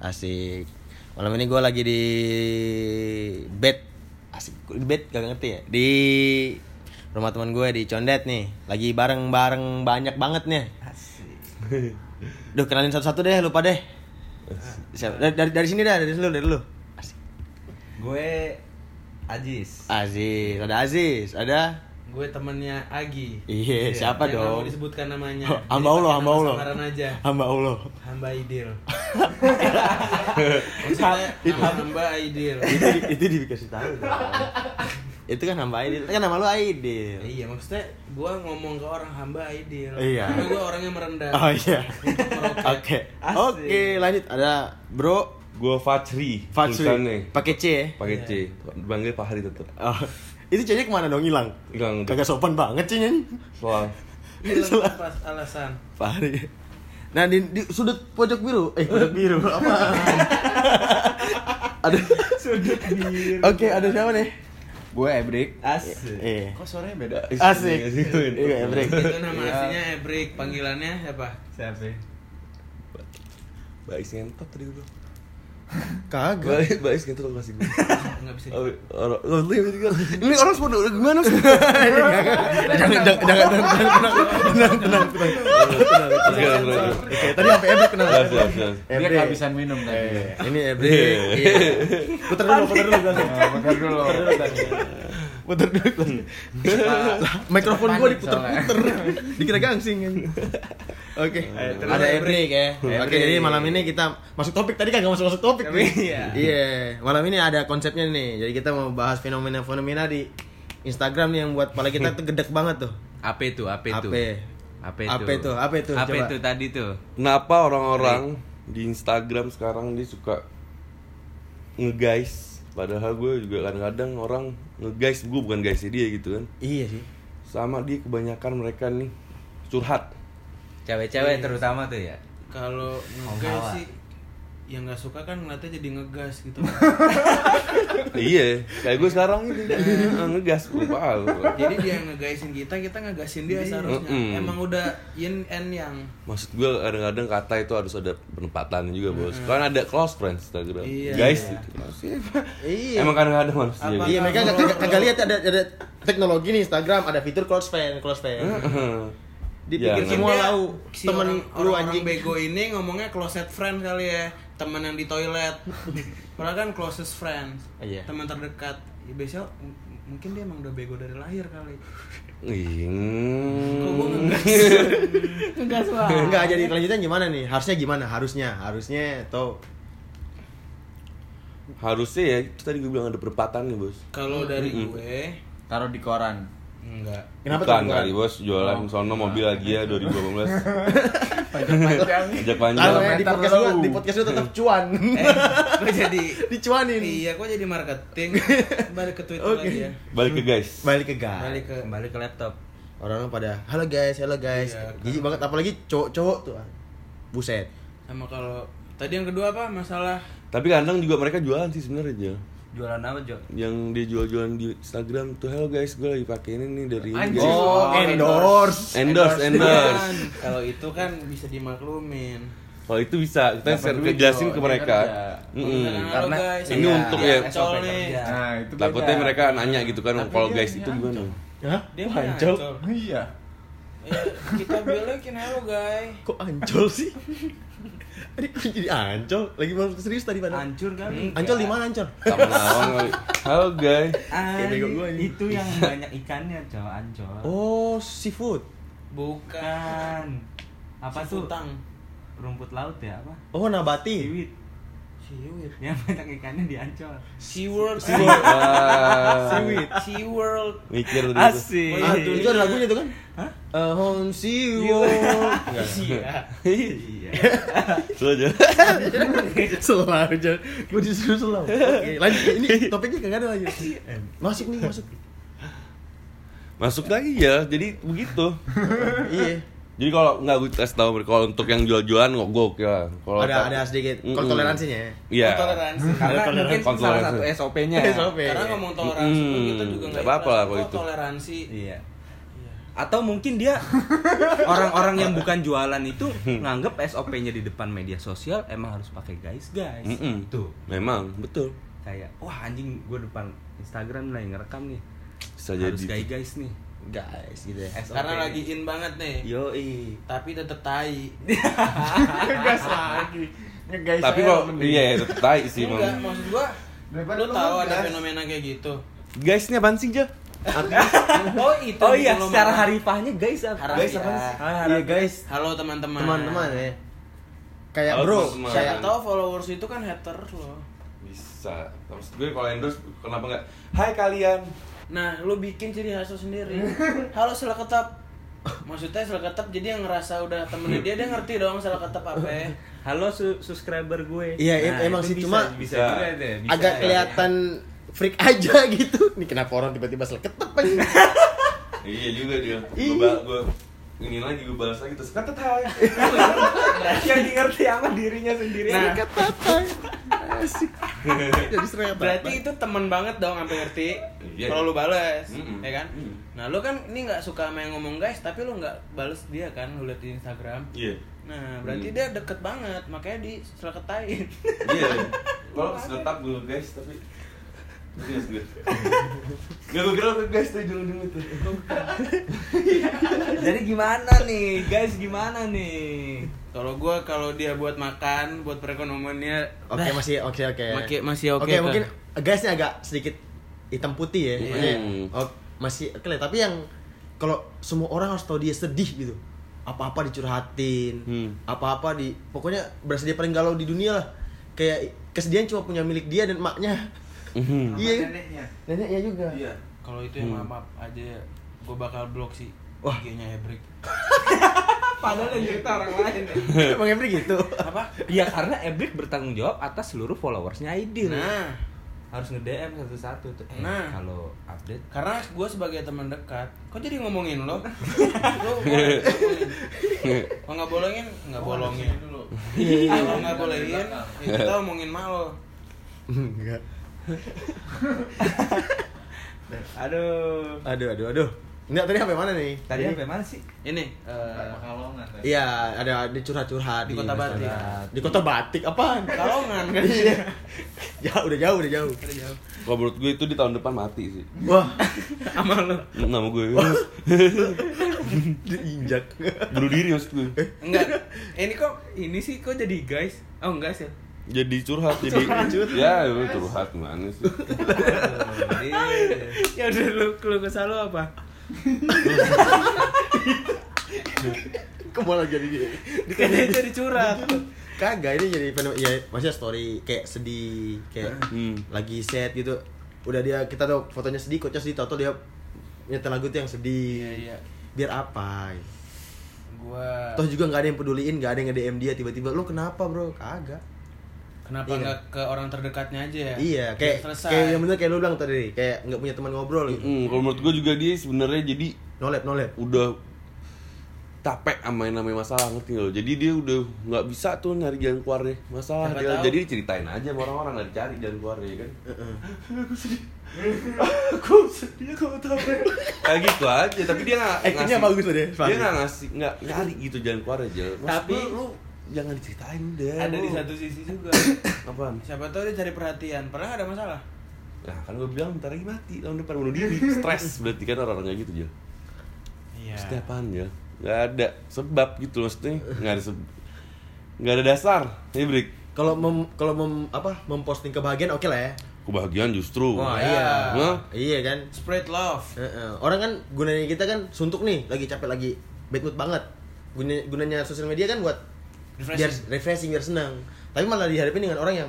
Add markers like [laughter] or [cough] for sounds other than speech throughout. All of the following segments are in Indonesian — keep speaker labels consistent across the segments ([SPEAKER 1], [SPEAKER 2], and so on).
[SPEAKER 1] Asik. Malam ini gue lagi di bed. Asik. Di bed gak ngerti ya. Di rumah teman gue di Condet nih. Lagi bareng-bareng banyak banget nih. Duh kenalin satu-satu deh, lupa deh. Siap- Dari, dari, dari sini dah, dari lu, dari lu. Asik.
[SPEAKER 2] Gue Ajis.
[SPEAKER 1] Aziz, ada Aziz, ada
[SPEAKER 2] Gue temennya Agi.
[SPEAKER 1] Iya, siapa
[SPEAKER 2] jangan
[SPEAKER 1] dong?
[SPEAKER 2] mau disebutkan namanya.
[SPEAKER 1] Oh,
[SPEAKER 2] Jadi
[SPEAKER 1] hamba
[SPEAKER 2] pakai
[SPEAKER 1] Allah,
[SPEAKER 2] nama
[SPEAKER 1] hamba Allah.
[SPEAKER 2] Samaran aja.
[SPEAKER 1] Hamba Allah.
[SPEAKER 2] Hamba
[SPEAKER 1] [laughs]
[SPEAKER 2] Idil. Maksudnya nama hamba Idil.
[SPEAKER 1] itu, di- itu dikasih tahu. dong. itu kan hamba Aidil, kan nama lu Aidil.
[SPEAKER 2] Iya, maksudnya gue ngomong ke orang hamba Idil.
[SPEAKER 1] Iya.
[SPEAKER 2] Karena gue orangnya merendah.
[SPEAKER 1] Oh iya.
[SPEAKER 2] Untuk meroket.
[SPEAKER 1] Oke.
[SPEAKER 2] Asik.
[SPEAKER 1] Oke, lanjut ada Bro
[SPEAKER 3] Gue Fajri, tulisannya.
[SPEAKER 1] Fatsuri. Pakai C ya.
[SPEAKER 3] Pakai C, dipanggil Pak Hari tetep
[SPEAKER 1] Oh. Itu C-nya kemana dong hilang?
[SPEAKER 3] Hilang udah.
[SPEAKER 1] Kagak sopan banget sih nyanyi.
[SPEAKER 3] Soal
[SPEAKER 2] Hilang pas alasan.
[SPEAKER 1] Fahri. Nah di, di sudut pojok biru, eh pojok biru apa? ada sudut biru. Oke, ada siapa nih?
[SPEAKER 4] Gue Ebrik.
[SPEAKER 2] Asik.
[SPEAKER 1] Eh.
[SPEAKER 4] Kok Oh, suaranya beda?
[SPEAKER 1] Asik.
[SPEAKER 3] Asik.
[SPEAKER 1] Iya, break.
[SPEAKER 2] Itu nama
[SPEAKER 4] Iya.
[SPEAKER 2] aslinya Ebrik, panggilannya siapa?
[SPEAKER 4] Siapa?
[SPEAKER 3] Bais ngentot tadi gue
[SPEAKER 1] Kagak.
[SPEAKER 3] Bais, Bais ngentot lo kasih gue
[SPEAKER 1] [laughs]
[SPEAKER 2] Enggak bisa.
[SPEAKER 3] Oh, orang- Lo lu yang ketiga
[SPEAKER 1] Ini orang semua udah gimana sih? jangan, jangan, jangan, jangan, tenang, tenang, tenang, tenang, tenang, tenang.
[SPEAKER 3] Oke, oke, oke.
[SPEAKER 1] Oke, tadi sampai Ebrik kenal.
[SPEAKER 3] Jelas, jelas, jelas.
[SPEAKER 4] Dia kehabisan minum tadi.
[SPEAKER 5] [laughs]
[SPEAKER 1] Ini [laughs] Ebrik. Iya. Putar dulu, putar dulu, Gas.
[SPEAKER 4] Nah, bentar dulu.
[SPEAKER 1] Putar dulu. Gas. Lah, Mikrofon gua
[SPEAKER 4] Panik
[SPEAKER 1] diputer-puter. [laughs] Dikira gangsing. kan. Oke,
[SPEAKER 2] terus
[SPEAKER 1] ada
[SPEAKER 2] Ebrik.
[SPEAKER 1] Ebrik ya. Oke, jadi malam ini kita masuk topik tadi kan gak masuk masuk topik nih.
[SPEAKER 2] Iya.
[SPEAKER 1] Iya, malam ini ada konsepnya nih. Jadi kita mau bahas fenomena-fenomena di Instagram nih yang buat kepala kita tuh gedek banget tuh.
[SPEAKER 5] Apa itu? Apa itu?
[SPEAKER 2] ya?
[SPEAKER 1] Apa?
[SPEAKER 5] Apa
[SPEAKER 1] Apa itu?
[SPEAKER 5] itu?
[SPEAKER 1] Apa itu?
[SPEAKER 5] Apa
[SPEAKER 1] Coba.
[SPEAKER 5] itu tadi tuh?
[SPEAKER 3] Kenapa orang-orang di Instagram sekarang dia suka nge-guys Padahal gue juga kadang-kadang orang nge-guys Gue bukan guys dia gitu kan
[SPEAKER 1] Iya sih.
[SPEAKER 3] Sama dia kebanyakan mereka nih curhat
[SPEAKER 5] Cewek-cewek terutama tuh ya.
[SPEAKER 2] Kalau ngegas sih yang nggak suka kan ngeliatnya jadi ngegas
[SPEAKER 1] [laughs]
[SPEAKER 2] gitu.
[SPEAKER 3] Iya, kayak gue sekarang ini Eh, Ngegas, gue pahal
[SPEAKER 2] Jadi dia yang ngegaisin kita, kita ngegasin
[SPEAKER 1] Iya.
[SPEAKER 2] dia seharusnya.
[SPEAKER 3] Mm-mm.
[SPEAKER 2] Emang udah yin and yang.
[SPEAKER 3] Maksud gue kadang-kadang kata itu harus ada penempatannya juga bos. Karena ada close friends Instagram,
[SPEAKER 2] Iya.
[SPEAKER 3] guys. Gitu. Maksudnya,
[SPEAKER 1] Hmm. Iya.
[SPEAKER 3] Emang kadang-kadang manusia.
[SPEAKER 2] Apa?
[SPEAKER 3] gitu.
[SPEAKER 1] Iya, mereka kagak kagak- kagak lihat ada ada teknologi nih Instagram, ada fitur close friend, close friend. Dipikir
[SPEAKER 3] Jangan.
[SPEAKER 1] Iya. semua
[SPEAKER 2] Dia,
[SPEAKER 1] lau
[SPEAKER 2] si
[SPEAKER 1] temen
[SPEAKER 2] orang,
[SPEAKER 1] lu
[SPEAKER 2] orang
[SPEAKER 1] anjing.
[SPEAKER 2] bego ini ngomongnya closet friend kali ya. Temen yang di toilet. [laughs] Padahal kan closest friend.
[SPEAKER 1] Iya.
[SPEAKER 2] Teman terdekat. Ya, biasanya m- mungkin dia emang udah bego dari lahir kali.
[SPEAKER 3] Hmm.
[SPEAKER 2] Kok gua ngegas?
[SPEAKER 6] Enggak suara.
[SPEAKER 1] Enggak, jadi kelanjutan gimana nih? Harusnya gimana? Harusnya, harusnya atau
[SPEAKER 3] Harusnya ya itu tadi gue bilang ada penempatannya bos.
[SPEAKER 2] Kalau dari gue
[SPEAKER 4] Taruh di koran.
[SPEAKER 2] enggak.
[SPEAKER 1] kenapa
[SPEAKER 3] Iklan
[SPEAKER 1] tuh? Oh.
[SPEAKER 3] kali bos jualan sono mobil lagi
[SPEAKER 1] [laughs]
[SPEAKER 3] ya 2018 ajak
[SPEAKER 1] Tahu ya,
[SPEAKER 3] panjang
[SPEAKER 1] di podcast gua, di podcast gua tetap cuan.
[SPEAKER 2] Eh, gue jadi
[SPEAKER 1] Dicuanin.
[SPEAKER 2] Iya, gue jadi
[SPEAKER 5] [laughs]
[SPEAKER 2] marketing. Balik ke Twitter
[SPEAKER 1] Oke.
[SPEAKER 2] lagi ya.
[SPEAKER 3] balik ke guys
[SPEAKER 1] Balik ke gas.
[SPEAKER 2] Balik ke
[SPEAKER 5] Kembali ke laptop.
[SPEAKER 1] Orang pada, "Halo guys, halo guys."
[SPEAKER 2] Iya,
[SPEAKER 1] Jijik banget apalagi cowok-cowok tuh. ah. Buset.
[SPEAKER 2] sama kalau tadi yang kedua apa masalah
[SPEAKER 3] tapi kadang juga mereka jualan sih sebenarnya Jel.
[SPEAKER 5] Jualan apa, Jo?
[SPEAKER 3] yang dia jual-jualan di Instagram tuh hello guys gue lagi pakai ini nih dari ini,
[SPEAKER 4] Anjing.
[SPEAKER 3] guys."
[SPEAKER 1] Oh, endorse.
[SPEAKER 3] endorse
[SPEAKER 2] [laughs]
[SPEAKER 3] endorse
[SPEAKER 2] Kan, kalau itu kan bisa dimaklumin.
[SPEAKER 3] Kalau itu bisa kita
[SPEAKER 4] Dapat
[SPEAKER 3] share
[SPEAKER 4] duit,
[SPEAKER 3] jelasin
[SPEAKER 4] Jo.
[SPEAKER 3] ke
[SPEAKER 4] Dia
[SPEAKER 3] mereka.
[SPEAKER 4] kerja.
[SPEAKER 3] Mm-mm.
[SPEAKER 2] Karena guys,
[SPEAKER 3] ini
[SPEAKER 5] Iya,
[SPEAKER 2] saya
[SPEAKER 3] untuk
[SPEAKER 2] dia
[SPEAKER 3] ya.
[SPEAKER 2] Ancol nih.
[SPEAKER 4] Nah, itu beda.
[SPEAKER 3] Takutnya mereka nanya gitu kan kalau guys itu gimana?
[SPEAKER 1] Hah?
[SPEAKER 2] Dia
[SPEAKER 1] Kok
[SPEAKER 2] punya
[SPEAKER 1] ancol?
[SPEAKER 2] Ancol.
[SPEAKER 5] Oh,
[SPEAKER 4] Iya.
[SPEAKER 2] Ya, kita bilekin hello guys.
[SPEAKER 1] Kok ancol sih? [laughs] Tadi kok jadi ancol? Lagi mau serius tadi pada.
[SPEAKER 5] Hancur kali.
[SPEAKER 1] Ancol di mana ancol?
[SPEAKER 3] Sama nawang kali. Halo guys.
[SPEAKER 5] Ah,
[SPEAKER 1] Kayak bego gua ini.
[SPEAKER 5] itu yang banyak ikannya, Jo. Ancol.
[SPEAKER 1] Oh, seafood.
[SPEAKER 2] Bukan.
[SPEAKER 5] Bukan. Apa tuh?
[SPEAKER 2] Tang.
[SPEAKER 5] Rumput laut ya, apa?
[SPEAKER 1] Oh, nabati.
[SPEAKER 5] Kiwit.
[SPEAKER 2] Siwit.
[SPEAKER 5] Yang banyak ikannya di Ancol.
[SPEAKER 2] SeaWorld.
[SPEAKER 3] Wah.
[SPEAKER 1] Seaweed.
[SPEAKER 2] SeaWorld.
[SPEAKER 3] Mikir dulu. tuh.
[SPEAKER 5] Asik.
[SPEAKER 1] Ah, itu ada lagunya tuh kan? Hah? A home seaworld.
[SPEAKER 5] Iya.
[SPEAKER 3] Lu aja. [laughs]
[SPEAKER 1] Selau aja. Gue disuruh selau. Oke, lanjut.
[SPEAKER 3] [laughs]
[SPEAKER 1] Ini topiknya kagak ada lanjut. Masuk nih, masuk.
[SPEAKER 3] Masuk lagi ya. Jadi begitu.
[SPEAKER 1] Iya.
[SPEAKER 3] Jadi kalau nggak gue kasih tahu mereka kalau untuk yang jual-jualan kok gue oke lah. Kalau
[SPEAKER 1] Ada
[SPEAKER 3] tak-
[SPEAKER 1] ada sedikit
[SPEAKER 3] Mm-mm.
[SPEAKER 1] kalau toleransinya. ya.
[SPEAKER 3] Iya.
[SPEAKER 2] Toleransi.
[SPEAKER 5] Karena mungkin
[SPEAKER 3] Kontrol
[SPEAKER 5] salah
[SPEAKER 3] langsung.
[SPEAKER 5] satu SOP-nya.
[SPEAKER 1] SOP.
[SPEAKER 2] Karena ngomong toleransi pun
[SPEAKER 3] Mm-mm.
[SPEAKER 2] kita juga
[SPEAKER 3] Nggak
[SPEAKER 2] nggak
[SPEAKER 3] apa-apa
[SPEAKER 2] ikhlas.
[SPEAKER 3] lah kalau
[SPEAKER 2] Kok
[SPEAKER 3] itu.
[SPEAKER 2] Toleransi.
[SPEAKER 5] Iya.
[SPEAKER 7] atau mungkin dia orang-orang yang bukan jualan itu nganggep SOP-nya di depan media sosial emang harus pakai guys guys
[SPEAKER 3] Mm-mm.
[SPEAKER 7] tuh
[SPEAKER 3] Memang betul.
[SPEAKER 7] kayak wah anjing gue depan Instagram lah yang ngerekam nih
[SPEAKER 3] Bisa
[SPEAKER 7] harus
[SPEAKER 3] jadi.
[SPEAKER 7] guys guys nih
[SPEAKER 1] guys gitu ya
[SPEAKER 7] SOP
[SPEAKER 2] Karena lagi in banget nih.
[SPEAKER 3] Iya.
[SPEAKER 1] yoi
[SPEAKER 2] Tapi tetep tai.
[SPEAKER 4] Ngegas lagi. Ngegas
[SPEAKER 3] Tapi
[SPEAKER 4] aja
[SPEAKER 3] kalau
[SPEAKER 4] mending.
[SPEAKER 3] iya tetap tai sih
[SPEAKER 2] Enggak,
[SPEAKER 3] memang.
[SPEAKER 2] maksud gua
[SPEAKER 4] Daripada
[SPEAKER 2] lu
[SPEAKER 4] lu
[SPEAKER 2] tahu
[SPEAKER 4] ngegas.
[SPEAKER 2] ada fenomena kayak gitu.
[SPEAKER 3] Guysnya apaan sih, Jo?
[SPEAKER 2] Oh, itu.
[SPEAKER 7] oh iya
[SPEAKER 2] yang lu
[SPEAKER 7] secara
[SPEAKER 2] mau.
[SPEAKER 7] harifahnya guys apa
[SPEAKER 2] Harap
[SPEAKER 4] Guys
[SPEAKER 2] ya.
[SPEAKER 4] apaan sih?
[SPEAKER 7] Ah,
[SPEAKER 4] Iya guys,
[SPEAKER 2] Halo teman-teman.
[SPEAKER 1] teman-teman ya kayak
[SPEAKER 3] Halo,
[SPEAKER 1] bro
[SPEAKER 3] teman-teman.
[SPEAKER 1] saya
[SPEAKER 2] Siapa tahu followers itu kan haters loh.
[SPEAKER 3] Bisa. Terus gue kalau endorse kenapa enggak? Hai kalian.
[SPEAKER 2] Nah, lu bikin ciri khas lu sendiri. Halo seleketap. Maksudnya seleketap jadi yang ngerasa udah temennya dia dia ngerti dong seleketap apa ya.
[SPEAKER 7] halo su- subscriber gue Nah,
[SPEAKER 1] Iya, iya,
[SPEAKER 5] Nah,
[SPEAKER 1] emang
[SPEAKER 7] itu
[SPEAKER 1] sih,
[SPEAKER 7] bisa-
[SPEAKER 1] cuma
[SPEAKER 7] bisa
[SPEAKER 3] Bisa.
[SPEAKER 7] juga deh, bisa
[SPEAKER 1] agak
[SPEAKER 7] ya.
[SPEAKER 1] kelihatan freak [laughs] aja gitu nih kenapa orang tiba-tiba seleketep aja
[SPEAKER 3] Iya juga dia.
[SPEAKER 1] Iya.
[SPEAKER 3] Gue ba- gue ini lagi gue balas lagi terus kata hai.
[SPEAKER 7] yang di ngerti sama dirinya sendiri
[SPEAKER 2] Nah,
[SPEAKER 1] Ketatan. asik jadi serem
[SPEAKER 2] berarti itu temen banget dong sampai ngerti
[SPEAKER 3] Iya.
[SPEAKER 2] kalau lu bales
[SPEAKER 3] Mm-mm.
[SPEAKER 2] ya kan
[SPEAKER 3] Mm.
[SPEAKER 2] nah lu kan ini nggak suka sama yang ngomong guys tapi lu nggak bales dia kan lu liat di Instagram
[SPEAKER 3] [laughs] Iya.
[SPEAKER 2] nah berarti
[SPEAKER 3] Mm.
[SPEAKER 2] dia deket banget makanya di seleketain
[SPEAKER 3] Iya. Kalau sedetak gue guys tapi Tapi harus gue. Gak gue kira lu guys tuh dulu dulu tuh.
[SPEAKER 7] jadi gimana nih guys gimana nih
[SPEAKER 2] kalau gua kalau dia buat makan buat perekonomiannya
[SPEAKER 1] oke masih oke oke
[SPEAKER 2] Maki- masih oke,
[SPEAKER 1] oke
[SPEAKER 2] Kak.
[SPEAKER 1] mungkin guysnya agak sedikit hitam putih ya
[SPEAKER 3] Iya.
[SPEAKER 1] Maksudnya,
[SPEAKER 3] Hmm.
[SPEAKER 1] oh, masih oke lah. tapi yang kalau semua orang harus tahu dia sedih gitu apa apa dicurhatin
[SPEAKER 3] Hmm.
[SPEAKER 1] apa apa di pokoknya berasa dia paling galau di dunia lah kayak kesedihan cuma punya milik dia dan maknya
[SPEAKER 2] Hmm.
[SPEAKER 1] iya neneknya neneknya juga
[SPEAKER 2] Iya. kalau itu yang maaf aja gua bakal blok sih
[SPEAKER 1] Wah.
[SPEAKER 2] IG-nya Ebrik
[SPEAKER 5] Padahal yang cerita orang lain.
[SPEAKER 1] emang Emre gitu [laughs]
[SPEAKER 2] apa
[SPEAKER 7] ya karena Ebrik bertanggung jawab atas seluruh followersnya Aidil
[SPEAKER 2] nah
[SPEAKER 7] harus nge-DM satu-satu tuh eh,
[SPEAKER 2] Nah.
[SPEAKER 7] kalau update
[SPEAKER 2] karena gue sebagai teman dekat kok jadi ngomongin lo lo boleh ngomongin. kalau nggak bolongin nggak bolongin kalau nggak bolehin ya kita omongin mah lo
[SPEAKER 1] enggak
[SPEAKER 7] aduh
[SPEAKER 1] aduh aduh aduh enggak tadi sampai mana nih
[SPEAKER 7] tadi sampai mana sih
[SPEAKER 2] ini eh,
[SPEAKER 4] Makalongan.
[SPEAKER 1] Iya, ada ada curhat-curhat
[SPEAKER 2] Di Kota
[SPEAKER 1] restoran.
[SPEAKER 2] Batik.
[SPEAKER 1] Di Kota Batik
[SPEAKER 2] [laughs]
[SPEAKER 1] apaan?
[SPEAKER 2] kalongan kan
[SPEAKER 1] Iya. jauh, udah jauh, udah jauh.
[SPEAKER 2] Ada jauh.
[SPEAKER 3] Kalau menurut gue itu di tahun depan mati sih.
[SPEAKER 1] Wah,
[SPEAKER 2] sama lo
[SPEAKER 3] Nama [laughs] gue.
[SPEAKER 1] diinjak. [laughs]
[SPEAKER 3] Bunuh diri maksud gue.
[SPEAKER 2] enggak ini kok ini sih kok jadi guys oh enggak [laughs] sih
[SPEAKER 3] Jadi curhat jadi. Ya, lu curhat gimana sih?
[SPEAKER 2] ya udah lu lu kesal lo apa
[SPEAKER 1] Kemana jadi dia?
[SPEAKER 2] Kayaknya jadi curhat
[SPEAKER 1] Kagak ini jadi fenomena ya maksudnya story kayak sedih, kayak
[SPEAKER 3] Hmm.
[SPEAKER 1] lagi sad gitu. Udah dia kita tuh fotonya sedih, coachnya sedih, tau dia nyetel lagu tuh yang sedih.
[SPEAKER 2] Iya, iya.
[SPEAKER 1] Biar apa?
[SPEAKER 2] gua
[SPEAKER 1] Toh juga nggak ada yang peduliin, nggak ada yang nge-DM dia tiba-tiba, "Lu kenapa, Bro?" Kagak.
[SPEAKER 2] kenapa
[SPEAKER 1] Iya.
[SPEAKER 2] nggak ke orang terdekatnya aja ya
[SPEAKER 1] Iya, kayak
[SPEAKER 2] Biar selesai
[SPEAKER 1] kayak yang bener kayak lu bilang tadi, kayak nggak punya teman ngobrol gitu.
[SPEAKER 3] Mm, kalau menurut gue juga dia sebenarnya jadi
[SPEAKER 1] Nolep, nolep.
[SPEAKER 3] udah capek sama yang namanya masalah ngerti nggak lo jadi dia udah nggak bisa tuh nyari jalan keluarnya masalah
[SPEAKER 2] Siapa
[SPEAKER 3] dia
[SPEAKER 2] tahu.
[SPEAKER 3] jadi diceritain aja sama orang-orang nggak dicari jalan keluarnya kan kayak gitu aja tapi dia nggak
[SPEAKER 1] Actingnya
[SPEAKER 3] ngasih-
[SPEAKER 1] bagus tuh dia,
[SPEAKER 3] dia
[SPEAKER 1] Fahri.
[SPEAKER 3] nggak ngasih nggak nyari gitu jalan keluarnya jalan Maksud
[SPEAKER 2] Tapi-
[SPEAKER 3] gue, lu jangan diceritain deh
[SPEAKER 2] ada
[SPEAKER 3] lu.
[SPEAKER 2] di satu sisi juga
[SPEAKER 3] apaan
[SPEAKER 2] siapa tahu dia cari perhatian pernah ada masalah
[SPEAKER 3] nah kan gue bilang bentar lagi mati tahun depan bunuh diri stres berarti kan orang-orang kayak gitu jalan
[SPEAKER 2] iya
[SPEAKER 3] Maksudnya apaan ya? Gak ada sebab gitu maksudnya Gak ada sebab Gak ada dasar Ya Brik
[SPEAKER 1] Kalau mem, kalau mem, apa memposting kebahagiaan oke lah ya.
[SPEAKER 3] Kebahagiaan justru
[SPEAKER 1] Wah,
[SPEAKER 2] iya.
[SPEAKER 3] Hah?
[SPEAKER 1] Iya kan.
[SPEAKER 2] spread love
[SPEAKER 1] Heeh. Orang kan gunanya kita kan suntuk nih, lagi capek lagi bad mood banget. Gunanya, gunanya sosial media kan buat
[SPEAKER 2] Refreshing.
[SPEAKER 1] biar refreshing biar senang. Tapi malah dihadapin dengan orang yang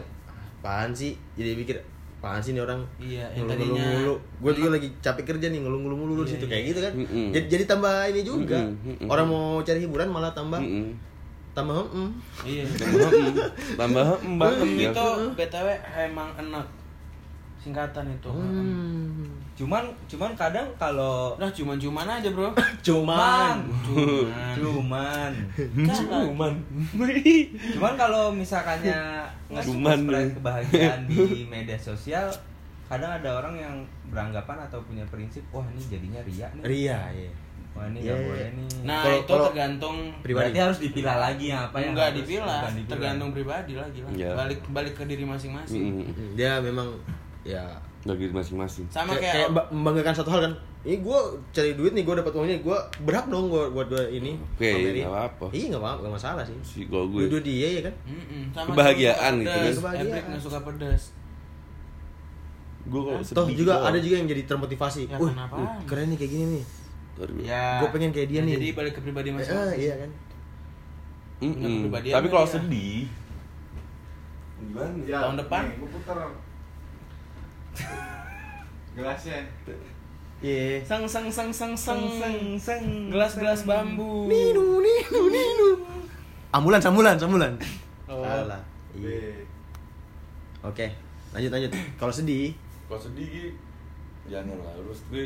[SPEAKER 1] apaan sih? Jadi pikir apaan sih nih orang
[SPEAKER 2] Iya,
[SPEAKER 1] ngeluh-ngeluh
[SPEAKER 2] yang tadinya- Iya,
[SPEAKER 1] mulu. Gue juga lagi capek kerja nih ngeluh-ngeluh mulu di situ kayak gitu kan.
[SPEAKER 3] iya. Mm-mm.
[SPEAKER 1] Jadi, jadi tambah ini juga.
[SPEAKER 3] Mm-mm, mm-mm.
[SPEAKER 1] Orang mau cari hiburan malah tambah
[SPEAKER 3] Mm-mm.
[SPEAKER 1] tambah mm. [laughs]
[SPEAKER 2] iya
[SPEAKER 3] Tambah em, Tambah em
[SPEAKER 1] Iya.
[SPEAKER 3] banget ya
[SPEAKER 2] itu btw emang enak singkatan itu
[SPEAKER 1] Hmm.
[SPEAKER 7] cuman cuman kadang kalau
[SPEAKER 2] udah cuman-cuman aja
[SPEAKER 1] [laughs]
[SPEAKER 2] bro
[SPEAKER 1] Cuman.
[SPEAKER 2] cuman
[SPEAKER 7] cuman
[SPEAKER 2] cuman
[SPEAKER 7] cuman kalau misalkannya
[SPEAKER 3] Cuman.
[SPEAKER 7] nge-spread kebahagiaan di media sosial kadang ada orang yang beranggapan atau punya prinsip wah ini jadinya ria nih
[SPEAKER 1] Ria ya.
[SPEAKER 7] Wah, Wah ini
[SPEAKER 1] Iya.
[SPEAKER 7] nggak boleh nih.
[SPEAKER 2] Nah
[SPEAKER 1] Kalau-
[SPEAKER 2] itu
[SPEAKER 1] kalau-
[SPEAKER 2] tergantung
[SPEAKER 1] Pribadi.
[SPEAKER 7] Berarti harus dipilah lagi ya apa yang
[SPEAKER 2] enggak
[SPEAKER 7] harus-
[SPEAKER 2] dipilah,
[SPEAKER 7] bukan dipilah.
[SPEAKER 2] tergantung pribadi lagi lah.
[SPEAKER 3] Iya.
[SPEAKER 2] Balik balik ke diri masing-masing.
[SPEAKER 3] Mm-mm.
[SPEAKER 1] Dia memang ya
[SPEAKER 3] Bagi masing-masing.
[SPEAKER 2] Sama
[SPEAKER 1] kayak,
[SPEAKER 2] kayak,
[SPEAKER 1] kayak mba- membanggakan satu hal kan. Ini gue cari duit nih, gue dapat uangnya, gue berhak dong gue buat gue ini.
[SPEAKER 3] Oke,
[SPEAKER 1] Sama dia.
[SPEAKER 3] nggak apa-apa.
[SPEAKER 1] Iya nggak apa-apa, nggak masalah sih.
[SPEAKER 3] Si gua
[SPEAKER 1] Dua
[SPEAKER 3] gue.
[SPEAKER 1] dia ya kan.
[SPEAKER 2] Mm-mm,
[SPEAKER 3] Kebahagiaan
[SPEAKER 2] suka
[SPEAKER 3] gitu
[SPEAKER 2] pedas.
[SPEAKER 1] kan.
[SPEAKER 2] Eprik nggak suka pedas.
[SPEAKER 3] Gue kalau
[SPEAKER 1] Toh
[SPEAKER 3] sedih
[SPEAKER 1] juga
[SPEAKER 3] doang.
[SPEAKER 1] ada juga yang jadi termotivasi.
[SPEAKER 2] Ya,
[SPEAKER 1] Wah,
[SPEAKER 2] kenapa?
[SPEAKER 1] wah, keren nih kayak gini nih.
[SPEAKER 3] Ntar gua-
[SPEAKER 2] Ya.
[SPEAKER 1] Gua pengen kayak dia
[SPEAKER 2] Nah,
[SPEAKER 1] nih.
[SPEAKER 2] Jadi balik ke pribadi
[SPEAKER 1] Eh, eh,
[SPEAKER 2] masing-masing.
[SPEAKER 1] iya kan.
[SPEAKER 3] Mm-mm.
[SPEAKER 2] kepribadian
[SPEAKER 3] Tapi kalau
[SPEAKER 2] dia.
[SPEAKER 3] sedih gimana?
[SPEAKER 4] Ya,
[SPEAKER 2] Tahun depan.
[SPEAKER 4] nih, gua puter. Gelasnya.
[SPEAKER 1] Iya.
[SPEAKER 7] Eh.
[SPEAKER 2] Sang sang sang sang sang sang sang gelas-gelas bambu.
[SPEAKER 1] Ninu ninu ninu. Ambulans ambulans ambulans.
[SPEAKER 2] Oh.
[SPEAKER 1] Salah. Iya.
[SPEAKER 4] Wih.
[SPEAKER 1] Oke, lanjut
[SPEAKER 2] [laughs]
[SPEAKER 1] lanjut. Kalau sedih, [laughs]
[SPEAKER 3] Kalau sedih Gi, jangan lah. Terus gue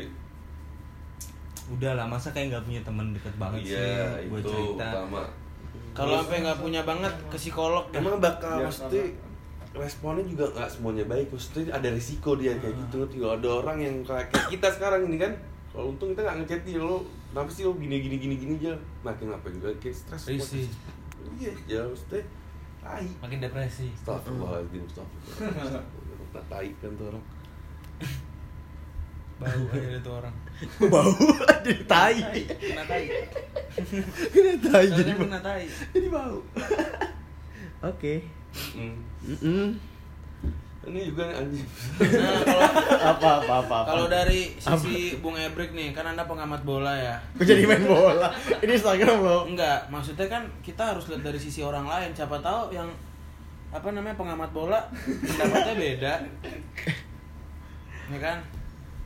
[SPEAKER 7] Udah lah masa kayak nggak punya teman deket banget
[SPEAKER 3] iya
[SPEAKER 7] sih buat
[SPEAKER 3] itu
[SPEAKER 7] cerita.
[SPEAKER 3] utama.
[SPEAKER 2] Kalau sampai nggak punya banget ke psikolog dah.
[SPEAKER 3] Emang bakal
[SPEAKER 4] Iya,
[SPEAKER 3] mesti responnya juga nggak semuanya baik. Mesti ada risiko dia kayak gitu. ngerti? Kalau ada orang yang kayak kayak kita sekarang ini kan. Kalau untung kita nggak ngechat dia lo, kenapa sih lo gini gini gini gini aja? Makin ngapain gue kayak stres.
[SPEAKER 2] Risih.
[SPEAKER 3] Iya, ya mesti. Tai.
[SPEAKER 2] Makin depresi.
[SPEAKER 3] Astagfirullahaladzim, astagfirullahaladzim. Tak tai kan tuh orang.
[SPEAKER 2] Bau ada tuh orang.
[SPEAKER 1] bau [laughs] jadi tai.
[SPEAKER 2] Kena tai.
[SPEAKER 1] Kena tai [laughs] jadi
[SPEAKER 2] Jadi
[SPEAKER 1] bau.
[SPEAKER 2] kena tai.
[SPEAKER 1] Jadi bau. Oke.
[SPEAKER 3] Hmm.
[SPEAKER 1] Mm-mm.
[SPEAKER 3] Ini juga nih anjing.
[SPEAKER 2] Nah, kalau
[SPEAKER 1] Apa apa apa. apa.
[SPEAKER 2] kalau dari sisi Bung Ebrik nih, kan Anda pengamat bola ya.
[SPEAKER 1] Gua jadi main bola. Ini Instagram lo.
[SPEAKER 2] Enggak, maksudnya kan kita harus lihat dari sisi orang lain. Siapa tahu yang apa namanya pengamat bola pendapatnya
[SPEAKER 1] [laughs]
[SPEAKER 2] beda. Ya kan?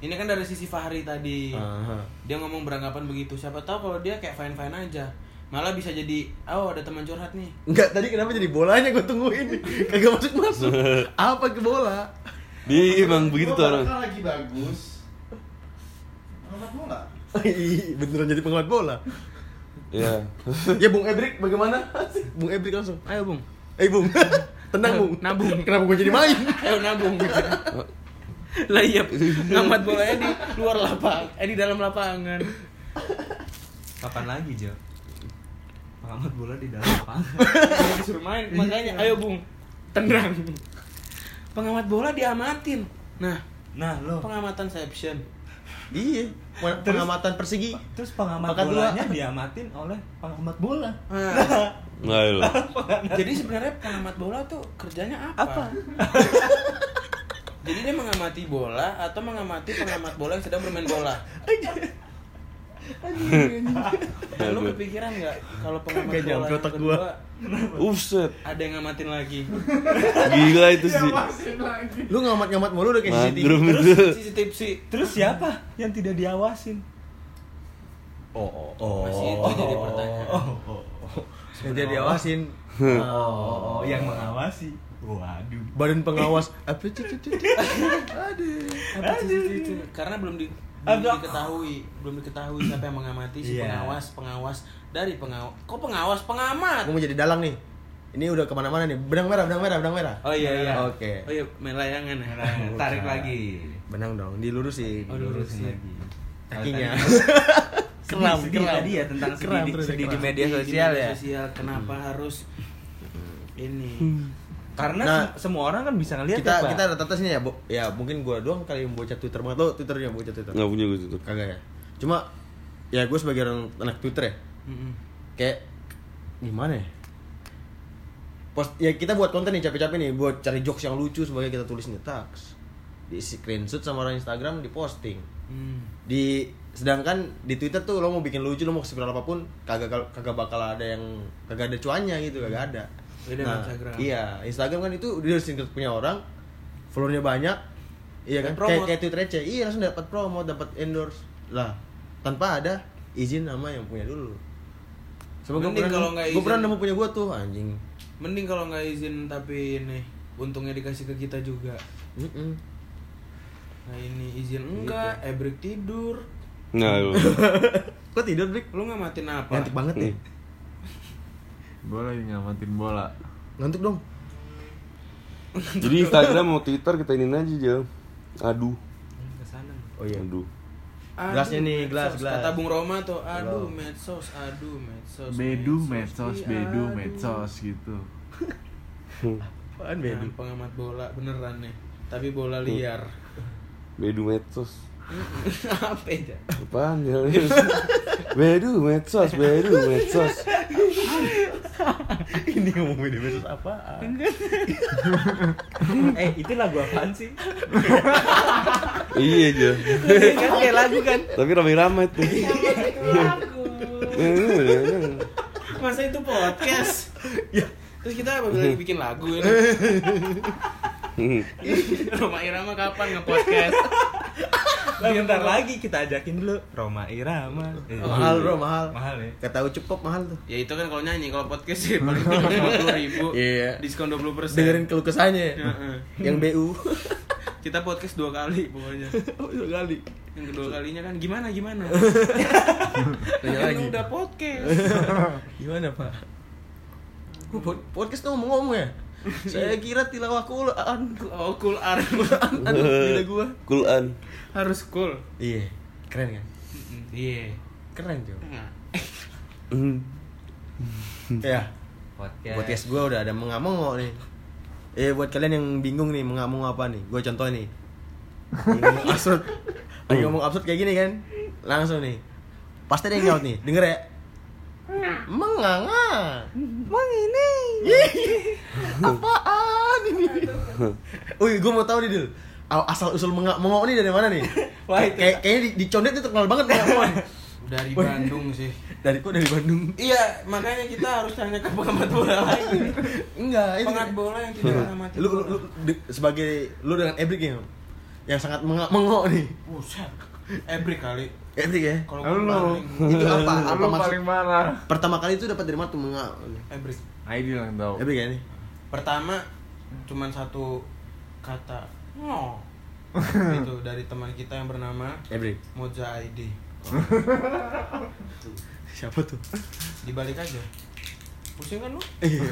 [SPEAKER 2] Ini kan dari sisi Fahri tadi.
[SPEAKER 1] Aha.
[SPEAKER 2] Dia ngomong beranggapan begitu. Siapa tahu kalau dia kayak fine-fine aja. Malah bisa jadi, "Oh, ada teman curhat nih."
[SPEAKER 1] Enggak, tadi kenapa jadi bolanya gue tungguin Kagak masuk-masuk Apa ke bola?
[SPEAKER 3] Dia emang begitu tuh
[SPEAKER 4] Gua
[SPEAKER 3] orang.
[SPEAKER 4] bakal lagi bagus. Anak bola.
[SPEAKER 1] Ih, Oh, iya, Beneran jadi pengamat bola
[SPEAKER 3] Iya.
[SPEAKER 1] Ya Bung Ebrik bagaimana? Bung Ebrik langsung
[SPEAKER 2] Ayo, Bung.
[SPEAKER 1] Eh Bung, tenang Bung
[SPEAKER 2] Nabung.
[SPEAKER 1] Kenapa gue jadi main?
[SPEAKER 2] Ayo nabung. [laughs] lah iya, ngamat bolanya di luar lapang, eh di dalam lapangan.
[SPEAKER 7] Kapan lagi Jo? Pengamat bola di dalam lapangan.
[SPEAKER 2] Kalau disuruh main, makanya ayo Bung, tenang. Pengamat bola diamatin. Nah,
[SPEAKER 7] Nah lo
[SPEAKER 2] pengamatan seption.
[SPEAKER 1] Iya Pengamatan Persigi
[SPEAKER 7] terus pengamat
[SPEAKER 1] Makan dua.
[SPEAKER 7] bolanya diamatin oleh pengamat bola.
[SPEAKER 2] Nah,
[SPEAKER 3] Nah, iya loh.
[SPEAKER 2] jadi sebenarnya pengamat bola tuh kerjanya apa? jadi dia mengamati bola atau mengamati pengamat bola yang sedang bermain bola? Nah, lu kepikiran nggak kalau
[SPEAKER 1] Kagak
[SPEAKER 2] pengamat bola
[SPEAKER 1] nyampe
[SPEAKER 2] yang
[SPEAKER 1] otak
[SPEAKER 2] kedua
[SPEAKER 1] gua.
[SPEAKER 3] Upset.
[SPEAKER 2] ada yang ngamatin lagi?
[SPEAKER 3] Gila itu sih.
[SPEAKER 1] Lu ngamat-ngamat mulu udah kayak
[SPEAKER 3] Magrum
[SPEAKER 1] CCTV
[SPEAKER 3] itu.
[SPEAKER 2] Sisi tipsi.
[SPEAKER 7] Terus siapa yang tidak diawasin?
[SPEAKER 1] Oh, oh,
[SPEAKER 2] Masih itu jadi pertanyaan.
[SPEAKER 7] oh, oh.
[SPEAKER 1] Yang dia diawasin
[SPEAKER 7] oh, oh, yang mengawasi. Waduh.
[SPEAKER 1] Badan pengawas Apa itu? Aduh
[SPEAKER 2] Apa sih itu, itu? Karena belum di belum
[SPEAKER 7] Aduh.
[SPEAKER 2] diketahui, belum diketahui siapa yang mengamati si
[SPEAKER 7] Iya.
[SPEAKER 2] pengawas, pengawas dari pengawas. Kok pengawas pengamat?
[SPEAKER 1] Gue mau jadi dalang nih Ini udah kemana-mana nih Benang merah, benang merah, benang merah
[SPEAKER 2] Oh iya iya.
[SPEAKER 1] Oke.
[SPEAKER 2] Oh iya, main layangan ya. [laughs]
[SPEAKER 7] Tarik lagi.
[SPEAKER 1] Benang dong, dilurusin
[SPEAKER 2] Oh, dilurusin. Oh,
[SPEAKER 7] lagi.
[SPEAKER 1] Kakinya
[SPEAKER 7] Keram,
[SPEAKER 1] Sedih,
[SPEAKER 7] sedih
[SPEAKER 1] keram.
[SPEAKER 7] tadi ya tentang
[SPEAKER 1] Keram,
[SPEAKER 7] sedih,
[SPEAKER 1] terus ya,
[SPEAKER 7] sedih di
[SPEAKER 1] keram.
[SPEAKER 7] media
[SPEAKER 2] Di
[SPEAKER 7] sosial
[SPEAKER 2] media
[SPEAKER 7] ya.
[SPEAKER 2] Sosial kenapa harus ini?
[SPEAKER 7] Hmm. Karena
[SPEAKER 1] Nah,
[SPEAKER 7] sem- semua orang kan bisa ngelihat
[SPEAKER 1] kita
[SPEAKER 7] ya, Pak.
[SPEAKER 1] kita rata-rata sini ya, Bo. ya mungkin gua doang kali yang bocah Twitter banget lo Twitternya bocah Twitter
[SPEAKER 3] Enggak punya gue itu.
[SPEAKER 1] kagak ya cuma ya gue sebagai orang anak Twitter ya
[SPEAKER 7] Hmm,
[SPEAKER 2] Mm-mm.
[SPEAKER 1] kayak gimana ya post ya kita buat konten nih capek-capek nih buat cari jokes yang lucu sebagai kita tulis nih tags di screenshot sama orang Instagram diposting
[SPEAKER 2] Hmm.
[SPEAKER 1] di sedangkan di Twitter tuh lo mau bikin lucu lo mau segala apapun kagak kagak bakal ada yang kagak ada cuannya gitu kagak ada
[SPEAKER 2] Beda sama Instagram.
[SPEAKER 1] iya Instagram kan itu dia singkat punya orang followernya banyak iya kan
[SPEAKER 2] Dapat
[SPEAKER 1] kayak
[SPEAKER 2] promote.
[SPEAKER 1] kayak Twitter aja iya langsung dapat promo dapat endorse lah tanpa ada izin sama yang punya dulu Semoga
[SPEAKER 2] Mending
[SPEAKER 1] pernah,
[SPEAKER 2] kalau nggak
[SPEAKER 1] gue
[SPEAKER 2] izin.
[SPEAKER 1] pernah nemu punya gue tuh anjing.
[SPEAKER 2] Mending kalau nggak izin tapi ini untungnya dikasih ke kita juga.
[SPEAKER 1] Mm-mm.
[SPEAKER 2] Nah ini izin
[SPEAKER 7] Gitu.
[SPEAKER 2] enggak, ebrik tidur.
[SPEAKER 3] Nah, iya loh.
[SPEAKER 1] Kok tidur, Brik?
[SPEAKER 2] Lu ngamatin apa?
[SPEAKER 1] Ngantuk banget nih.
[SPEAKER 4] Gua lagi ngamatin bola.
[SPEAKER 1] Ngantuk dong.
[SPEAKER 3] Jadi Instagram mau Twitter kita ini aja, Jo. Aduh.
[SPEAKER 7] Kesana.
[SPEAKER 1] Oh iya.
[SPEAKER 3] Aduh.
[SPEAKER 1] Gelasnya nih, gelas,
[SPEAKER 2] medsos.
[SPEAKER 1] gelas.
[SPEAKER 2] Kata Bung Roma tuh, aduh
[SPEAKER 1] Belum.
[SPEAKER 2] medsos, aduh medsos.
[SPEAKER 4] Bedu medsos,
[SPEAKER 2] ih,
[SPEAKER 4] bedu
[SPEAKER 2] aduh.
[SPEAKER 4] medsos gitu.
[SPEAKER 1] Apaan
[SPEAKER 2] Nah,
[SPEAKER 1] bedu?
[SPEAKER 2] pengamat bola beneran nih. Tapi bola liar.
[SPEAKER 3] Bedu medsos.
[SPEAKER 2] Apa aja?
[SPEAKER 3] Apaan ya? [laughs] Bedu medsos, bedu medsos.
[SPEAKER 1] [laughs] Ini ngomong bedu bedu apaan?
[SPEAKER 7] eh itu lagu apaan sih
[SPEAKER 3] iya aja.
[SPEAKER 7] kan kayak lagu kan
[SPEAKER 3] Tapi ramai-ramai tuh.
[SPEAKER 1] Iya.
[SPEAKER 2] Kan gitu
[SPEAKER 3] Iya,
[SPEAKER 2] Masa itu podcast?
[SPEAKER 1] Iya.
[SPEAKER 2] Terus kita apa
[SPEAKER 1] Hmm.
[SPEAKER 2] lagi bikin lagu ini? [laughs] Roma Irama kapan nge-podcast?
[SPEAKER 7] bentar lagi kita ajakin dulu Roma Irama
[SPEAKER 2] Oh,
[SPEAKER 7] Eh,
[SPEAKER 1] Mahal
[SPEAKER 2] iya.
[SPEAKER 1] bro, mahal.
[SPEAKER 7] mahal ya
[SPEAKER 1] Kata ucup kok mahal tuh.
[SPEAKER 2] Ya itu kan kalau nyanyi, kalau podcast sih
[SPEAKER 1] [laughs]
[SPEAKER 2] paling puluh ribu
[SPEAKER 1] Iya.
[SPEAKER 2] Diskon 20% persen
[SPEAKER 1] Dengerin keluh kesahnya.
[SPEAKER 2] Heeh.
[SPEAKER 1] Yang [laughs] BU.
[SPEAKER 2] Kita podcast dua kali pokoknya
[SPEAKER 1] Dua kali.
[SPEAKER 2] Yang kedua kalinya kan gimana [laughs] gimana
[SPEAKER 1] Tanya
[SPEAKER 2] Kan
[SPEAKER 1] lagi.
[SPEAKER 2] udah podcast
[SPEAKER 1] Gimana, Pak? Gua pod- podcast tuh ngomong-ngomong [laughs] ya. Saya kira tilawah Quran.
[SPEAKER 2] [laughs] Oh cool Ar.
[SPEAKER 1] Aduh, gila gua.
[SPEAKER 3] Kulan.
[SPEAKER 2] Harus cool
[SPEAKER 1] Iya. Keren kan?
[SPEAKER 2] Mm-mm. Iya
[SPEAKER 1] Keren, Jo.
[SPEAKER 2] Nah,
[SPEAKER 1] Ya. Podcast gua udah ada mengamong nih. Eh buat kalian yang bingung nih mengamong apa nih? Gua contoh nih. Lagi ngomong absurd. Lagi ngomong absurd kayak gini kan. Langsung nih. Pasti ada yang nyaut nih. Denger ya. Menganga. Meng ini. [laughs] Apaan ini? Uy, gua mau tahu nih Dil. Asal usul menga- mengok ini dari mana nih?
[SPEAKER 7] [laughs] Wah, itu- ya.
[SPEAKER 1] Kayak kayaknya di, di Condet itu terkenal banget mengok.
[SPEAKER 7] [laughs]
[SPEAKER 2] Dari Bandung sih
[SPEAKER 1] Dari kok dari Bandung?
[SPEAKER 2] Iya, makanya kita harus tanya ke pengamat bola [laughs] lagi.
[SPEAKER 1] Enggak, itu.
[SPEAKER 2] Pengamat bola yang tidak pernah mati.
[SPEAKER 1] lu, lu, lu di- sebagai lu dengan Ebrik ya yang sangat menga- mengok nih
[SPEAKER 2] buset. Every kali
[SPEAKER 1] Ebrik ya
[SPEAKER 2] kalau
[SPEAKER 4] Lu.
[SPEAKER 2] gua
[SPEAKER 1] itu apa apa
[SPEAKER 4] Lu
[SPEAKER 1] maksud
[SPEAKER 4] paling marah.
[SPEAKER 1] pertama kali itu dapat dari mana tuh mengak
[SPEAKER 2] Every.
[SPEAKER 4] Aidil yang tahu.
[SPEAKER 1] Ebrik ya nih
[SPEAKER 2] Pertama cuman satu kata. No.
[SPEAKER 1] [laughs]
[SPEAKER 2] itu dari teman kita yang bernama
[SPEAKER 1] Ebrik
[SPEAKER 2] Moza ID.
[SPEAKER 1] siapa tuh
[SPEAKER 2] Dibalik aja. Pusing kan lu?
[SPEAKER 1] Iya.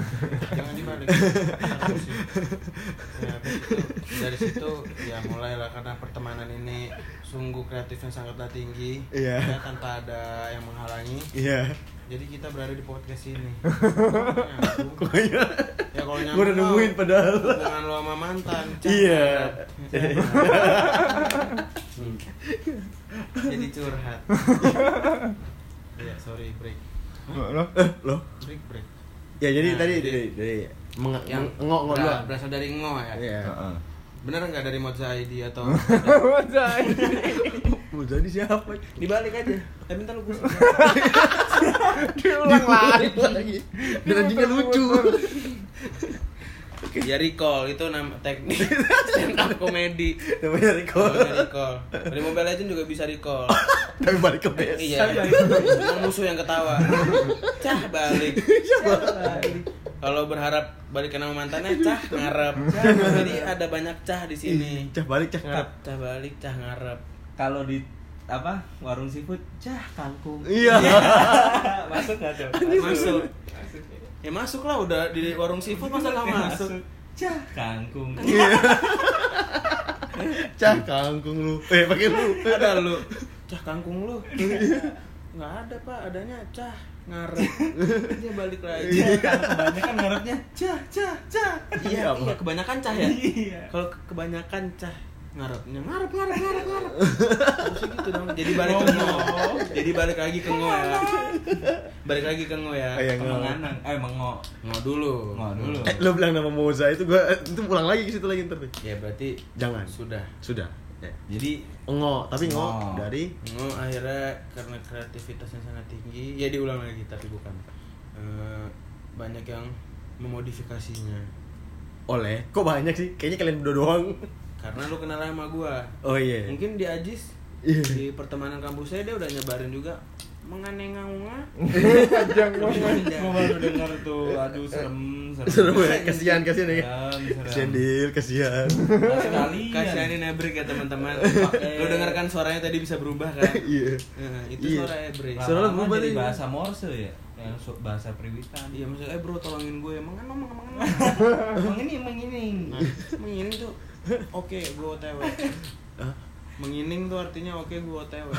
[SPEAKER 2] Jangan dibalik. Jangan pusing. Ya, habis itu, dari situ ya mulailah karena pertemanan ini sungguh kreatifnya sangatlah tinggi.
[SPEAKER 1] Iya.
[SPEAKER 2] Ya, tanpa ada yang menghalangi.
[SPEAKER 1] iya
[SPEAKER 2] Jadi kita berada di
[SPEAKER 1] [laughs]
[SPEAKER 2] podcast ini.
[SPEAKER 1] pokoknya
[SPEAKER 2] ya kalau nyambung.
[SPEAKER 1] Gua udah nemuin
[SPEAKER 2] mah,
[SPEAKER 1] padahal.
[SPEAKER 2] Hubungan lo sama mantan. Ya,
[SPEAKER 1] Iya.
[SPEAKER 2] cakep.
[SPEAKER 1] [laughs]
[SPEAKER 2] Jadi
[SPEAKER 1] [laughs]
[SPEAKER 2] curhat. Iya, sorry break.
[SPEAKER 4] Loh,
[SPEAKER 1] eh loh
[SPEAKER 2] Break break.
[SPEAKER 1] ya jadi
[SPEAKER 2] Nah,
[SPEAKER 1] tadi
[SPEAKER 2] jadi-
[SPEAKER 1] dari dari mengak mengok ngok
[SPEAKER 2] bera-
[SPEAKER 1] dua
[SPEAKER 2] Berasal dari ngo ya.
[SPEAKER 1] iya
[SPEAKER 7] [laughs]
[SPEAKER 4] Heeh.
[SPEAKER 2] Bener nggak dari Moza ID atau
[SPEAKER 1] mau jadi siapa
[SPEAKER 2] [laughs] dibalik aja? Tapi ntar lu pusing.
[SPEAKER 1] diulang lagi dan anjingnya lucu
[SPEAKER 2] Ya recall itu nama [laughs] teknik stand up komedi.
[SPEAKER 1] namanya Riko
[SPEAKER 2] Oh, ya, recall. Dari Mobile Legends juga bisa [laughs] recall.
[SPEAKER 1] tapi balik ke base
[SPEAKER 2] Iya. Yang musuh yang ketawa. Cah balik. Kalau berharap balik ke nama mantannya cah ngarep. Jadi ada banyak Iya, cah di
[SPEAKER 1] Ih,
[SPEAKER 2] sini.
[SPEAKER 1] cah balik cah ngarep
[SPEAKER 2] Cah balik, cah ngarep.
[SPEAKER 7] kalau di apa warung seafood cah kangkung
[SPEAKER 5] [laughs]
[SPEAKER 1] iya
[SPEAKER 7] masuk nggak tuh
[SPEAKER 2] Masuk. Ya masuk lah udah di warung seafood masa nggak masuk.
[SPEAKER 7] cah kangkung
[SPEAKER 1] cah kangkung lu eh pakai lu
[SPEAKER 2] Ada lu. Cah kangkung lu. Nggak ada pak, adanya cah ngarep. Dia balik lagi.
[SPEAKER 5] kan
[SPEAKER 7] kebanyakan ngarepnya
[SPEAKER 2] Cah, cah, cah.
[SPEAKER 1] Iya,
[SPEAKER 2] Iya,
[SPEAKER 1] apa?
[SPEAKER 2] iya kebanyakan cah ya.
[SPEAKER 7] Iya.
[SPEAKER 2] Kalau ke- kebanyakan cah ngarepnya ngarep ngarep ngarep ngarep. Harusnya gitu dong. Jadi balik ke ngo. Jadi balik lagi ke ngo ya. Balik lagi ke ngo ya.
[SPEAKER 1] Oh, iya, ngo.
[SPEAKER 7] menganang eh mengok
[SPEAKER 2] Ngo dulu.
[SPEAKER 7] Ngo dulu.
[SPEAKER 1] Eh, lo bilang nama Moza itu gua eh, itu pulang lagi ke situ lagi ntar deh.
[SPEAKER 2] Ya berarti
[SPEAKER 1] Jangan.
[SPEAKER 2] sudah.
[SPEAKER 1] Sudah. Ya.
[SPEAKER 7] jadi
[SPEAKER 1] Ngo, tapi ngo
[SPEAKER 7] Ngo.
[SPEAKER 1] dari
[SPEAKER 2] Ngo Oh, akhirnya karena kreativitasnya sangat tinggi, ya diulang lagi tapi bukan. Eh, banyak yang memodifikasinya.
[SPEAKER 1] oleh. Kok banyak sih? Kayaknya kalian berdua doang.
[SPEAKER 2] Karena lu kenal sama gua.
[SPEAKER 1] Oh iya.
[SPEAKER 2] Mungkin di Ajis
[SPEAKER 1] Iya.
[SPEAKER 2] di pertemanan kampus saya dia udah nyebarin juga menganengaunga.
[SPEAKER 4] Panjang
[SPEAKER 7] gua baru denger tuh aduh
[SPEAKER 2] Eh,
[SPEAKER 7] serem
[SPEAKER 1] Seru ya, kasihan kasihan ya.
[SPEAKER 7] Serem,
[SPEAKER 1] Kasihan
[SPEAKER 7] serem.
[SPEAKER 1] Dil, kasihan.
[SPEAKER 7] Kasihan.
[SPEAKER 2] Kasihanin Ebrik ya teman-teman.
[SPEAKER 7] Pakai-
[SPEAKER 2] Lu dengarkan suaranya tadi bisa berubah kan?
[SPEAKER 1] Iya.
[SPEAKER 2] Nah, itu
[SPEAKER 1] Iya.
[SPEAKER 2] suara Ebrik.
[SPEAKER 1] Lah. Soalnya
[SPEAKER 7] Lama-lama
[SPEAKER 1] berubah
[SPEAKER 7] jadi
[SPEAKER 1] nih.
[SPEAKER 7] bahasa Morse ya, yang su- bahasa Priwitan.
[SPEAKER 2] Iya maksudnya, eh bro tolongin gue, mengenang, mengenang,
[SPEAKER 1] [laughs] Nah.
[SPEAKER 7] Mengining, mengining.
[SPEAKER 2] mengenang tuh, oke gue otw
[SPEAKER 1] Hah?
[SPEAKER 2] mengining tuh artinya oke gua otw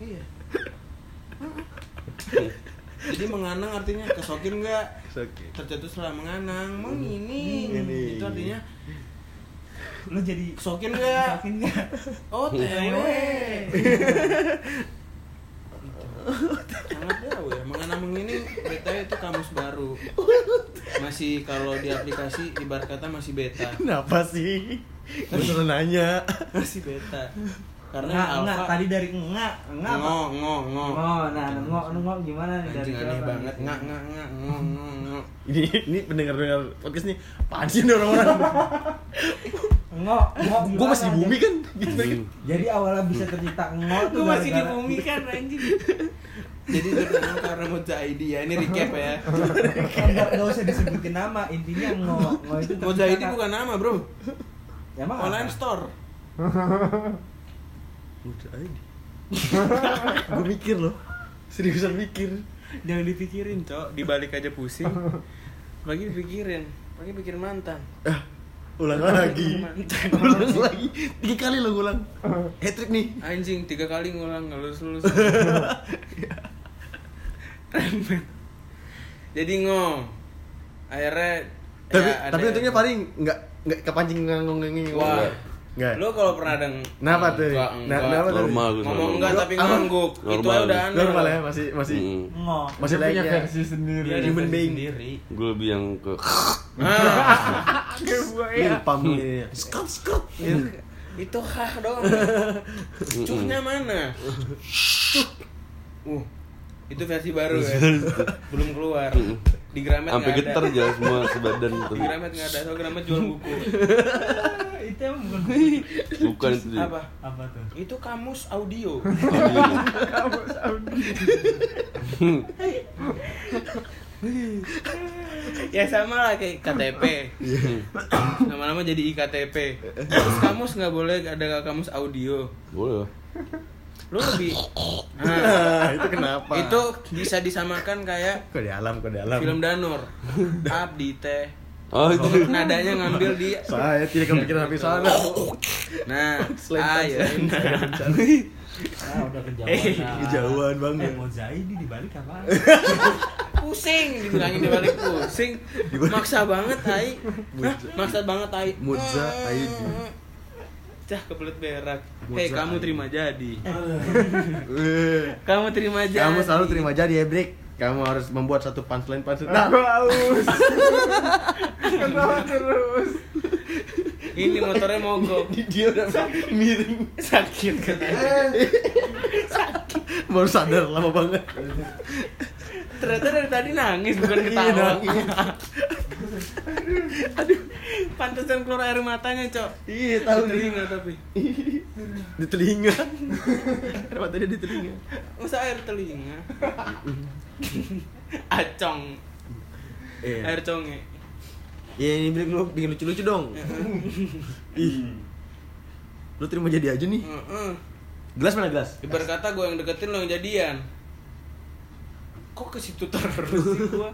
[SPEAKER 2] iya jadi menganang artinya kesokin nggak
[SPEAKER 1] Oke.
[SPEAKER 2] tercetuslah menganang mengining
[SPEAKER 1] Mengining.
[SPEAKER 2] itu artinya
[SPEAKER 4] Lu jadi
[SPEAKER 2] kesokin nggak
[SPEAKER 4] Sokin nggak?
[SPEAKER 2] otw sangat jauh ya mengenang mengining btw itu kamus baru masih kalau di aplikasi ibarat kata masih beta
[SPEAKER 1] Kenapa sih? Gue suruh nanya.
[SPEAKER 2] masih beta karena
[SPEAKER 4] Nggak, nggak.
[SPEAKER 2] alfa
[SPEAKER 4] Tadi dari nggak, nggak. apa?
[SPEAKER 2] ngo ngo ngo
[SPEAKER 4] Oh, nah, nengok, nengok gimana nih dari
[SPEAKER 2] anjing aneh
[SPEAKER 4] jawaban?
[SPEAKER 2] banget ngak ngak ngak ngo ngo ngo
[SPEAKER 1] Ini ini pendengar-pendengar podcast nih, apaan sih ini orang-orang?
[SPEAKER 4] Nengok, nengok
[SPEAKER 1] Gue masih di
[SPEAKER 4] gimana?
[SPEAKER 1] bumi kan? Gitu kan.
[SPEAKER 4] Jadi awalnya bisa tercipta nengok tuh
[SPEAKER 5] Gue masih di
[SPEAKER 4] gara-gara-
[SPEAKER 5] bumi kan anjing.
[SPEAKER 2] jadi terkenal karena Moja ID ya ini recap ya
[SPEAKER 4] Enggak enggak usah disebutin nama, intinya ngok, ngok itu
[SPEAKER 2] Moja
[SPEAKER 4] tercipta
[SPEAKER 2] ID
[SPEAKER 4] kan-
[SPEAKER 2] bukan nama bro
[SPEAKER 4] Ya, emang
[SPEAKER 2] online
[SPEAKER 4] apa?
[SPEAKER 2] store
[SPEAKER 1] [laughs] Gue mikir loh. Seriusan mikir.
[SPEAKER 2] jangan dipikirin cok dibalik aja pusing lagi dipikirin lagi pikir mantan
[SPEAKER 1] Ah, ulang lagi.
[SPEAKER 2] Mantan.
[SPEAKER 1] ulang lagi. Tiga kali lo ulang.
[SPEAKER 2] Uh-huh.
[SPEAKER 1] Hat trick nih.
[SPEAKER 2] anjing tiga kali ngulang ngelus lulus jadi ngo akhirnya
[SPEAKER 1] Tapi
[SPEAKER 2] ya, ada-
[SPEAKER 1] tapi untungnya paling nggak nggak kepancing ngangong ngangong.
[SPEAKER 2] wah
[SPEAKER 1] Nggak.
[SPEAKER 2] lo kalau pernah deng
[SPEAKER 1] Kenapa tuh?
[SPEAKER 2] Enggak,
[SPEAKER 1] Nah,
[SPEAKER 2] enggak.
[SPEAKER 1] kenapa tuh?
[SPEAKER 3] normal gue
[SPEAKER 2] ngomong enggak tapi
[SPEAKER 1] Apa?
[SPEAKER 2] ngangguk itu
[SPEAKER 3] Normal.
[SPEAKER 2] aja udah aneh
[SPEAKER 1] normal ya masih masih
[SPEAKER 3] Hmm. Mm.
[SPEAKER 4] Ngok.
[SPEAKER 1] masih
[SPEAKER 8] Dia punya
[SPEAKER 1] layak ya.
[SPEAKER 8] versi
[SPEAKER 5] Iya,
[SPEAKER 8] sendiri.
[SPEAKER 2] dia
[SPEAKER 1] Human
[SPEAKER 2] Iya, human
[SPEAKER 1] being.
[SPEAKER 2] being sendiri
[SPEAKER 3] gue lebih yang ke
[SPEAKER 2] Ah,
[SPEAKER 1] ya.
[SPEAKER 2] ya.
[SPEAKER 1] Ini pam ini. Skop skop.
[SPEAKER 2] Iya. itu hah dong cuhnya mana uh itu versi baru ya belum keluar di Gramet
[SPEAKER 3] sampai
[SPEAKER 2] nggak ada
[SPEAKER 3] getar jalan semua sebadan
[SPEAKER 2] di
[SPEAKER 3] tapi
[SPEAKER 2] Gramet nggak ada soal Gramet jual buku
[SPEAKER 4] Itu emang bukan
[SPEAKER 3] bukan itu dia.
[SPEAKER 2] apa
[SPEAKER 4] apa tuh?
[SPEAKER 2] itu kamus audio [laughs]
[SPEAKER 3] Audio.
[SPEAKER 2] ya sama lah kayak KTP
[SPEAKER 1] Iya.
[SPEAKER 2] lama-lama jadi iktp terus kamus nggak boleh ada kamus audio
[SPEAKER 3] boleh
[SPEAKER 2] lu lebih nah,
[SPEAKER 1] Nah, itu kenapa?
[SPEAKER 2] itu bisa disamakan kayak
[SPEAKER 1] kok di alam kok di alam.
[SPEAKER 2] film Danur Abdi teh
[SPEAKER 3] oh itu
[SPEAKER 2] nadanya ngambil di
[SPEAKER 1] Saya tidak kepikiran sampai sana.
[SPEAKER 2] nah iya.
[SPEAKER 1] Selain
[SPEAKER 2] ayo
[SPEAKER 1] selain- selain sana.
[SPEAKER 4] Ah, udah
[SPEAKER 1] Eh,
[SPEAKER 4] kejauhan. nah.
[SPEAKER 1] kejauhan banget.
[SPEAKER 4] Eh, Mozaidi dibalik apa?
[SPEAKER 2] pusing dibilangin di balik pusing maksa banget ai Hah, maksa banget ai
[SPEAKER 1] Mudza Aidi.
[SPEAKER 2] cah kebelet berak
[SPEAKER 1] Mudza
[SPEAKER 2] hei kamu
[SPEAKER 1] Aidi.
[SPEAKER 2] terima jadi
[SPEAKER 1] Eh,
[SPEAKER 2] kamu terima jadi
[SPEAKER 1] Kamu selalu terima jadi ya, Brick. Kamu harus membuat satu punchline punchline. Nah,
[SPEAKER 2] Ah.
[SPEAKER 8] Aku haus. Kenapa terus?
[SPEAKER 2] ini motornya
[SPEAKER 1] [laughs]
[SPEAKER 2] mogok
[SPEAKER 1] dia udah miring
[SPEAKER 2] sakit katanya
[SPEAKER 1] baru sadar lama banget
[SPEAKER 2] ternyata dari tadi nangis bukan
[SPEAKER 1] Iya,
[SPEAKER 2] ketawa
[SPEAKER 1] nangis.
[SPEAKER 2] [laughs] aduh pantesan keluar air matanya cok
[SPEAKER 1] iya tahu
[SPEAKER 2] tahu
[SPEAKER 1] di,
[SPEAKER 2] telinga tapi
[SPEAKER 1] di [laughs] telinga air matanya di telinga
[SPEAKER 2] masa air
[SPEAKER 1] [laughs]
[SPEAKER 2] telinga acong
[SPEAKER 1] iya
[SPEAKER 2] air conge
[SPEAKER 1] Iya, ini Brick lu bikin lucu lucu dong ih lu terima jadi aja nih
[SPEAKER 2] Heeh.
[SPEAKER 1] gelas mana gelas
[SPEAKER 2] ibarat kata gue yang deketin lo yang jadian kok ke situ terus sih gue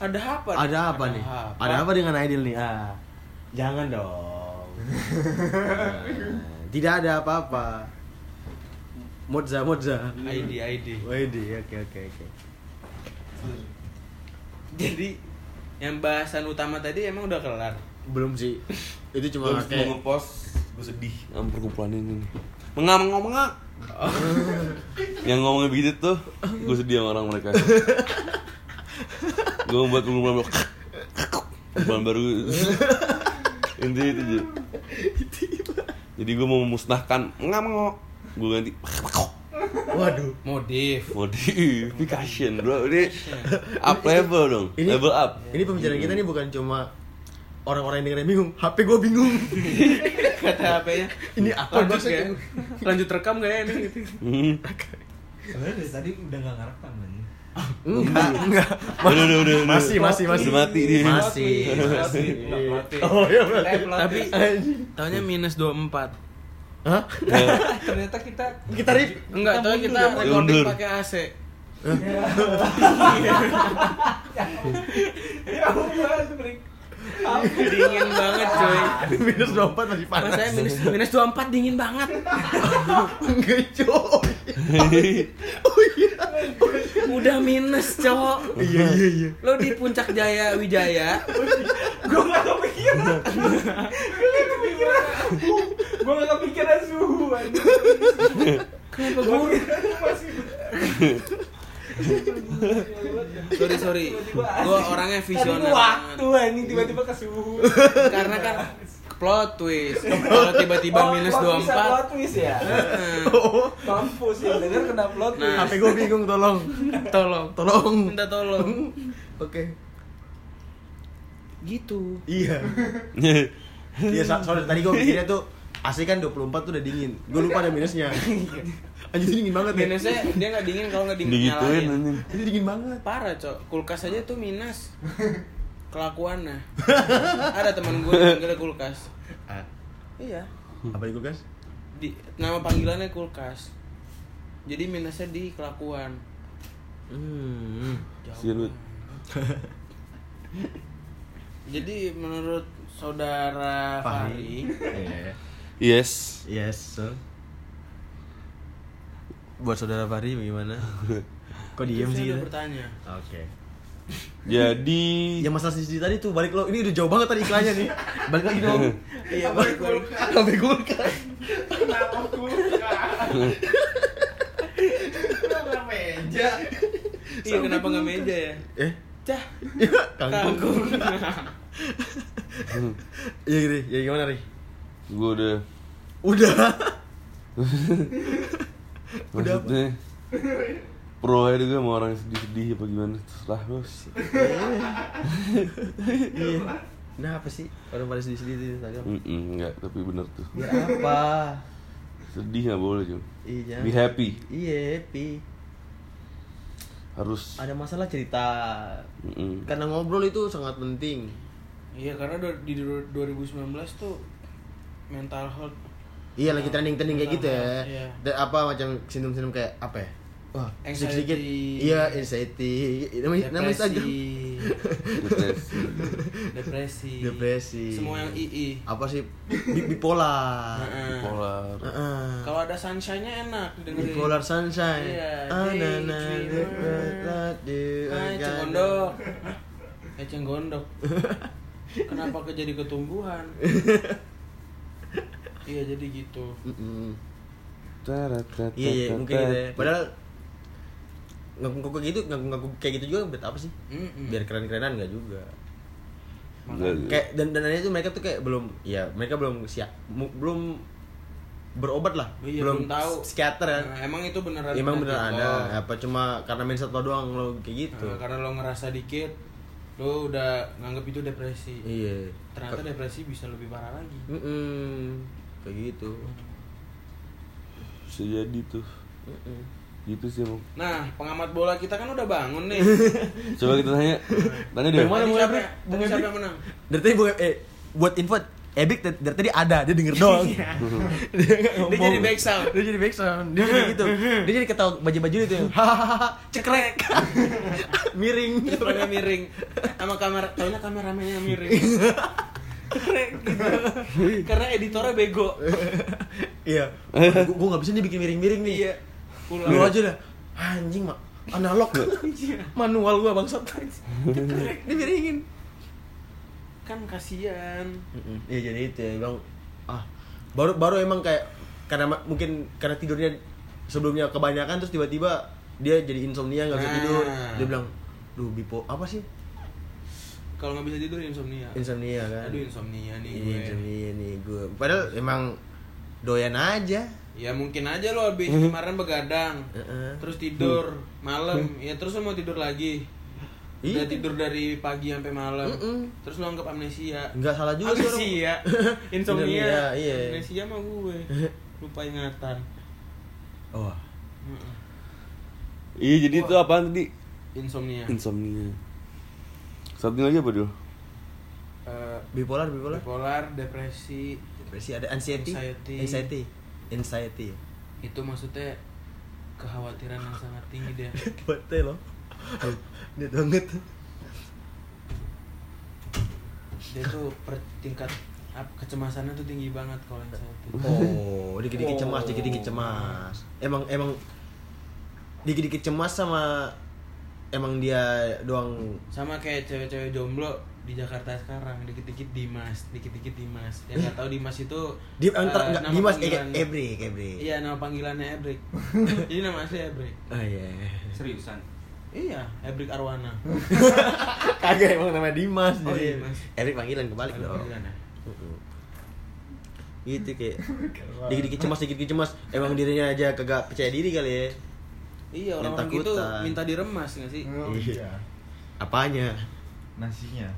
[SPEAKER 2] ada apa
[SPEAKER 1] ada apa nih ada apa dengan Aidil nih ah jangan [laughs] dong Ah, tidak ada apa-apa Modza, Modza.
[SPEAKER 2] ID ID
[SPEAKER 1] Wedi, Oh, oke oke oke.
[SPEAKER 2] jadi yang bahasan utama tadi emang udah kelar
[SPEAKER 1] Belum sih. Itu
[SPEAKER 3] gue
[SPEAKER 1] cuma
[SPEAKER 3] mau
[SPEAKER 1] kayak
[SPEAKER 3] ngepost gue sedih sama perkumpulan ini mengak mengak mengak yang ngomongnya begitu tuh gue sedih sama orang mereka gue membuat perkumpulan baru perkumpulan baru intinya itu jadi jadi gue mau memusnahkan mengak mengok gue ganti
[SPEAKER 1] waduh. [laughs]
[SPEAKER 2] modif
[SPEAKER 3] modification bro ini up level dong level up
[SPEAKER 1] Ini pembicaraan kita nih bukan cuma orang-orang yang dengerin bingung, HP gue bingung.
[SPEAKER 2] kata HP-nya
[SPEAKER 1] Ini apa
[SPEAKER 2] lanjut
[SPEAKER 1] maksudnya?
[SPEAKER 2] gak? lanjut rekam gak ya ini gitu.
[SPEAKER 3] Hmm.
[SPEAKER 4] Sebenarnya dari tadi udah nggak ngerekam kan?
[SPEAKER 1] Enggak, enggak.
[SPEAKER 3] Udah, udah, udah, udah.
[SPEAKER 1] Masih, masih, masih.
[SPEAKER 3] Udah mati dia.
[SPEAKER 1] Masih.
[SPEAKER 2] Masih.
[SPEAKER 1] Masih. Oh, iya berarti.
[SPEAKER 2] tapi tahunya ya. minus 24
[SPEAKER 1] Hah?
[SPEAKER 5] Ternyata kita
[SPEAKER 1] Kita rip.
[SPEAKER 2] enggak tahu kita recording
[SPEAKER 3] Mundur.
[SPEAKER 2] pakai AC
[SPEAKER 4] Ya, apaan, Brik?
[SPEAKER 2] dingin banget coy
[SPEAKER 1] minus 24 masih
[SPEAKER 2] mas saya minus minus 24 dingin banget Oh
[SPEAKER 1] enggak coy
[SPEAKER 2] [laughs] iya. udah minus cowok
[SPEAKER 1] iya iya iya
[SPEAKER 2] lo di puncak jaya wijaya
[SPEAKER 5] Gue gak kepikiran Gue gak kepikiran Gue gak kepikiran suhu anjing.
[SPEAKER 2] kenapa
[SPEAKER 5] Gua
[SPEAKER 2] gue
[SPEAKER 5] kira lu masih
[SPEAKER 2] sorry sorry gue orangnya
[SPEAKER 5] Tadi
[SPEAKER 2] visioner
[SPEAKER 5] waktu anjing tiba-tiba ke suhu
[SPEAKER 2] banget. karena kan plot twist kalau tiba-tiba
[SPEAKER 5] Oh,
[SPEAKER 2] minus
[SPEAKER 5] plot twist,
[SPEAKER 2] 24
[SPEAKER 5] plot twist ya
[SPEAKER 2] eh,
[SPEAKER 1] Oh,
[SPEAKER 5] Kampus yang denger kena plot twist
[SPEAKER 1] HP gue bingung tolong
[SPEAKER 2] tolong
[SPEAKER 1] tolong
[SPEAKER 2] minta
[SPEAKER 1] [laughs]
[SPEAKER 2] tolong
[SPEAKER 1] oke
[SPEAKER 2] gitu
[SPEAKER 1] iya [laughs] iya sa- sorry tadi gue mikirnya tuh AC kan 24 tuh udah dingin gue lupa ada minusnya anjir dingin banget ya
[SPEAKER 2] minusnya dia nggak dingin kalau nggak dingin
[SPEAKER 3] digituin
[SPEAKER 2] nyalain
[SPEAKER 3] anjing
[SPEAKER 1] ini dingin banget
[SPEAKER 2] parah cok kulkas aja tuh minus kelakuannya ada teman gue panggilnya kulkas
[SPEAKER 1] Ah,
[SPEAKER 2] iya
[SPEAKER 1] apa di kulkas
[SPEAKER 2] di nama panggilannya kulkas jadi minusnya di kelakuan
[SPEAKER 1] hmm
[SPEAKER 3] si Lut
[SPEAKER 2] jadi menurut saudara
[SPEAKER 1] Fahri.
[SPEAKER 2] Fahri
[SPEAKER 1] Iya.
[SPEAKER 3] yes
[SPEAKER 1] yes so. buat saudara Fahri bagaimana [laughs] kok Oh, diem
[SPEAKER 2] saya
[SPEAKER 1] sih
[SPEAKER 2] udah
[SPEAKER 1] kita? oke
[SPEAKER 2] bertanya
[SPEAKER 3] jadi
[SPEAKER 1] Ya masalah sisi tadi tuh balik lo ini udah jauh banget tadi iklannya nih. Balik lagi dong. [laughs] Iya balik balik. Sampai kulkas.
[SPEAKER 9] Kenapa kulkas? Kenapa meja?
[SPEAKER 2] iya kenapa nggak meja ya
[SPEAKER 1] [laughs]
[SPEAKER 2] Kan.
[SPEAKER 1] Eh,
[SPEAKER 2] cah
[SPEAKER 1] ya, kangkung.
[SPEAKER 2] kangkung
[SPEAKER 1] Iya gini, ya gimana ri?
[SPEAKER 3] gue udah
[SPEAKER 1] Udah. Udah apa?
[SPEAKER 3] maksudnya pro aja gue mau orang sedih-sedih apa gimana terserah lu
[SPEAKER 1] [laughs] Iya. Mm. Nah apa sih orang pada sedih sedih di Instagram?
[SPEAKER 3] Mm-mm, enggak tapi bener tuh
[SPEAKER 1] Biar apa?
[SPEAKER 3] sedih nggak boleh cuy
[SPEAKER 1] Iya.
[SPEAKER 3] be happy
[SPEAKER 1] Iya, pi.
[SPEAKER 3] harus
[SPEAKER 1] Ada masalah cerita.
[SPEAKER 3] Mm-mm.
[SPEAKER 1] Karena ngobrol itu sangat penting.
[SPEAKER 2] iya karena du- di du- 2019 tuh mental health
[SPEAKER 1] Iya lagi trending trending kayak gitu ya.
[SPEAKER 2] Iya.
[SPEAKER 1] Dan apa macam sindrom sindrom kayak apa ya? Wah,
[SPEAKER 2] Anxiety.
[SPEAKER 1] sedikit Iya, anxiety. Namanya namanya Instagram.
[SPEAKER 2] depresi
[SPEAKER 3] depresi
[SPEAKER 2] [laughs] depresi
[SPEAKER 1] Depresi.
[SPEAKER 2] semua yang ii
[SPEAKER 1] Apa sih? Bi- Bipolar.
[SPEAKER 2] Heeh.
[SPEAKER 3] polar
[SPEAKER 1] Heeh.
[SPEAKER 2] kalau ada sunshine-nya enak dengerin Ah,
[SPEAKER 1] Bipolar sunshine.
[SPEAKER 2] Iya,
[SPEAKER 1] Ah, na, na,
[SPEAKER 2] daydreamer.
[SPEAKER 1] na, na,
[SPEAKER 2] eh
[SPEAKER 1] na,
[SPEAKER 2] cenggondok
[SPEAKER 1] [laughs]
[SPEAKER 2] eh cenggondok kenapa ke jadi
[SPEAKER 1] [laughs]
[SPEAKER 2] ketumbuhan iya jadi gitu
[SPEAKER 1] Mm-mm.
[SPEAKER 3] Tarat, tat,
[SPEAKER 1] Iya, iya,
[SPEAKER 3] tat,
[SPEAKER 1] mungkin
[SPEAKER 3] tat.
[SPEAKER 1] gitu ya. Padahal ngaku-ngaku gitu, ngaku-ngaku kayak gitu juga buat apa sih?
[SPEAKER 2] Mm-mm.
[SPEAKER 1] Biar keren-kerenan nggak juga.
[SPEAKER 3] Enggak, enggak.
[SPEAKER 1] kayak dan dan itu mereka tuh kayak belum ya mereka belum siap mu- belum berobat lah
[SPEAKER 2] Iya, belum tahu.
[SPEAKER 1] psikiater kan
[SPEAKER 2] Nah, emang itu beneran
[SPEAKER 1] emang bener
[SPEAKER 2] penyakit
[SPEAKER 1] ada
[SPEAKER 2] lo.
[SPEAKER 1] apa cuma karena main satu doang lo kayak gitu
[SPEAKER 2] Nah, karena lo ngerasa dikit lo udah nganggep itu depresi
[SPEAKER 1] iya
[SPEAKER 2] ternyata depresi bisa lebih parah lagi
[SPEAKER 1] Mm-mm. kayak gitu
[SPEAKER 3] bisa jadi tuh
[SPEAKER 1] Mm-mm.
[SPEAKER 3] gitu sih emang
[SPEAKER 2] nah pengamat bola kita kan udah bangun nih
[SPEAKER 1] [laughs]
[SPEAKER 3] coba kita tanya tanya deh
[SPEAKER 1] Bagaimana? Mana
[SPEAKER 2] Tadi
[SPEAKER 1] Bung
[SPEAKER 2] siapa, ya?
[SPEAKER 1] Ebrik? Bung
[SPEAKER 2] tadi siapa
[SPEAKER 1] Ebrik?
[SPEAKER 2] yang
[SPEAKER 1] [laughs]
[SPEAKER 2] menang
[SPEAKER 1] dari tadi bu- eh buat info Ebik dari, dari tadi ada dia denger doang [laughs] dia, nggak
[SPEAKER 2] Iya. dia
[SPEAKER 1] ngomong.
[SPEAKER 2] jadi back sound
[SPEAKER 1] dia jadi backsound dia kayak gitu dia jadi ketawa baju-baju itu hahaha cekrek [laughs] miring
[SPEAKER 2] terus pada miring sama kamera taunya kameramennya yang
[SPEAKER 1] [laughs]
[SPEAKER 2] miring Keren gitu karena editornya bego
[SPEAKER 1] iya Gua- gua nggak bisa nih bikin miring-miring nih
[SPEAKER 2] iya pulang Iya.
[SPEAKER 1] lu aja dah anjing mak analog [laughs] manual gua bangsat dibiringin
[SPEAKER 2] kan kasihan
[SPEAKER 1] iya jadi itu ya bang ah baru baru emang kayak karena ma- mungkin karena tidurnya sebelumnya kebanyakan terus tiba-tiba dia jadi insomnia nggak bisa
[SPEAKER 2] Nah.
[SPEAKER 1] tidur dia bilang duh bipo apa sih
[SPEAKER 2] kalau nggak bisa tidur insomnia
[SPEAKER 1] insomnia kan
[SPEAKER 2] aduh insomnia nih
[SPEAKER 1] Iya,
[SPEAKER 2] gue
[SPEAKER 1] insomnia nih gue padahal emang doyan aja
[SPEAKER 2] ya mungkin aja lo habis kemarin begadang
[SPEAKER 1] Mm-hmm. Heeh. Mm.
[SPEAKER 2] terus tidur malam ya terus lo mau tidur lagi
[SPEAKER 1] Iya.
[SPEAKER 2] Udah tidur dari pagi sampai malam
[SPEAKER 1] Mm-mm.
[SPEAKER 2] terus lo anggap amnesia
[SPEAKER 1] nggak salah juga sih orang- [laughs]
[SPEAKER 2] amnesia insomnia
[SPEAKER 1] iya
[SPEAKER 2] amnesia mah
[SPEAKER 1] [laughs]
[SPEAKER 2] gue lupa ingatan
[SPEAKER 1] oh
[SPEAKER 2] Mm-mm.
[SPEAKER 3] [laughs] iya jadi itu apaan tadi
[SPEAKER 1] Iya.
[SPEAKER 2] insomnia
[SPEAKER 3] insomnia satu lagi apa dulu
[SPEAKER 2] Eh,
[SPEAKER 1] bipolar bipolar
[SPEAKER 2] bipolar depresi
[SPEAKER 1] depresi ada anxiety
[SPEAKER 2] Anxiety.
[SPEAKER 1] anxiety anxiety
[SPEAKER 2] itu maksudnya kekhawatiran yang sangat tinggi dia
[SPEAKER 1] bete loh net banget
[SPEAKER 2] dia tuh per tingkat ap- kecemasannya tuh tinggi banget kalau yang saya tuh.
[SPEAKER 1] Oh, dikit-dikit cemas, dikit-dikit cemas. Emang emang dikit-dikit cemas sama emang dia doang
[SPEAKER 2] sama kayak cewek-cewek jomblo di Jakarta sekarang dikit-dikit Dimas dikit-dikit Dimas yang nggak tahu Dimas itu
[SPEAKER 1] di
[SPEAKER 2] eh,
[SPEAKER 1] antar enggak
[SPEAKER 2] nama
[SPEAKER 1] Dimas eh,
[SPEAKER 2] panggilan-
[SPEAKER 1] Ebri, Ebri.
[SPEAKER 2] iya nama panggilannya
[SPEAKER 1] [laughs]
[SPEAKER 2] Ebrik jadi nama asli Ebrik
[SPEAKER 1] Oh iya. [laughs]
[SPEAKER 7] Seriusan.
[SPEAKER 2] iya Ebrik Arwana
[SPEAKER 1] Kagak emang nama Dimas
[SPEAKER 2] Oh,
[SPEAKER 1] jadi.
[SPEAKER 2] iya, Mas.
[SPEAKER 1] Ebri panggilan kebalik
[SPEAKER 2] Nama
[SPEAKER 1] dong.
[SPEAKER 2] panggilannya.
[SPEAKER 1] Mm-mm. Gitu kayak dikit-dikit cemas, dikit-dikit cemas. Emang dirinya aja kagak percaya diri kali ya.
[SPEAKER 2] iya
[SPEAKER 1] Yang
[SPEAKER 2] orang-orang gitu
[SPEAKER 1] takutan.
[SPEAKER 2] minta diremas nggak
[SPEAKER 5] [laughs]
[SPEAKER 2] sih
[SPEAKER 4] Oh, iya.
[SPEAKER 1] Apanya? [laughs]
[SPEAKER 4] Nasinya.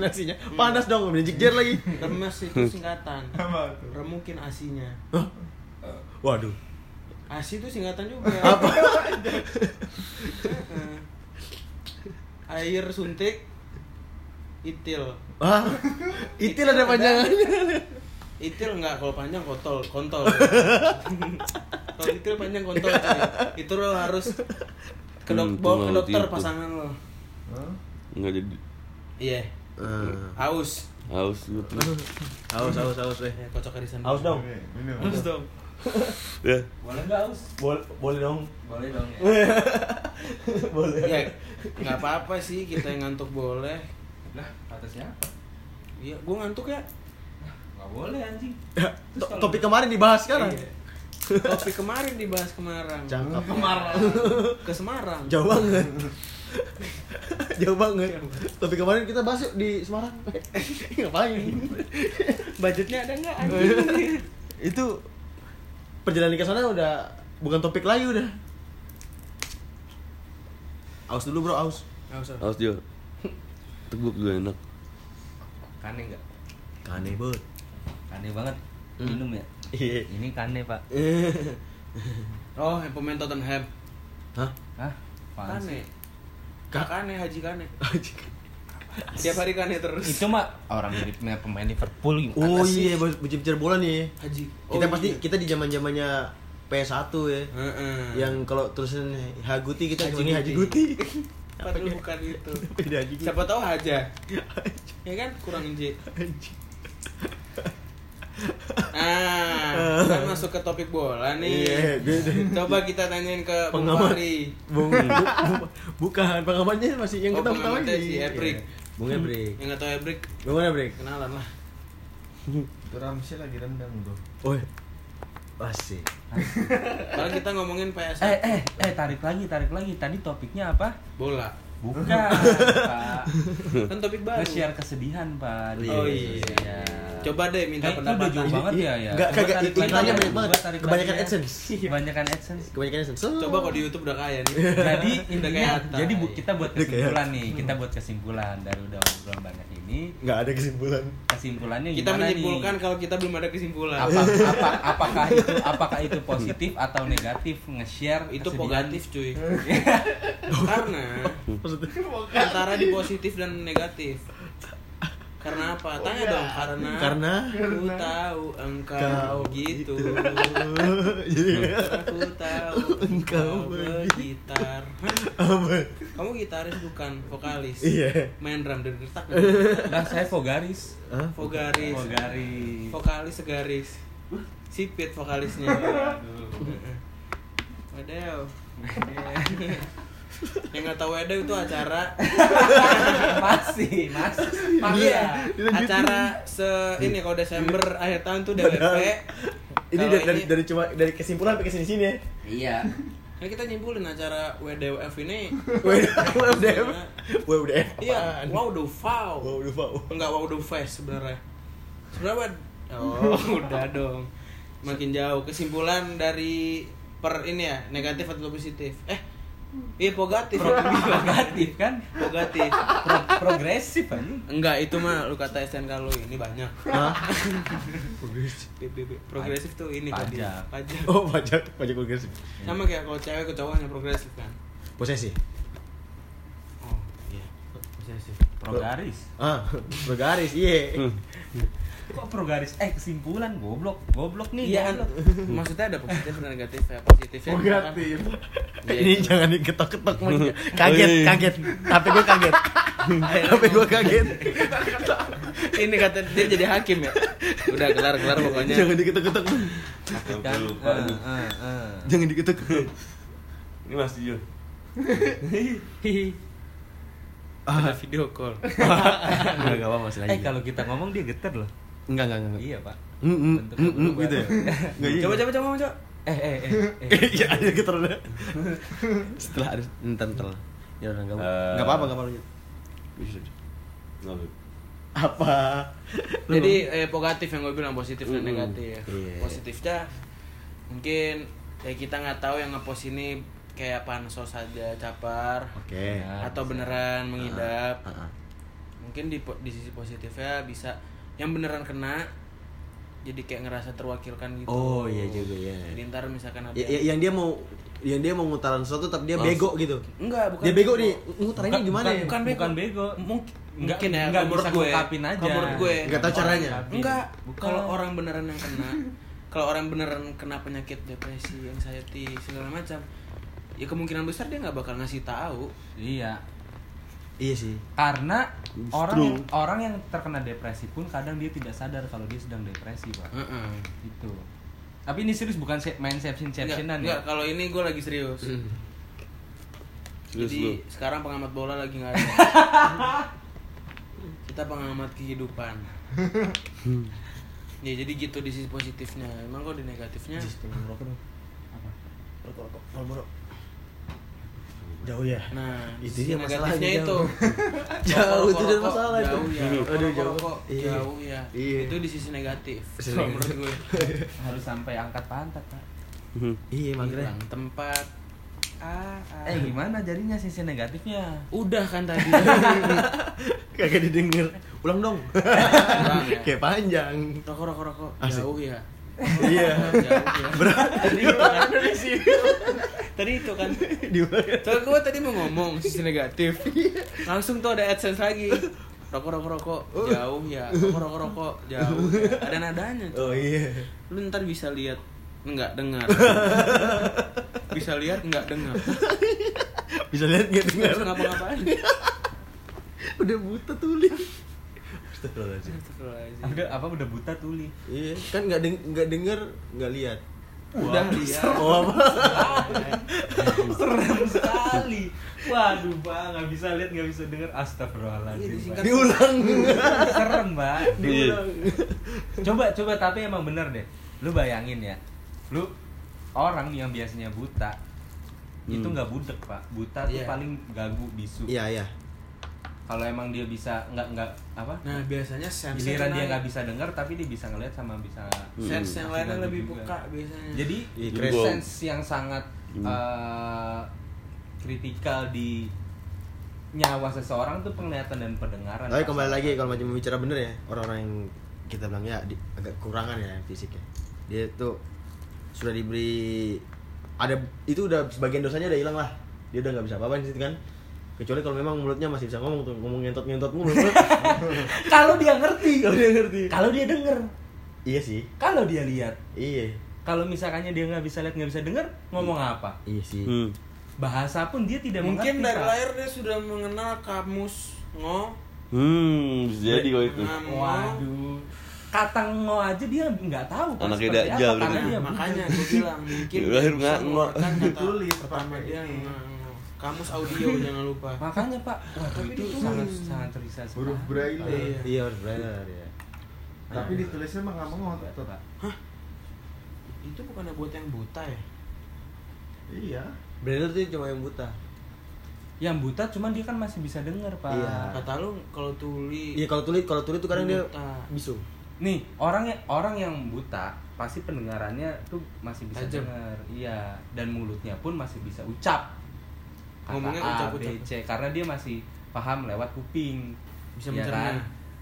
[SPEAKER 1] Nasinya panas dong, magic jar lagi.
[SPEAKER 2] remes itu singkatan
[SPEAKER 4] Apa tuh?
[SPEAKER 2] remukin asinya
[SPEAKER 1] Hah? Waduh.
[SPEAKER 2] asi itu singkatan juga apa [laughs] air suntik itil
[SPEAKER 1] Hah? Itil ada panjangannya.
[SPEAKER 2] itil enggak kalau panjang kontol kontol kalau itil panjang kontol cuy. itu lo harus ke dok
[SPEAKER 3] Hmm,
[SPEAKER 2] bawa ke
[SPEAKER 3] tulang
[SPEAKER 2] dokter
[SPEAKER 3] itil.
[SPEAKER 2] pasangan lo
[SPEAKER 4] Hah?
[SPEAKER 3] nggak jadi
[SPEAKER 2] iya
[SPEAKER 1] Eh,
[SPEAKER 2] haus
[SPEAKER 3] haus gue tuh
[SPEAKER 1] Haus, haus, haus, weh.
[SPEAKER 2] ya, kocok irisan
[SPEAKER 1] Haus dong.
[SPEAKER 4] Oke, Minum.
[SPEAKER 2] haus dong
[SPEAKER 3] ya
[SPEAKER 5] Boleh nggak Us?
[SPEAKER 1] Boleh, boleh dong.
[SPEAKER 5] Boleh dong ya.
[SPEAKER 1] Boleh.
[SPEAKER 2] ya nggak apa-apa sih kita yang ngantuk boleh
[SPEAKER 5] Lah, atasnya apa?
[SPEAKER 2] iya gue ngantuk ya
[SPEAKER 5] Nggak boleh anjing.
[SPEAKER 1] Ya, To- Topik kemarin dibahas sekarang.
[SPEAKER 2] Iya. topik kemarin dibahas kemarang
[SPEAKER 1] Cakep.
[SPEAKER 2] ke Semarang
[SPEAKER 1] Jauh banget. [laughs] Jauh banget.
[SPEAKER 2] Iya,
[SPEAKER 1] Topik kemarin kita bahas yuk di Semarang. [laughs] Ngapain?
[SPEAKER 2] budgetnya ada nggak
[SPEAKER 1] Itu perjalanan ke sana udah bukan topik lagi udah. Aus dulu, Bro, aus.
[SPEAKER 2] nggak usah
[SPEAKER 1] Oh.
[SPEAKER 3] haus dia teguk gue enak
[SPEAKER 7] Kane enggak?
[SPEAKER 1] Kane, Bud.
[SPEAKER 5] Aneh banget.
[SPEAKER 1] Hmm.
[SPEAKER 5] Minum ya.
[SPEAKER 1] Iya.
[SPEAKER 5] Ini kane, Pak.
[SPEAKER 2] oh yang pemain Tottenham
[SPEAKER 1] Hah?
[SPEAKER 5] Hah? Apaan sih?
[SPEAKER 2] Kane
[SPEAKER 1] Ka-
[SPEAKER 2] Kane Haji
[SPEAKER 1] [laughs]
[SPEAKER 2] Kane tiap hari Kane terus
[SPEAKER 5] Itu mah orang miripnya pemain Liverpool gimana
[SPEAKER 1] [laughs] Oh
[SPEAKER 5] sih?
[SPEAKER 1] iya, bocil-bocil bola nih.
[SPEAKER 2] Haji
[SPEAKER 1] Kita
[SPEAKER 2] Oh,
[SPEAKER 1] pasti
[SPEAKER 2] iya.
[SPEAKER 1] kita di zaman-zamannya PS1 ya.
[SPEAKER 2] Heeh.
[SPEAKER 1] Yang kalau tulisan Haguti kita
[SPEAKER 2] Haji
[SPEAKER 1] cuma Haji
[SPEAKER 2] Guti.
[SPEAKER 1] Guti.
[SPEAKER 2] padahal bukan
[SPEAKER 1] [laughs]
[SPEAKER 2] itu
[SPEAKER 1] Beda Haji Guti.
[SPEAKER 2] siapa tahu Haja ya kan kurang J ah kita masuk ke topik bola
[SPEAKER 1] Eh. Iya,
[SPEAKER 2] nih
[SPEAKER 1] beda.
[SPEAKER 2] [laughs] coba kita tanyain ke Bung
[SPEAKER 1] Pengamat.
[SPEAKER 2] Fahri.
[SPEAKER 1] Bung, bu- bukan pengamannya masih yang
[SPEAKER 2] Oh,
[SPEAKER 1] kita tahu Iya.
[SPEAKER 2] pengamannya si Ebrik.
[SPEAKER 1] Bung Ebrik.
[SPEAKER 2] yang nggak tahu Ebrik
[SPEAKER 1] Bung Ebrik.
[SPEAKER 2] kenalan lah
[SPEAKER 4] Itu Ramsey lagi rendang tuh.
[SPEAKER 1] Oi. Masih.
[SPEAKER 2] Padahal kita ngomongin PS
[SPEAKER 5] Eh, eh, eh, tarik lagi, tarik lagi. Tadi topiknya apa?
[SPEAKER 2] bola
[SPEAKER 5] Bukan, Pak.
[SPEAKER 2] kan topik baru
[SPEAKER 5] Nge-share kesedihan, Pak. di
[SPEAKER 1] Oh,
[SPEAKER 5] media
[SPEAKER 2] iya.
[SPEAKER 5] sosial.
[SPEAKER 2] coba deh minta
[SPEAKER 5] Kayaknya
[SPEAKER 2] pendapat
[SPEAKER 5] Eh, udah jauh banget ya ya.
[SPEAKER 1] Nggak,
[SPEAKER 5] Coba
[SPEAKER 1] kagak,
[SPEAKER 5] tarik
[SPEAKER 1] iklannya
[SPEAKER 5] lagi ya,
[SPEAKER 1] banyak banget.
[SPEAKER 5] coba tarik
[SPEAKER 1] Kebanyakan
[SPEAKER 5] lagi ya.
[SPEAKER 1] AdSense.
[SPEAKER 5] Kebanyakan AdSense.
[SPEAKER 1] Kebanyakan yang sensor.
[SPEAKER 2] coba kalau di YouTube udah kaya nih
[SPEAKER 5] Jadi
[SPEAKER 2] udah
[SPEAKER 5] intinya
[SPEAKER 2] kayak Atta.
[SPEAKER 5] jadi bu, kita buat
[SPEAKER 1] Udah kayak
[SPEAKER 5] kesimpulan nih, kita buat kesimpulan dari udah obrolan banyak ini.
[SPEAKER 1] Enggak ada kesimpulan.
[SPEAKER 5] Kesimpulannya
[SPEAKER 2] kita
[SPEAKER 5] gimana
[SPEAKER 2] menyimpulkan
[SPEAKER 5] nih?
[SPEAKER 2] kalau kita belum ada kesimpulan
[SPEAKER 5] Apa, apa, apakah itu apakah itu positif atau negatif nge-share
[SPEAKER 2] itu
[SPEAKER 5] kesedihan?
[SPEAKER 2] positif cuy [laughs] karena
[SPEAKER 1] Maksudnya
[SPEAKER 2] antara di positif dan negatif karena apa tanya dong karena
[SPEAKER 1] Karena-
[SPEAKER 2] aku tahu engkau
[SPEAKER 1] Kau
[SPEAKER 2] gitu
[SPEAKER 1] [laughs] Jadi
[SPEAKER 2] aku tahu
[SPEAKER 1] Engkau
[SPEAKER 2] engkau bergitar
[SPEAKER 1] apa?
[SPEAKER 2] kamu gitaris bukan vokalis
[SPEAKER 1] Iya.
[SPEAKER 2] main drum
[SPEAKER 1] [laughs]
[SPEAKER 2] dan gertak
[SPEAKER 5] Nah, saya Fogaris.
[SPEAKER 1] Hah?
[SPEAKER 2] vogaris
[SPEAKER 5] Fogaris.
[SPEAKER 2] vokalis segaris sipit vokalisnya
[SPEAKER 1] [laughs]
[SPEAKER 2] Waduh. yang nggak tahu ada itu acara
[SPEAKER 5] masih, masih. Masih.
[SPEAKER 2] Iya,
[SPEAKER 1] gitu.
[SPEAKER 2] acara se ini kalau Desember
[SPEAKER 1] Iya.
[SPEAKER 2] akhir tahun tuh DWP.
[SPEAKER 1] Ini
[SPEAKER 2] Kalau
[SPEAKER 1] dari, dari, dari cuma dari kesimpulan sampai ke sini-sini ya.
[SPEAKER 5] Iya.
[SPEAKER 2] Nah, kita nyimpulin acara WDWF
[SPEAKER 1] [laughs]
[SPEAKER 2] ini.
[SPEAKER 1] WWDF. WWDF.
[SPEAKER 2] Iya, wow the foul.
[SPEAKER 1] Wow,
[SPEAKER 2] Enggak wow the face sebenarnya. Sebenarnya wad- [laughs] oh, udah dong. Makin jauh kesimpulan dari per ini ya, negatif atau positif? Eh, iya pogatif.
[SPEAKER 5] Negatif kan?
[SPEAKER 2] Pogatif.
[SPEAKER 5] Pro- progresif anjing.
[SPEAKER 2] Enggak, itu mah lu kata STNK lu ini banyak.
[SPEAKER 1] Hah?
[SPEAKER 2] PBB. Progresif tuh ini tadi.
[SPEAKER 5] Pajak.
[SPEAKER 2] Pajak.
[SPEAKER 1] Oh, pajak, pajak progresif.
[SPEAKER 2] Sama kayak kalau cewek ke cowoknya progresif kan.
[SPEAKER 1] Posesi.
[SPEAKER 2] Oh, iya. Posesif.
[SPEAKER 5] Progaris.
[SPEAKER 3] Hmm.
[SPEAKER 1] Ah, bergaris, iya.
[SPEAKER 5] Kok pro garis? Eh kesimpulan goblok, goblok nih.
[SPEAKER 2] Iya kan?
[SPEAKER 5] goblok.
[SPEAKER 2] Maksudnya ada positif dan negatif ya. Positifnya
[SPEAKER 8] Oh,
[SPEAKER 2] misalkan-
[SPEAKER 8] gratis.
[SPEAKER 2] Iya,
[SPEAKER 1] Ini
[SPEAKER 2] itu.
[SPEAKER 1] jangan diketok-ketok Mang. Kaget, kaget. Tapi gue [laughs] kaget. Tapi gue kaget.
[SPEAKER 2] Ini kata dia jadi hakim ya. Udah kelar-kelar pokoknya.
[SPEAKER 1] Jangan diketok-ketok. Mang.
[SPEAKER 5] Kan?
[SPEAKER 3] Sampai lupa
[SPEAKER 5] Eh,
[SPEAKER 3] nih.
[SPEAKER 5] eh, eh.
[SPEAKER 1] Jangan diketok-ketok.
[SPEAKER 3] Ini masih iya. Jul.
[SPEAKER 2] Hihi.
[SPEAKER 1] Ah.
[SPEAKER 2] Ada video call.
[SPEAKER 1] Enggak enggak apa-apa masih
[SPEAKER 5] Eh
[SPEAKER 1] lanjut.
[SPEAKER 5] kalau kita ngomong dia geter loh.
[SPEAKER 1] Enggak enggak enggak.
[SPEAKER 5] Iya pak.
[SPEAKER 1] Mm, mm,
[SPEAKER 5] Bentuknya
[SPEAKER 1] mm, mm,
[SPEAKER 5] berubah.
[SPEAKER 1] gitu ya. Enggak, iya.
[SPEAKER 2] Coba coba coba coba.
[SPEAKER 5] [laughs] Eh eh eh. eh.
[SPEAKER 1] [laughs] Iya, ada getar udah. Setelah ada entar entar. lah. Ya udah enggak apa-apa.
[SPEAKER 3] Eh.
[SPEAKER 1] Enggak apa-apa, enggak apa-apa. lanjut. Bisa, bisa.
[SPEAKER 3] Nol.
[SPEAKER 1] Apa? Lu
[SPEAKER 2] Jadi eh, positif yang gue bilang positif dan
[SPEAKER 3] Mm-mm.
[SPEAKER 2] negatif.
[SPEAKER 1] Iya.
[SPEAKER 2] Positifnya mungkin ya kita nggak tahu yang ngepost ini kayak pansos saja capar
[SPEAKER 1] Oke.
[SPEAKER 2] atau beneran mengidap.
[SPEAKER 1] Heeh.
[SPEAKER 2] mungkin di, po- di sisi positifnya bisa yang beneran kena jadi kayak ngerasa terwakilkan gitu
[SPEAKER 1] Oh, iya juga, iya.
[SPEAKER 2] jadi ntar misalkan ada
[SPEAKER 1] Ya, ya, yang dia mau yang dia mau ngutaran sesuatu tapi dia
[SPEAKER 3] Langsung.
[SPEAKER 1] bego gitu.
[SPEAKER 2] enggak bukan
[SPEAKER 1] dia bego nih, ngutarannya
[SPEAKER 5] Bukan-
[SPEAKER 1] gimana ya?
[SPEAKER 5] bukan- Bukan bego. Bukan bego.
[SPEAKER 2] mungkin
[SPEAKER 5] Nggak-
[SPEAKER 2] mungkin ya kalau
[SPEAKER 5] nggak bisa
[SPEAKER 2] menurut gue
[SPEAKER 5] ngungkapin aja.
[SPEAKER 2] kalau menurut gue
[SPEAKER 1] Nggak tahu caranya.
[SPEAKER 2] Iya. enggak
[SPEAKER 5] Bukan.
[SPEAKER 2] kalau orang beneran yang kena [laughs] kalau orang beneran kena penyakit depresi anxiety segala macam ya kemungkinan besar dia nggak bakal ngasih tahu
[SPEAKER 5] Iya.
[SPEAKER 1] Iya sih.
[SPEAKER 5] Karena
[SPEAKER 1] Justru.
[SPEAKER 5] orang yang, orang yang terkena depresi pun kadang dia tidak sadar kalau dia sedang depresi pak.
[SPEAKER 2] Heeh.
[SPEAKER 5] Itu. Tapi ini serius bukan se- main sepsin sepsinan ya.
[SPEAKER 2] Enggak, kalau ini gue lagi serius
[SPEAKER 3] Serius
[SPEAKER 2] Jadi
[SPEAKER 3] lu.
[SPEAKER 2] sekarang pengamat bola lagi nggak ada. Kita pengamat kehidupan. ya jadi gitu di sisi positifnya. Emang kok di negatifnya?
[SPEAKER 1] Jauh ya. [laughs]
[SPEAKER 2] Nah, di
[SPEAKER 1] Itu
[SPEAKER 2] sisi
[SPEAKER 1] dia
[SPEAKER 2] negatifnya
[SPEAKER 1] masalahnya,
[SPEAKER 2] itu.
[SPEAKER 1] jauh. Jauh, itu dia
[SPEAKER 2] Rokok-rokok,
[SPEAKER 1] masalah itu.
[SPEAKER 2] Jauh ya.
[SPEAKER 1] Aduh,
[SPEAKER 2] Rokok-rokok,
[SPEAKER 1] jauh. Iya.
[SPEAKER 2] jauh ya.
[SPEAKER 1] Iya.
[SPEAKER 2] Itu di sisi negatif.
[SPEAKER 1] Sisi negatif.
[SPEAKER 2] Kalau menurut
[SPEAKER 1] [laughs]
[SPEAKER 2] gue.
[SPEAKER 5] Harus sampai angkat pantat pak.
[SPEAKER 3] Hmm.
[SPEAKER 1] Iya, makanya.
[SPEAKER 2] Hilang tempat. Ah, ah.
[SPEAKER 1] iya.
[SPEAKER 5] Eh gimana jadinya sisi negatifnya?
[SPEAKER 2] udah kan
[SPEAKER 1] [laughs]
[SPEAKER 2] tadi.
[SPEAKER 1] [laughs] Kagak didengar. Ulang dong.
[SPEAKER 2] Ulang ya.
[SPEAKER 1] [laughs] Kayak panjang.
[SPEAKER 2] Rokok rokok rokok.
[SPEAKER 1] Asik.
[SPEAKER 2] Jauh ya.
[SPEAKER 1] Iya. [laughs]
[SPEAKER 2] Jauh ya. Tadi itu kan. Tadi itu kan.
[SPEAKER 1] Diulang.
[SPEAKER 2] Soalnya gue tadi mau ngomong sisi negatif Langsung tuh ada AdSense lagi Rokok, rokok, rokok,
[SPEAKER 1] Oh.
[SPEAKER 2] jauh ya Rokok, rokok, rokok, jauh ya Ada nadanya
[SPEAKER 1] Oh
[SPEAKER 2] tuh
[SPEAKER 1] iya.
[SPEAKER 2] Lu ntar bisa lihat Nggak dengar
[SPEAKER 5] [laughs]
[SPEAKER 2] Bisa lihat nggak dengar
[SPEAKER 1] Bisa lihat nggak
[SPEAKER 2] Nggak bisa
[SPEAKER 1] dengar?
[SPEAKER 2] ngapa-ngapain
[SPEAKER 1] Udah buta tulis. Astagfirullahaladzim.
[SPEAKER 2] Astagfirullahaladzim.
[SPEAKER 5] Udah apa udah buta tuli.
[SPEAKER 1] Iya, kan nggak deng nggak dengar, nggak lihat.
[SPEAKER 2] Udah lihat
[SPEAKER 1] Oh apa?
[SPEAKER 5] [laughs] Serem sekali. Waduh, Pak, nggak bisa lihat, nggak bisa dengar.
[SPEAKER 2] Iya,
[SPEAKER 5] Astagfirullahaladzim.
[SPEAKER 2] disingkat. [laughs]
[SPEAKER 5] Pak.
[SPEAKER 1] Diulang.
[SPEAKER 5] Serem, Pak. Iya.
[SPEAKER 1] Diulang.
[SPEAKER 5] Coba coba tapi emang bener deh. Lu bayangin ya. Lu orang yang biasanya buta itu nggak budek, Pak. Buta tuh
[SPEAKER 2] Iya.
[SPEAKER 5] paling gagu bisu.
[SPEAKER 1] Iya, iya.
[SPEAKER 5] Kalau emang dia bisa nggak nggak apa?
[SPEAKER 2] Nah biasanya sense
[SPEAKER 5] Giliran dia nggak Hmm, bisa dengar tapi dia bisa ngelihat sama bisa
[SPEAKER 2] Sense yang lainnya
[SPEAKER 5] Gagu
[SPEAKER 2] lebih
[SPEAKER 5] juga.
[SPEAKER 2] buka biasanya
[SPEAKER 5] Jadi
[SPEAKER 1] Iya,
[SPEAKER 3] keren.
[SPEAKER 5] sense yang sangat eh, kritikal di nyawa seseorang tuh penglihatan dan pendengaran.
[SPEAKER 1] Tapi kembali lagi kalau macam bicara bener ya orang-orang yang kita bilang ya di- agak kurangan ya fisiknya. Dia tuh sudah diberi ada itu udah sebagian dosanya udah hilang lah. Dia udah nggak bisa apa-apa di situ kan. Kecuali kalau memang mulutnya masih bisa ngomong tuh ngomong ngentot-ngentot [laughs] mulu.
[SPEAKER 5] kalau dia ngerti,
[SPEAKER 1] Kalau dia ngerti.
[SPEAKER 5] kalau dia denger,
[SPEAKER 1] Iya sih.
[SPEAKER 5] kalau dia lihat,
[SPEAKER 1] Iya.
[SPEAKER 5] kalau misalkannya dia nggak bisa lihat nggak bisa denger, ngomong apa?
[SPEAKER 1] Iya sih.
[SPEAKER 3] Hmm.
[SPEAKER 5] Bahasa pun dia tidak
[SPEAKER 2] Mungkin
[SPEAKER 5] mengerti,
[SPEAKER 2] dari
[SPEAKER 5] Pak.
[SPEAKER 2] lahir dia sudah mengenal kamus Ngo
[SPEAKER 3] Hmm, bisa jadi kalau itu.
[SPEAKER 2] Ngamo.
[SPEAKER 5] Waduh, kata ngo aja dia nggak tahu. Pak,
[SPEAKER 3] Anaknya
[SPEAKER 5] seperti
[SPEAKER 3] dajal
[SPEAKER 5] apa,
[SPEAKER 3] berarti.
[SPEAKER 5] karena dia
[SPEAKER 2] Nah, makanya gue bilang mungkin
[SPEAKER 3] Dia lahir
[SPEAKER 2] bisa
[SPEAKER 3] nggak
[SPEAKER 2] mengeluarkan
[SPEAKER 3] nggak.
[SPEAKER 2] kata
[SPEAKER 8] Ditulis
[SPEAKER 2] pertama
[SPEAKER 8] pakai
[SPEAKER 2] dia
[SPEAKER 8] ini.
[SPEAKER 2] nggak. kamus
[SPEAKER 5] [laughs]
[SPEAKER 2] audio jangan lupa
[SPEAKER 5] Makanya Pak, waduh itu sangat sangat risau
[SPEAKER 8] Huruf braille.
[SPEAKER 2] Iya.
[SPEAKER 1] Iya harus belajar ya.
[SPEAKER 8] Tapi ditulisnya mah nggak mengotot.
[SPEAKER 2] itu bukannya buat yang buta ya
[SPEAKER 8] Iya.
[SPEAKER 1] Braille tuh cuma yang buta.
[SPEAKER 5] Yang buta cuman dia kan masih bisa dengar Pak.
[SPEAKER 1] Iya.
[SPEAKER 2] kata lu kalau tuli
[SPEAKER 1] Iya kalau tulis kalau tulis tuh kadang dia
[SPEAKER 2] Buta.
[SPEAKER 1] bisu.
[SPEAKER 5] Nih, orang yang orang yang buta pasti pendengarannya tuh masih bisa
[SPEAKER 2] Tajam.
[SPEAKER 5] dengar. Iya, dan mulutnya pun masih bisa ucap. Kata
[SPEAKER 2] Ngomongnya
[SPEAKER 5] A,
[SPEAKER 2] ucap,
[SPEAKER 5] B,
[SPEAKER 2] ucap.
[SPEAKER 5] C karena dia masih paham lewat kuping.
[SPEAKER 2] Bisa
[SPEAKER 5] Iya
[SPEAKER 2] mencerna.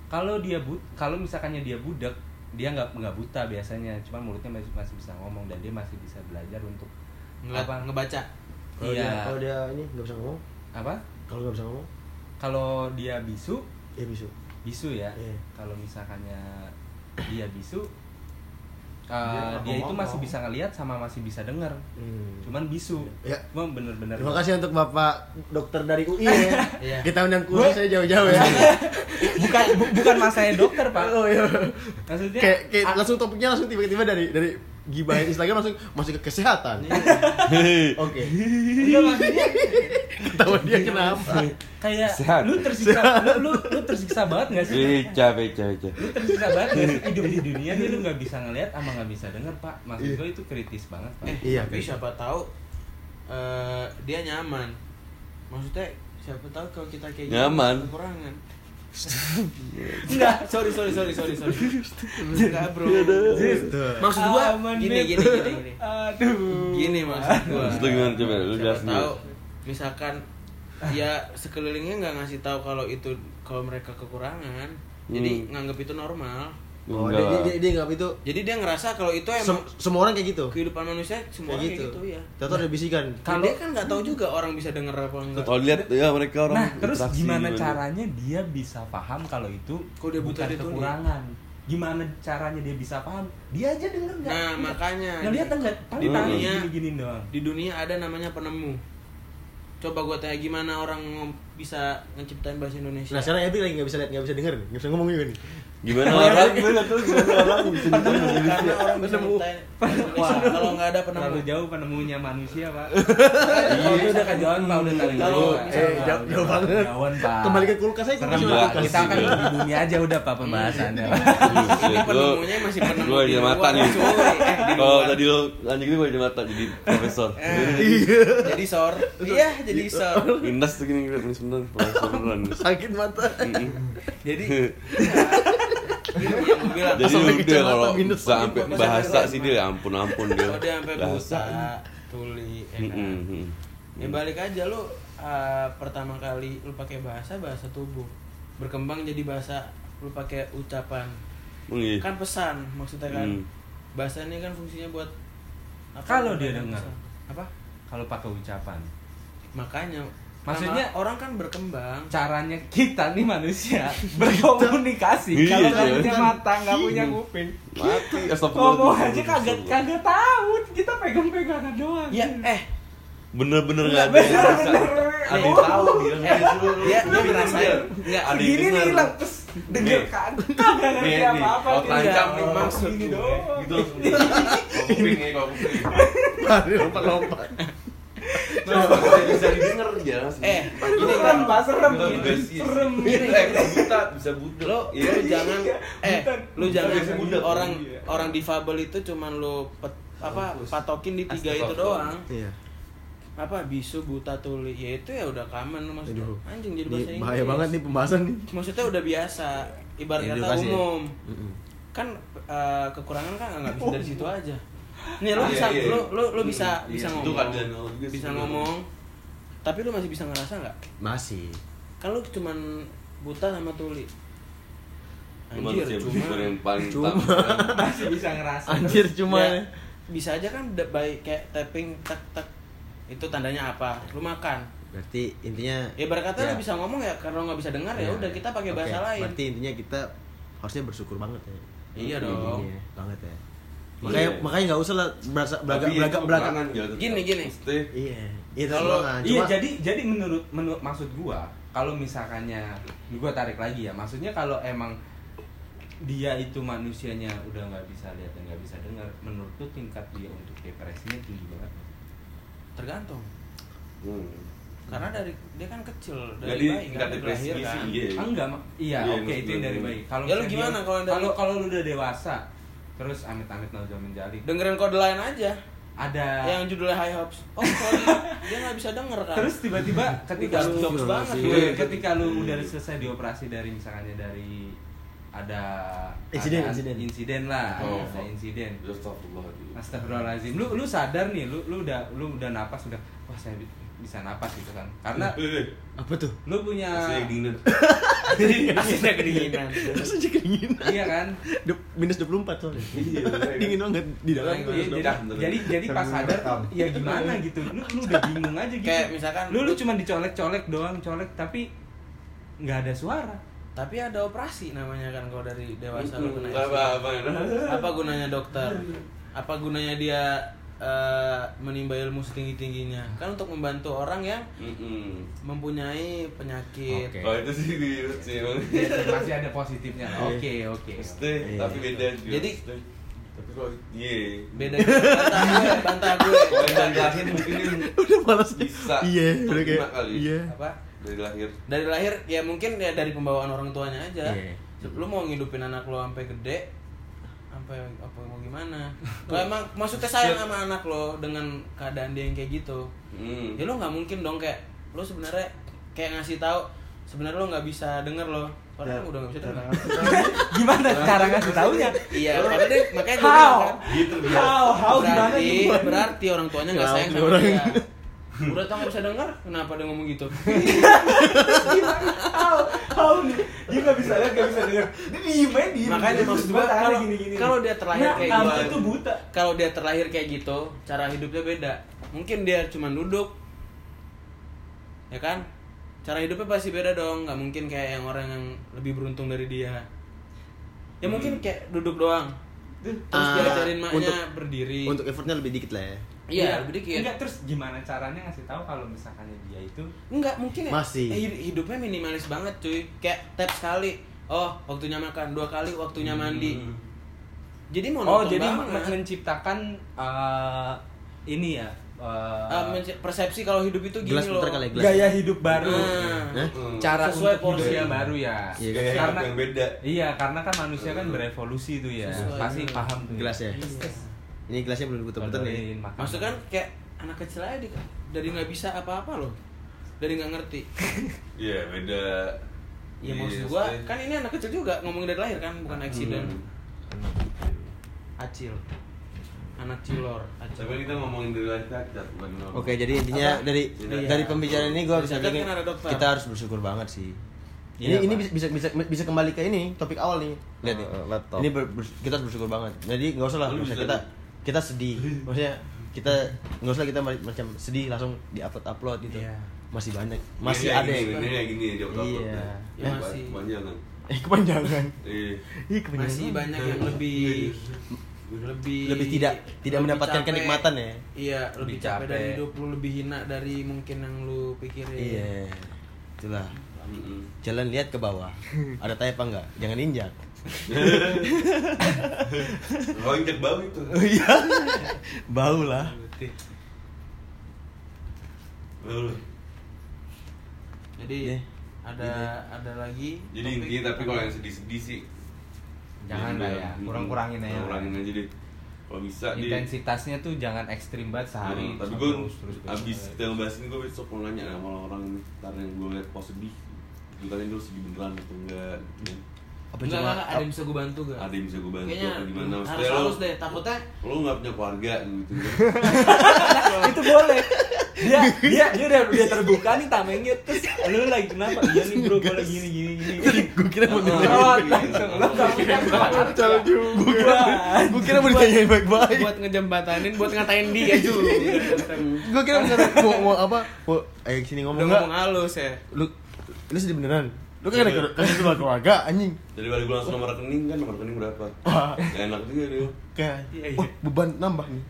[SPEAKER 5] Kalau dia but kalau misalkannya dia budak, dia nggak nggak buta biasanya, cuman mulutnya masih masih bisa ngomong dan dia masih bisa belajar untuk
[SPEAKER 2] ngeliat
[SPEAKER 5] apa?
[SPEAKER 2] ngebaca
[SPEAKER 1] Kalau
[SPEAKER 5] iya.
[SPEAKER 1] dia kalau dia ini nggak bisa ngomong,
[SPEAKER 5] apa?
[SPEAKER 1] kalau nggak bisa ngomong,
[SPEAKER 5] Kalau dia bisu,
[SPEAKER 1] ya bisu.
[SPEAKER 5] bisu ya.
[SPEAKER 1] Iya.
[SPEAKER 5] Kalau misalkannya dia bisu uh, dia itu masih bisa ngelihat sama masih bisa dengar
[SPEAKER 1] Hmm.
[SPEAKER 5] cuman bisu
[SPEAKER 1] Ya.
[SPEAKER 5] cuma bener-bener
[SPEAKER 1] Terima kasih untuk Bapak dokter dari UI
[SPEAKER 2] [laughs] Iya.
[SPEAKER 1] ya. Kita undang kursus saya jauh-jauh ya.
[SPEAKER 5] bukan bu- bukan masanya dokter pak
[SPEAKER 1] Oh, iya.
[SPEAKER 5] maksudnya
[SPEAKER 1] [laughs] Kayak, kayak
[SPEAKER 5] a-
[SPEAKER 1] langsung topiknya langsung tiba-tiba dari dari gibahin Instagram langsung masuk ke kesehatan.
[SPEAKER 2] Iya.
[SPEAKER 1] [laughs] Oke.
[SPEAKER 5] enggak, maksudnya
[SPEAKER 1] Ketawa dia
[SPEAKER 2] Iya.
[SPEAKER 1] kenapa?
[SPEAKER 5] kayak
[SPEAKER 3] Sehat. Iya.
[SPEAKER 5] lu tersiksa lu, lu lu tersiksa banget gak sih
[SPEAKER 3] Beca, beca, beca.
[SPEAKER 5] lu tersiksa banget gak sih hidup di dunia nih lu nggak bisa ngelihat sama nggak bisa denger pak maksud gue itu kritis banget pak
[SPEAKER 2] Eh,
[SPEAKER 1] Iya,
[SPEAKER 2] tapi
[SPEAKER 1] kan.
[SPEAKER 2] siapa tahu eh, dia nyaman. Maksudnya siapa tahu kalau kita kayak gini,
[SPEAKER 3] Nyaman.
[SPEAKER 2] kekurangan. Enggak, sorry sorry sorry sorry sorry. Enggak, Bro.
[SPEAKER 3] Iya,
[SPEAKER 2] Maksud gua
[SPEAKER 5] Aman,
[SPEAKER 2] gini
[SPEAKER 5] Beb.
[SPEAKER 2] gini gini. gini.
[SPEAKER 5] aduh
[SPEAKER 2] Gini maksud gua.
[SPEAKER 3] Terus lu gimana coba? Lu
[SPEAKER 2] Siapa
[SPEAKER 3] jelasin
[SPEAKER 2] tahu
[SPEAKER 3] dulu.
[SPEAKER 2] misalkan ya sekelilingnya nggak ngasih tahu kalau itu kalau mereka kekurangan. Jadi
[SPEAKER 3] Hmm.
[SPEAKER 2] nganggap itu normal.
[SPEAKER 1] Oh,
[SPEAKER 3] Enggak
[SPEAKER 1] dia, dia,
[SPEAKER 3] lah.
[SPEAKER 1] dia, dia nggak itu
[SPEAKER 2] Jadi dia ngerasa kalau itu Iya, emang
[SPEAKER 1] Sem- semua orang kayak gitu.
[SPEAKER 2] kehidupan manusia
[SPEAKER 1] Kayak
[SPEAKER 2] semua orang
[SPEAKER 1] gitu.
[SPEAKER 2] kayak gitu ya.
[SPEAKER 1] Tahu ada bisikan.
[SPEAKER 2] Kalau dia kan nggak tahu juga orang bisa denger apa enggak.
[SPEAKER 3] Kalau lihat ya mereka orang
[SPEAKER 5] nah terus
[SPEAKER 3] interaksi
[SPEAKER 5] gimana
[SPEAKER 1] gitu.
[SPEAKER 5] caranya dia bisa paham kalau itu
[SPEAKER 2] Kok dia buta
[SPEAKER 5] bukan
[SPEAKER 2] dia tuli?
[SPEAKER 5] kekurangan gimana caranya dia bisa paham dia aja denger nggak
[SPEAKER 2] Nah,
[SPEAKER 5] Nggak.
[SPEAKER 2] makanya.
[SPEAKER 5] ngeliat enggak paling
[SPEAKER 3] Hmm.
[SPEAKER 5] tangan
[SPEAKER 2] Iya.
[SPEAKER 5] gini gini doang
[SPEAKER 2] Di dunia ada namanya penemu. Coba gue tanya gimana orang ngom- bisa ngeciptain bahasa Indonesia.
[SPEAKER 1] Nah, sekarang Ebi lagi nggak bisa lihat, nggak bisa denger, nih, nggak bisa ngomong juga nih.
[SPEAKER 3] Gimana orang? Gimana tuh gimana orang bisa
[SPEAKER 2] Penemu,
[SPEAKER 3] ditanya
[SPEAKER 2] karena orang bisa ngeciptain bahasa Indonesia. Kalau nggak ada penemu.
[SPEAKER 5] terlalu jauh penemunya manusia [laughs] pak kalau itu udah kejauhan pak udah tadi
[SPEAKER 2] Kalau
[SPEAKER 5] dulu, Pak.
[SPEAKER 2] bisa-
[SPEAKER 1] Eh, jauh,
[SPEAKER 5] Udah,
[SPEAKER 1] jauh
[SPEAKER 5] Pak.
[SPEAKER 1] banget.
[SPEAKER 5] Kejauhan, pak
[SPEAKER 1] Kembali ke kulkas aja,
[SPEAKER 5] Serem,
[SPEAKER 1] kulkas
[SPEAKER 5] Pak.
[SPEAKER 1] cuma kulkas.
[SPEAKER 5] kita akan di dunia aja udah pak
[SPEAKER 1] [laughs]
[SPEAKER 5] pembahasannya Pak.
[SPEAKER 3] Iya,
[SPEAKER 2] Ini penemunya masih penemu.
[SPEAKER 3] Gue
[SPEAKER 2] di
[SPEAKER 3] aja
[SPEAKER 2] luar,
[SPEAKER 3] mata nih.
[SPEAKER 2] cuy. Eh, di
[SPEAKER 3] Kalau
[SPEAKER 2] luar.
[SPEAKER 3] tadi lo lanjut gitu gue aja mata jadi profesor.
[SPEAKER 2] jadi sor. Iya, jadi sor.
[SPEAKER 3] Indas tuh gini ngeliat ini sebenarnya [laughs] profesor beneran.
[SPEAKER 1] Sakit mata. [laughs]
[SPEAKER 3] Mm-mm.
[SPEAKER 2] Jadi Gini Gitu yang gue bilang.
[SPEAKER 3] Jadi
[SPEAKER 1] Sampai
[SPEAKER 3] udah
[SPEAKER 1] kecamatan
[SPEAKER 3] kalau
[SPEAKER 1] minus.
[SPEAKER 3] nggak sampai bahasa sih dia ampun ampun [laughs] dia.
[SPEAKER 2] Kalau dia sampai
[SPEAKER 3] Bahasa.
[SPEAKER 2] buta, tuli, ya kan?
[SPEAKER 3] Mm-mm, mm-mm.
[SPEAKER 2] Ya
[SPEAKER 1] Hmm.
[SPEAKER 2] balik aja lu uh, pertama kali lu pakai bahasa bahasa tubuh. Berkembang jadi bahasa lu pakai ucapan.
[SPEAKER 3] Oh, iya.
[SPEAKER 2] Kan pesan maksudnya kan.
[SPEAKER 3] Hmm.
[SPEAKER 2] Bahasa ini kan fungsinya buat apa?
[SPEAKER 5] Kalau dia
[SPEAKER 2] Bukan
[SPEAKER 5] dengar.
[SPEAKER 2] pesan. Apa?
[SPEAKER 5] kalau pakai ucapan
[SPEAKER 2] Makanya
[SPEAKER 5] Maksudnya-
[SPEAKER 2] lama- orang kan berkembang.
[SPEAKER 5] caranya kita nih manusia [laughs] berkomunikasi
[SPEAKER 3] Iya.
[SPEAKER 5] kalau nggak punya mata nggak punya kuping
[SPEAKER 3] Mati astagfirullah.
[SPEAKER 5] ngomong aja kagak
[SPEAKER 3] kan?
[SPEAKER 5] kagak tahu kita pegang pegangan doang
[SPEAKER 2] Ya eh
[SPEAKER 3] Bener-bener nggak ada. yang bisa.
[SPEAKER 5] Oh,
[SPEAKER 3] Ada yang tahu dia nggak disuruh.
[SPEAKER 2] dia dia ngerasain enggak
[SPEAKER 3] Ada yang
[SPEAKER 5] gini nih
[SPEAKER 3] dengar.
[SPEAKER 5] hilang terus denger
[SPEAKER 3] Nih.
[SPEAKER 5] kan kagak ngerti
[SPEAKER 3] Nih, nih,
[SPEAKER 5] apa apa
[SPEAKER 3] kalau tancap nih,
[SPEAKER 5] maksud
[SPEAKER 3] Iya. maksud
[SPEAKER 5] gini
[SPEAKER 3] gue.
[SPEAKER 5] doang
[SPEAKER 3] Gitu langsung. Kalau kuping nih, kalau [laughs] kuping.
[SPEAKER 1] Mari lompat-lompat.
[SPEAKER 3] Bisa- Bisa didengar dia langsung.
[SPEAKER 2] eh gini
[SPEAKER 5] serem
[SPEAKER 2] kan
[SPEAKER 5] pak serem
[SPEAKER 3] Gitu,
[SPEAKER 5] gitu
[SPEAKER 3] guys.
[SPEAKER 5] serem
[SPEAKER 3] Gitu, eh, bisa buta, bisa buta.
[SPEAKER 2] lu
[SPEAKER 3] Iya.
[SPEAKER 2] lu jangan eh lu
[SPEAKER 3] Bukan
[SPEAKER 2] jangan
[SPEAKER 3] biasa budak.
[SPEAKER 2] orang
[SPEAKER 3] Iya.
[SPEAKER 2] orang difabel itu cuman lu pet- apa patokin di tiga itu doang
[SPEAKER 3] Astagfirullah.
[SPEAKER 1] Iya.
[SPEAKER 2] apa bisu buta tuli ya itu ya udah common lu maksudnya
[SPEAKER 1] Aduh.
[SPEAKER 2] anjing jadi bahasa
[SPEAKER 1] Ini
[SPEAKER 2] Inggris
[SPEAKER 1] bahaya banget nih pembahasan nih.
[SPEAKER 2] maksudnya udah biasa ibarat kata
[SPEAKER 1] Edukasi ya?
[SPEAKER 2] umum
[SPEAKER 1] Mm-mm.
[SPEAKER 2] kan eh, kekurangan kan nggak bisa dari situ aja nih lo
[SPEAKER 3] Iya,
[SPEAKER 2] bisa
[SPEAKER 3] iya.
[SPEAKER 2] lo lo lo bisa
[SPEAKER 3] Iya,
[SPEAKER 2] bisa
[SPEAKER 3] itu
[SPEAKER 2] ngomong
[SPEAKER 3] kan dan lo juga
[SPEAKER 2] bisa
[SPEAKER 3] sebenarnya.
[SPEAKER 2] ngomong tapi lo masih bisa ngerasa nggak
[SPEAKER 1] Masih.
[SPEAKER 2] kalau cuman buta sama tuli
[SPEAKER 3] Manusia
[SPEAKER 2] anjir
[SPEAKER 3] bersyukur
[SPEAKER 2] cuma
[SPEAKER 3] yang paling kan.
[SPEAKER 1] Cuma.
[SPEAKER 3] utama.
[SPEAKER 5] masih bisa ngerasa
[SPEAKER 1] Anjir cuma
[SPEAKER 2] Ya, bisa aja kan udah baik kayak tapping tek tek itu tandanya apa lu makan
[SPEAKER 1] berarti intinya
[SPEAKER 2] ya berkata
[SPEAKER 1] Ya.
[SPEAKER 2] lu bisa ngomong ya karena lu nggak bisa dengar ya udah kita pakai
[SPEAKER 1] Oke,
[SPEAKER 2] bahasa lain
[SPEAKER 1] Berarti intinya kita harusnya bersyukur banget ya. Iya,
[SPEAKER 2] iya dong
[SPEAKER 1] banget ya. Makanya
[SPEAKER 3] Iya.
[SPEAKER 1] makanya nggak usah lah berasa belaga
[SPEAKER 3] Tapi ya,
[SPEAKER 1] belaga
[SPEAKER 3] itu
[SPEAKER 1] belaga.
[SPEAKER 3] belakangan,
[SPEAKER 5] gitu.
[SPEAKER 3] ya, tetap.
[SPEAKER 2] Gini, gini.
[SPEAKER 3] Maksudnya,
[SPEAKER 1] Iya. Iya
[SPEAKER 2] Kalau-
[SPEAKER 1] terus
[SPEAKER 5] iya jadi jadi menurut menurut maksud gua kalau misalkannya gua tarik lagi ya maksudnya kalau emang dia itu manusianya udah nggak bisa lihat dan nggak bisa dengar menurut lu tingkat dia untuk depresinya tinggi banget
[SPEAKER 2] tergantung
[SPEAKER 3] hmm.
[SPEAKER 2] karena dari dia kan kecil dari
[SPEAKER 3] Jadi
[SPEAKER 2] bayi
[SPEAKER 3] tingkat
[SPEAKER 2] kan dari
[SPEAKER 3] depresi
[SPEAKER 2] lahir
[SPEAKER 3] sih
[SPEAKER 2] kan
[SPEAKER 3] iya.
[SPEAKER 5] Ah, enggak Mak. iya
[SPEAKER 3] Iya,
[SPEAKER 5] oke itu yang dari
[SPEAKER 3] maksudnya.
[SPEAKER 5] bayi kalau
[SPEAKER 2] Ya, lu
[SPEAKER 5] misalnya
[SPEAKER 2] gimana
[SPEAKER 5] dia-
[SPEAKER 2] kalau yang dari-
[SPEAKER 5] kalau kalau lu udah dewasa terus amit amit nauzul menjadi
[SPEAKER 2] dengerin kode lain aja
[SPEAKER 5] ada
[SPEAKER 2] yang judulnya High Hopes oh [laughs] sorry dia nggak bisa denger kan
[SPEAKER 5] terus tiba-tiba ketika
[SPEAKER 2] Udah
[SPEAKER 5] lu
[SPEAKER 2] jokes banget
[SPEAKER 5] Iya,
[SPEAKER 2] gue.
[SPEAKER 5] ketika lu udah selesai dioperasi dari misalnya dari ada
[SPEAKER 1] Insiden,
[SPEAKER 5] ada
[SPEAKER 1] insiden.
[SPEAKER 5] insiden lah
[SPEAKER 3] Oh.
[SPEAKER 5] ada insiden
[SPEAKER 3] Astagfirullahaladzim.
[SPEAKER 5] Astagfirullahaladzim, lu lu sadar nih, lu lu udah lu udah napas udah, wah saya bi- bisa napas gitu kan,
[SPEAKER 3] [laughs]
[SPEAKER 5] karena
[SPEAKER 3] Eh, eh, eh.
[SPEAKER 1] Apa tuh?
[SPEAKER 2] Nah.
[SPEAKER 5] lu punya
[SPEAKER 3] Saya dingin.
[SPEAKER 2] aslinya kedinginan
[SPEAKER 1] Rasanya dingin.
[SPEAKER 5] [laughs] iya kan,
[SPEAKER 1] Dup- minus 24
[SPEAKER 3] Iya,
[SPEAKER 1] soalnya. dingin banget di dalam. [laughs]
[SPEAKER 5] Iya,
[SPEAKER 1] tuh,
[SPEAKER 5] jadi,
[SPEAKER 1] minus 24.
[SPEAKER 5] jadi jadi pas sadar tuh ya gimana gitu, lu lu udah bingung aja gitu,
[SPEAKER 2] Kayak misalkan-
[SPEAKER 5] lu lu cuma dicolek-colek doang, colek tapi nggak ada suara,
[SPEAKER 2] Tapi ada operasi namanya kan kalau dari dewasa lu kena
[SPEAKER 3] Apa
[SPEAKER 2] SIDA.
[SPEAKER 3] apa
[SPEAKER 2] Apa gunanya dokter? Apa gunanya dia eh, menimba ilmu setinggi tingginya? Kan untuk membantu orang yang
[SPEAKER 3] Mm-mm.
[SPEAKER 2] mempunyai penyakit.
[SPEAKER 7] Oke.
[SPEAKER 3] Oh Hmm. itu sih ribet sih emang.
[SPEAKER 5] Iya, masih ada positifnya
[SPEAKER 2] Iya.
[SPEAKER 5] lah. oke oke
[SPEAKER 3] Maksudnya, tapi beda juga.
[SPEAKER 2] Jadi-
[SPEAKER 3] Maksudnya, tapi kalau iya.
[SPEAKER 2] Beda gitu. bantah gue, bantah gue.
[SPEAKER 3] Kalau dari lahir mungkin
[SPEAKER 1] udah balesnya
[SPEAKER 3] bisa.
[SPEAKER 1] iya udah
[SPEAKER 3] terkena
[SPEAKER 1] kayak
[SPEAKER 3] kali.
[SPEAKER 1] iya
[SPEAKER 2] Apa?
[SPEAKER 3] Dari lahir.
[SPEAKER 2] Dari lahir ya mungkin ya dari pembawaan orang tuanya aja.
[SPEAKER 1] Iya.
[SPEAKER 2] Lu mau ngidupin anak lo sampai gede sampai apa mau gimana?
[SPEAKER 7] [laughs]
[SPEAKER 2] Lo emang maksudnya
[SPEAKER 7] Ya.
[SPEAKER 2] sayang sama anak lo dengan keadaan dia yang kayak gitu.
[SPEAKER 3] Hmm.
[SPEAKER 2] ya lo nggak mungkin dong kayak lo sebenarnya kayak ngasih tahu sebenarnya lo nggak bisa denger lo
[SPEAKER 7] Ya.
[SPEAKER 2] padahal udah nggak bisa
[SPEAKER 7] [laughs]
[SPEAKER 2] denger
[SPEAKER 7] Gimana cara ngasih taunya?
[SPEAKER 2] iya makanya dia- makanya gue
[SPEAKER 7] How?
[SPEAKER 2] bilang kan
[SPEAKER 3] Gitu dia.
[SPEAKER 7] How? How gimana Ya
[SPEAKER 2] berarti
[SPEAKER 7] gitu?
[SPEAKER 5] [laughs]
[SPEAKER 2] berarti orang tuanya nggak sayang
[SPEAKER 1] Kenapa
[SPEAKER 2] sama
[SPEAKER 1] orang?
[SPEAKER 2] dia udah tau nggak bisa denger kenapa dia ngomong gitu
[SPEAKER 8] How? How nih? Dia nggak bisa lihat, nggak bisa dengar. Dia diem aja, diem.
[SPEAKER 2] makanya maksud gue
[SPEAKER 8] Matanya
[SPEAKER 2] kalau
[SPEAKER 8] gini-gini.
[SPEAKER 2] kalau dia terlahir
[SPEAKER 8] Nah,
[SPEAKER 2] kayak
[SPEAKER 8] kamu
[SPEAKER 2] gitu
[SPEAKER 8] itu buta.
[SPEAKER 2] kalau dia terlahir kayak gitu cara hidupnya beda mungkin dia cuma duduk ya kan cara hidupnya pasti beda dong nggak mungkin kayak yang orang yang lebih beruntung dari dia ya mungkin kayak duduk doang terus
[SPEAKER 1] Ah,
[SPEAKER 2] diajarin maknya
[SPEAKER 1] untuk-
[SPEAKER 2] berdiri
[SPEAKER 1] untuk effortnya lebih dikit lah ya
[SPEAKER 2] iya lebih dikit
[SPEAKER 5] Enggak terus gimana caranya ngasih tahu kalau misalkannya dia itu
[SPEAKER 2] Enggak, mungkin ya-
[SPEAKER 1] Masih.
[SPEAKER 2] eh, hid- hidupnya minimalis banget cuy. Kayak tap sekali. Oh, waktunya makan. Dua kali waktunya mandi. Hmm. Jadi mau
[SPEAKER 5] Oh, jadi men- menciptakan eh, ini ya. eh,
[SPEAKER 2] Ah, persepsi kalau hidup itu gini
[SPEAKER 1] gelas
[SPEAKER 2] loh.
[SPEAKER 1] bentar kali ya, gelas
[SPEAKER 5] gaya hidup baru.
[SPEAKER 2] Nah,
[SPEAKER 1] Hah?
[SPEAKER 3] Hmm.
[SPEAKER 5] Cara
[SPEAKER 2] Sesuai
[SPEAKER 5] untuk
[SPEAKER 2] porsi.
[SPEAKER 5] hidupnya baru ya.
[SPEAKER 1] Iya,
[SPEAKER 3] Gaya hidup
[SPEAKER 5] karena
[SPEAKER 3] yang beda. Hmm.
[SPEAKER 5] Iya, karena kan manusia kan berevolusi tuh ya.
[SPEAKER 2] Sesuai.
[SPEAKER 5] Pasti paham tuh.
[SPEAKER 1] gelas ya
[SPEAKER 2] Iya.
[SPEAKER 1] ini gelasnya belum diputer-puter nih
[SPEAKER 5] Orderin makanan.
[SPEAKER 2] maksud kan kayak anak kecil aja di- dari nggak bisa apa-apa loh. Dari nggak ngerti.
[SPEAKER 3] Iya beda.
[SPEAKER 2] Ya
[SPEAKER 3] Iya,
[SPEAKER 2] maksud gua
[SPEAKER 3] maksudnya-
[SPEAKER 2] kan ini anak kecil juga ngomong dari lahir kan,
[SPEAKER 1] Iya.
[SPEAKER 2] bukan accident.
[SPEAKER 3] Hmm.
[SPEAKER 2] Acil. Anak cilor, acil.
[SPEAKER 3] Tapi kita ngomongin dari lahir kita bukan ngomong.
[SPEAKER 1] Oke, jadi intinya
[SPEAKER 2] Apa?
[SPEAKER 1] dari
[SPEAKER 2] Iya.
[SPEAKER 1] dari pembicaraan ini gue bisa
[SPEAKER 2] Dokter
[SPEAKER 1] bikin
[SPEAKER 2] kan ada dokter.
[SPEAKER 1] kita harus bersyukur banget sih. Ini
[SPEAKER 5] Iya,
[SPEAKER 1] ini
[SPEAKER 5] Pak.
[SPEAKER 1] bisa bisa bisa kembali ke ini topik awal nih. Eh, Lihat nih.
[SPEAKER 7] Oh, laptop.
[SPEAKER 1] Ini ber- ber- kita harus bersyukur banget. Jadi nggak usah lah
[SPEAKER 3] Lu
[SPEAKER 1] maksudnya
[SPEAKER 3] bisa
[SPEAKER 1] kita
[SPEAKER 3] nih.
[SPEAKER 1] kita sedih. Maksudnya kita nggak usah kita ma- macam sedih langsung di upload upload gitu.
[SPEAKER 2] Iya.
[SPEAKER 1] Masih banyak, masih
[SPEAKER 3] Ini
[SPEAKER 1] ada.
[SPEAKER 3] kayak
[SPEAKER 1] yang-
[SPEAKER 3] gini, Ini kayak gini ya jawab
[SPEAKER 1] Iya.
[SPEAKER 2] Ya, masih.
[SPEAKER 3] Kepanjangan.
[SPEAKER 1] Eh kepanjangan.
[SPEAKER 3] Iya.
[SPEAKER 1] Ih kepanjangan.
[SPEAKER 2] masih banyak yang lebih lebih
[SPEAKER 1] Iya, Lebih tidak- tidak mendapatkan kenikmatan ya?
[SPEAKER 2] Iya, lebih
[SPEAKER 5] Lebih
[SPEAKER 2] capek, dari
[SPEAKER 5] capek.
[SPEAKER 2] hidup lu, lebih hina dari mungkin yang lu pikirin.
[SPEAKER 1] Iya. Itulah.
[SPEAKER 3] Mm-mm.
[SPEAKER 1] Jalan lihat ke bawah. Ada tai apa enggak? Jangan injak.
[SPEAKER 3] Oh, injek bau itu.
[SPEAKER 1] Iya. Bau lah.
[SPEAKER 3] Bau.
[SPEAKER 2] Jadi
[SPEAKER 1] Iya.
[SPEAKER 2] ada ada lagi
[SPEAKER 3] Jadi
[SPEAKER 2] topik?
[SPEAKER 3] intinya tapi kalau yang sedih-sedih sih
[SPEAKER 5] Jangan lah ya,
[SPEAKER 3] Mm-mm.
[SPEAKER 5] kurang-kurangin aja.
[SPEAKER 3] Iya, Kurang-kurangin aja deh. Kalau bisa deh.
[SPEAKER 5] intensitasnya tuh jangan ekstrim banget sehari.
[SPEAKER 3] Hmm, tapi
[SPEAKER 5] sama
[SPEAKER 3] gue
[SPEAKER 5] terus-terus.
[SPEAKER 3] abis kita ngebahas ini gue besok mau nanya sama orang-orang ntar yang gue liat post sedih gue tanya dulu sedih beneran atau enggak gitu kan.
[SPEAKER 1] Apa
[SPEAKER 2] Enggak,
[SPEAKER 1] cuma
[SPEAKER 2] enggak, enggak, ada yang bisa gue bantu gak?
[SPEAKER 3] ada yang bisa gue bantu
[SPEAKER 2] Kayaknya
[SPEAKER 3] atau gimana
[SPEAKER 2] harus
[SPEAKER 3] Maksudnya lo-
[SPEAKER 2] halus deh, takutnya-
[SPEAKER 3] lo nggak punya keluarga gitu
[SPEAKER 7] itu boleh dia dia dia udah udah terbuka nih tamengnya terus lu lagi kenapa iya nih bro gue lagi gini gini gini
[SPEAKER 1] [laughs] gue kira mau
[SPEAKER 7] Oh, langsung lu nggak punya
[SPEAKER 1] Cara juga. Iya. Gue kira mau ditanyain baik-baik.
[SPEAKER 2] buat ngejembatanin, buat ngatain
[SPEAKER 3] [laughs]
[SPEAKER 2] dia juga.
[SPEAKER 1] Gue kira mau nanya, mau, mau apa? Mau ayo sini
[SPEAKER 2] Udah
[SPEAKER 1] ngomong
[SPEAKER 2] ngomong
[SPEAKER 1] enggak?
[SPEAKER 2] halus ya.
[SPEAKER 1] Lu lu sedih beneran. Lu kan ada kan itu keluarga anjing.
[SPEAKER 3] dari balik gue langsung nomor rekening kan nomor rekening
[SPEAKER 2] [laughs]
[SPEAKER 3] berapa
[SPEAKER 1] Wah.
[SPEAKER 3] Gak enak juga dia
[SPEAKER 1] Kayak
[SPEAKER 2] Iya, iya.
[SPEAKER 1] wah, beban nambah nih.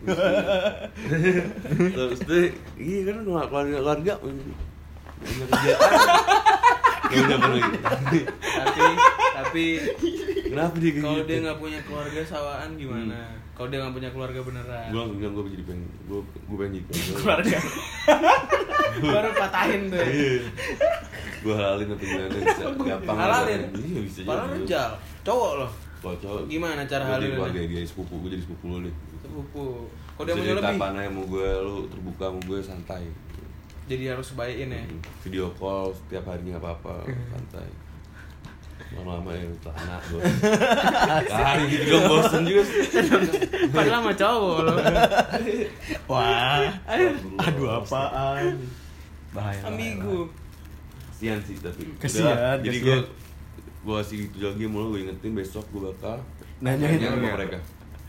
[SPEAKER 3] terus deh iya kan lu nggak keluarga keluarga nggak punya
[SPEAKER 2] [laughs]
[SPEAKER 3] kerjaan Gak punya keluarga.
[SPEAKER 2] tapi tapi
[SPEAKER 3] kenapa dia kayak
[SPEAKER 2] kalau
[SPEAKER 3] gitu?
[SPEAKER 2] dia nggak punya keluarga sawaan gimana?
[SPEAKER 3] Hmm.
[SPEAKER 2] Kalau dia nggak punya keluarga beneran.
[SPEAKER 3] gue langsung bilang gue jadi pengen gue gue pengen jadi keluarga
[SPEAKER 2] keluarga baru patahin tuh
[SPEAKER 3] gue Iya. halalin atau
[SPEAKER 2] [laughs]
[SPEAKER 3] gimana bisa gampang
[SPEAKER 2] halalin
[SPEAKER 3] iya bisa
[SPEAKER 2] malah
[SPEAKER 3] jadi
[SPEAKER 2] rejal cowok loh
[SPEAKER 3] Kalau cowok
[SPEAKER 2] Gimana cara
[SPEAKER 3] gua jadi
[SPEAKER 2] halilinnya?
[SPEAKER 3] keluarga dia sepupu gue jadi sepupu lo deh
[SPEAKER 2] sepupu kok dia punya
[SPEAKER 3] jadi
[SPEAKER 2] lebih
[SPEAKER 3] kapan aja mau gue lu terbuka mau gue santai
[SPEAKER 2] jadi harus bayain ya
[SPEAKER 3] Hmm. video call setiap hari nggak apa-apa santai lama-lama ya udah anak gue hari gitu gue bosen juga sih.
[SPEAKER 2] padahal sama cowok
[SPEAKER 3] [laughs]
[SPEAKER 2] loh
[SPEAKER 1] Wah. Aduh
[SPEAKER 3] Astagfirullah.
[SPEAKER 1] apaan. Bahaya.
[SPEAKER 2] ambigu
[SPEAKER 3] kasihan sih tapi
[SPEAKER 1] Kasihan,
[SPEAKER 3] Udah, jadi gue
[SPEAKER 1] kasihan.
[SPEAKER 3] gue kasih itu lagi mulu gue ingetin besok gue bakal
[SPEAKER 1] Nanyain
[SPEAKER 3] nanya sama
[SPEAKER 1] mereka.
[SPEAKER 3] mereka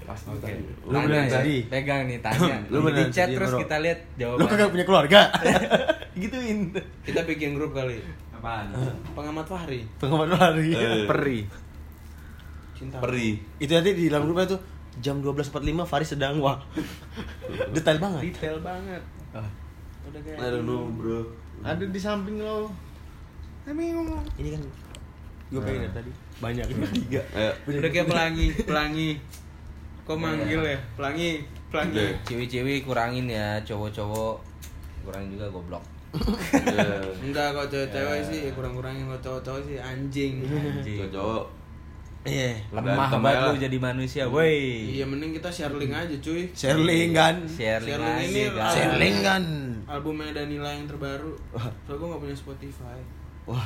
[SPEAKER 3] pasti
[SPEAKER 5] Oke.
[SPEAKER 3] tanya.
[SPEAKER 1] Lu beneran
[SPEAKER 5] Tanya ya,
[SPEAKER 1] sedih?
[SPEAKER 5] Pegang nih tanya.
[SPEAKER 1] Lu
[SPEAKER 5] di
[SPEAKER 1] beneran
[SPEAKER 5] chat
[SPEAKER 1] sedih,
[SPEAKER 5] terus
[SPEAKER 1] bro?
[SPEAKER 5] kita lihat
[SPEAKER 1] Lu
[SPEAKER 5] [laughs] jawabannya.
[SPEAKER 1] kagak punya keluarga. Gituin.
[SPEAKER 2] kita bikin grup kali
[SPEAKER 5] Apa? apaan?
[SPEAKER 2] Pengamat Fahri.
[SPEAKER 1] Pengamat Fahri.
[SPEAKER 3] Eh.
[SPEAKER 7] Peri.
[SPEAKER 2] Cinta.
[SPEAKER 3] Peri.
[SPEAKER 1] Itu nanti di dalam grupnya tuh jam 12.45 Fahri sedang [laughs] wah. Detail banget.
[SPEAKER 2] Detail banget. Udah kayak.
[SPEAKER 3] I don't know, bro.
[SPEAKER 2] Ada di samping lo.
[SPEAKER 1] Ini kan gue pengen dari tadi. Banyak ini tiga.
[SPEAKER 3] Nah. Hmm.
[SPEAKER 1] gitu?
[SPEAKER 3] Ayo.
[SPEAKER 2] Udah kayak pelangi, pelangi. Kok manggil ya? Pelangi, pelangi.
[SPEAKER 5] Iya.
[SPEAKER 3] Udah.
[SPEAKER 5] Cewek-cewek kurangin ya, cowok-cowok kurangin juga goblok.
[SPEAKER 3] Eh,
[SPEAKER 2] Enggak kok cewek-cewek sih kurang-kurangin kok cowok-cowok sih anjing.
[SPEAKER 5] Anjing.
[SPEAKER 3] Cowok-cowok.
[SPEAKER 1] Iya.
[SPEAKER 5] Lemah
[SPEAKER 3] Berantem
[SPEAKER 5] banget
[SPEAKER 3] aja
[SPEAKER 5] lu
[SPEAKER 3] lah.
[SPEAKER 5] jadi manusia, woi.
[SPEAKER 2] Iya mending kita share link aja cuy.
[SPEAKER 1] Share link kan.
[SPEAKER 5] Sharing
[SPEAKER 2] Sharing
[SPEAKER 5] aja,
[SPEAKER 2] ini
[SPEAKER 5] guys.
[SPEAKER 1] Share link kan.
[SPEAKER 2] Albumnya Danila yang terbaru. Soalnya gue gak punya Spotify.
[SPEAKER 1] Wah,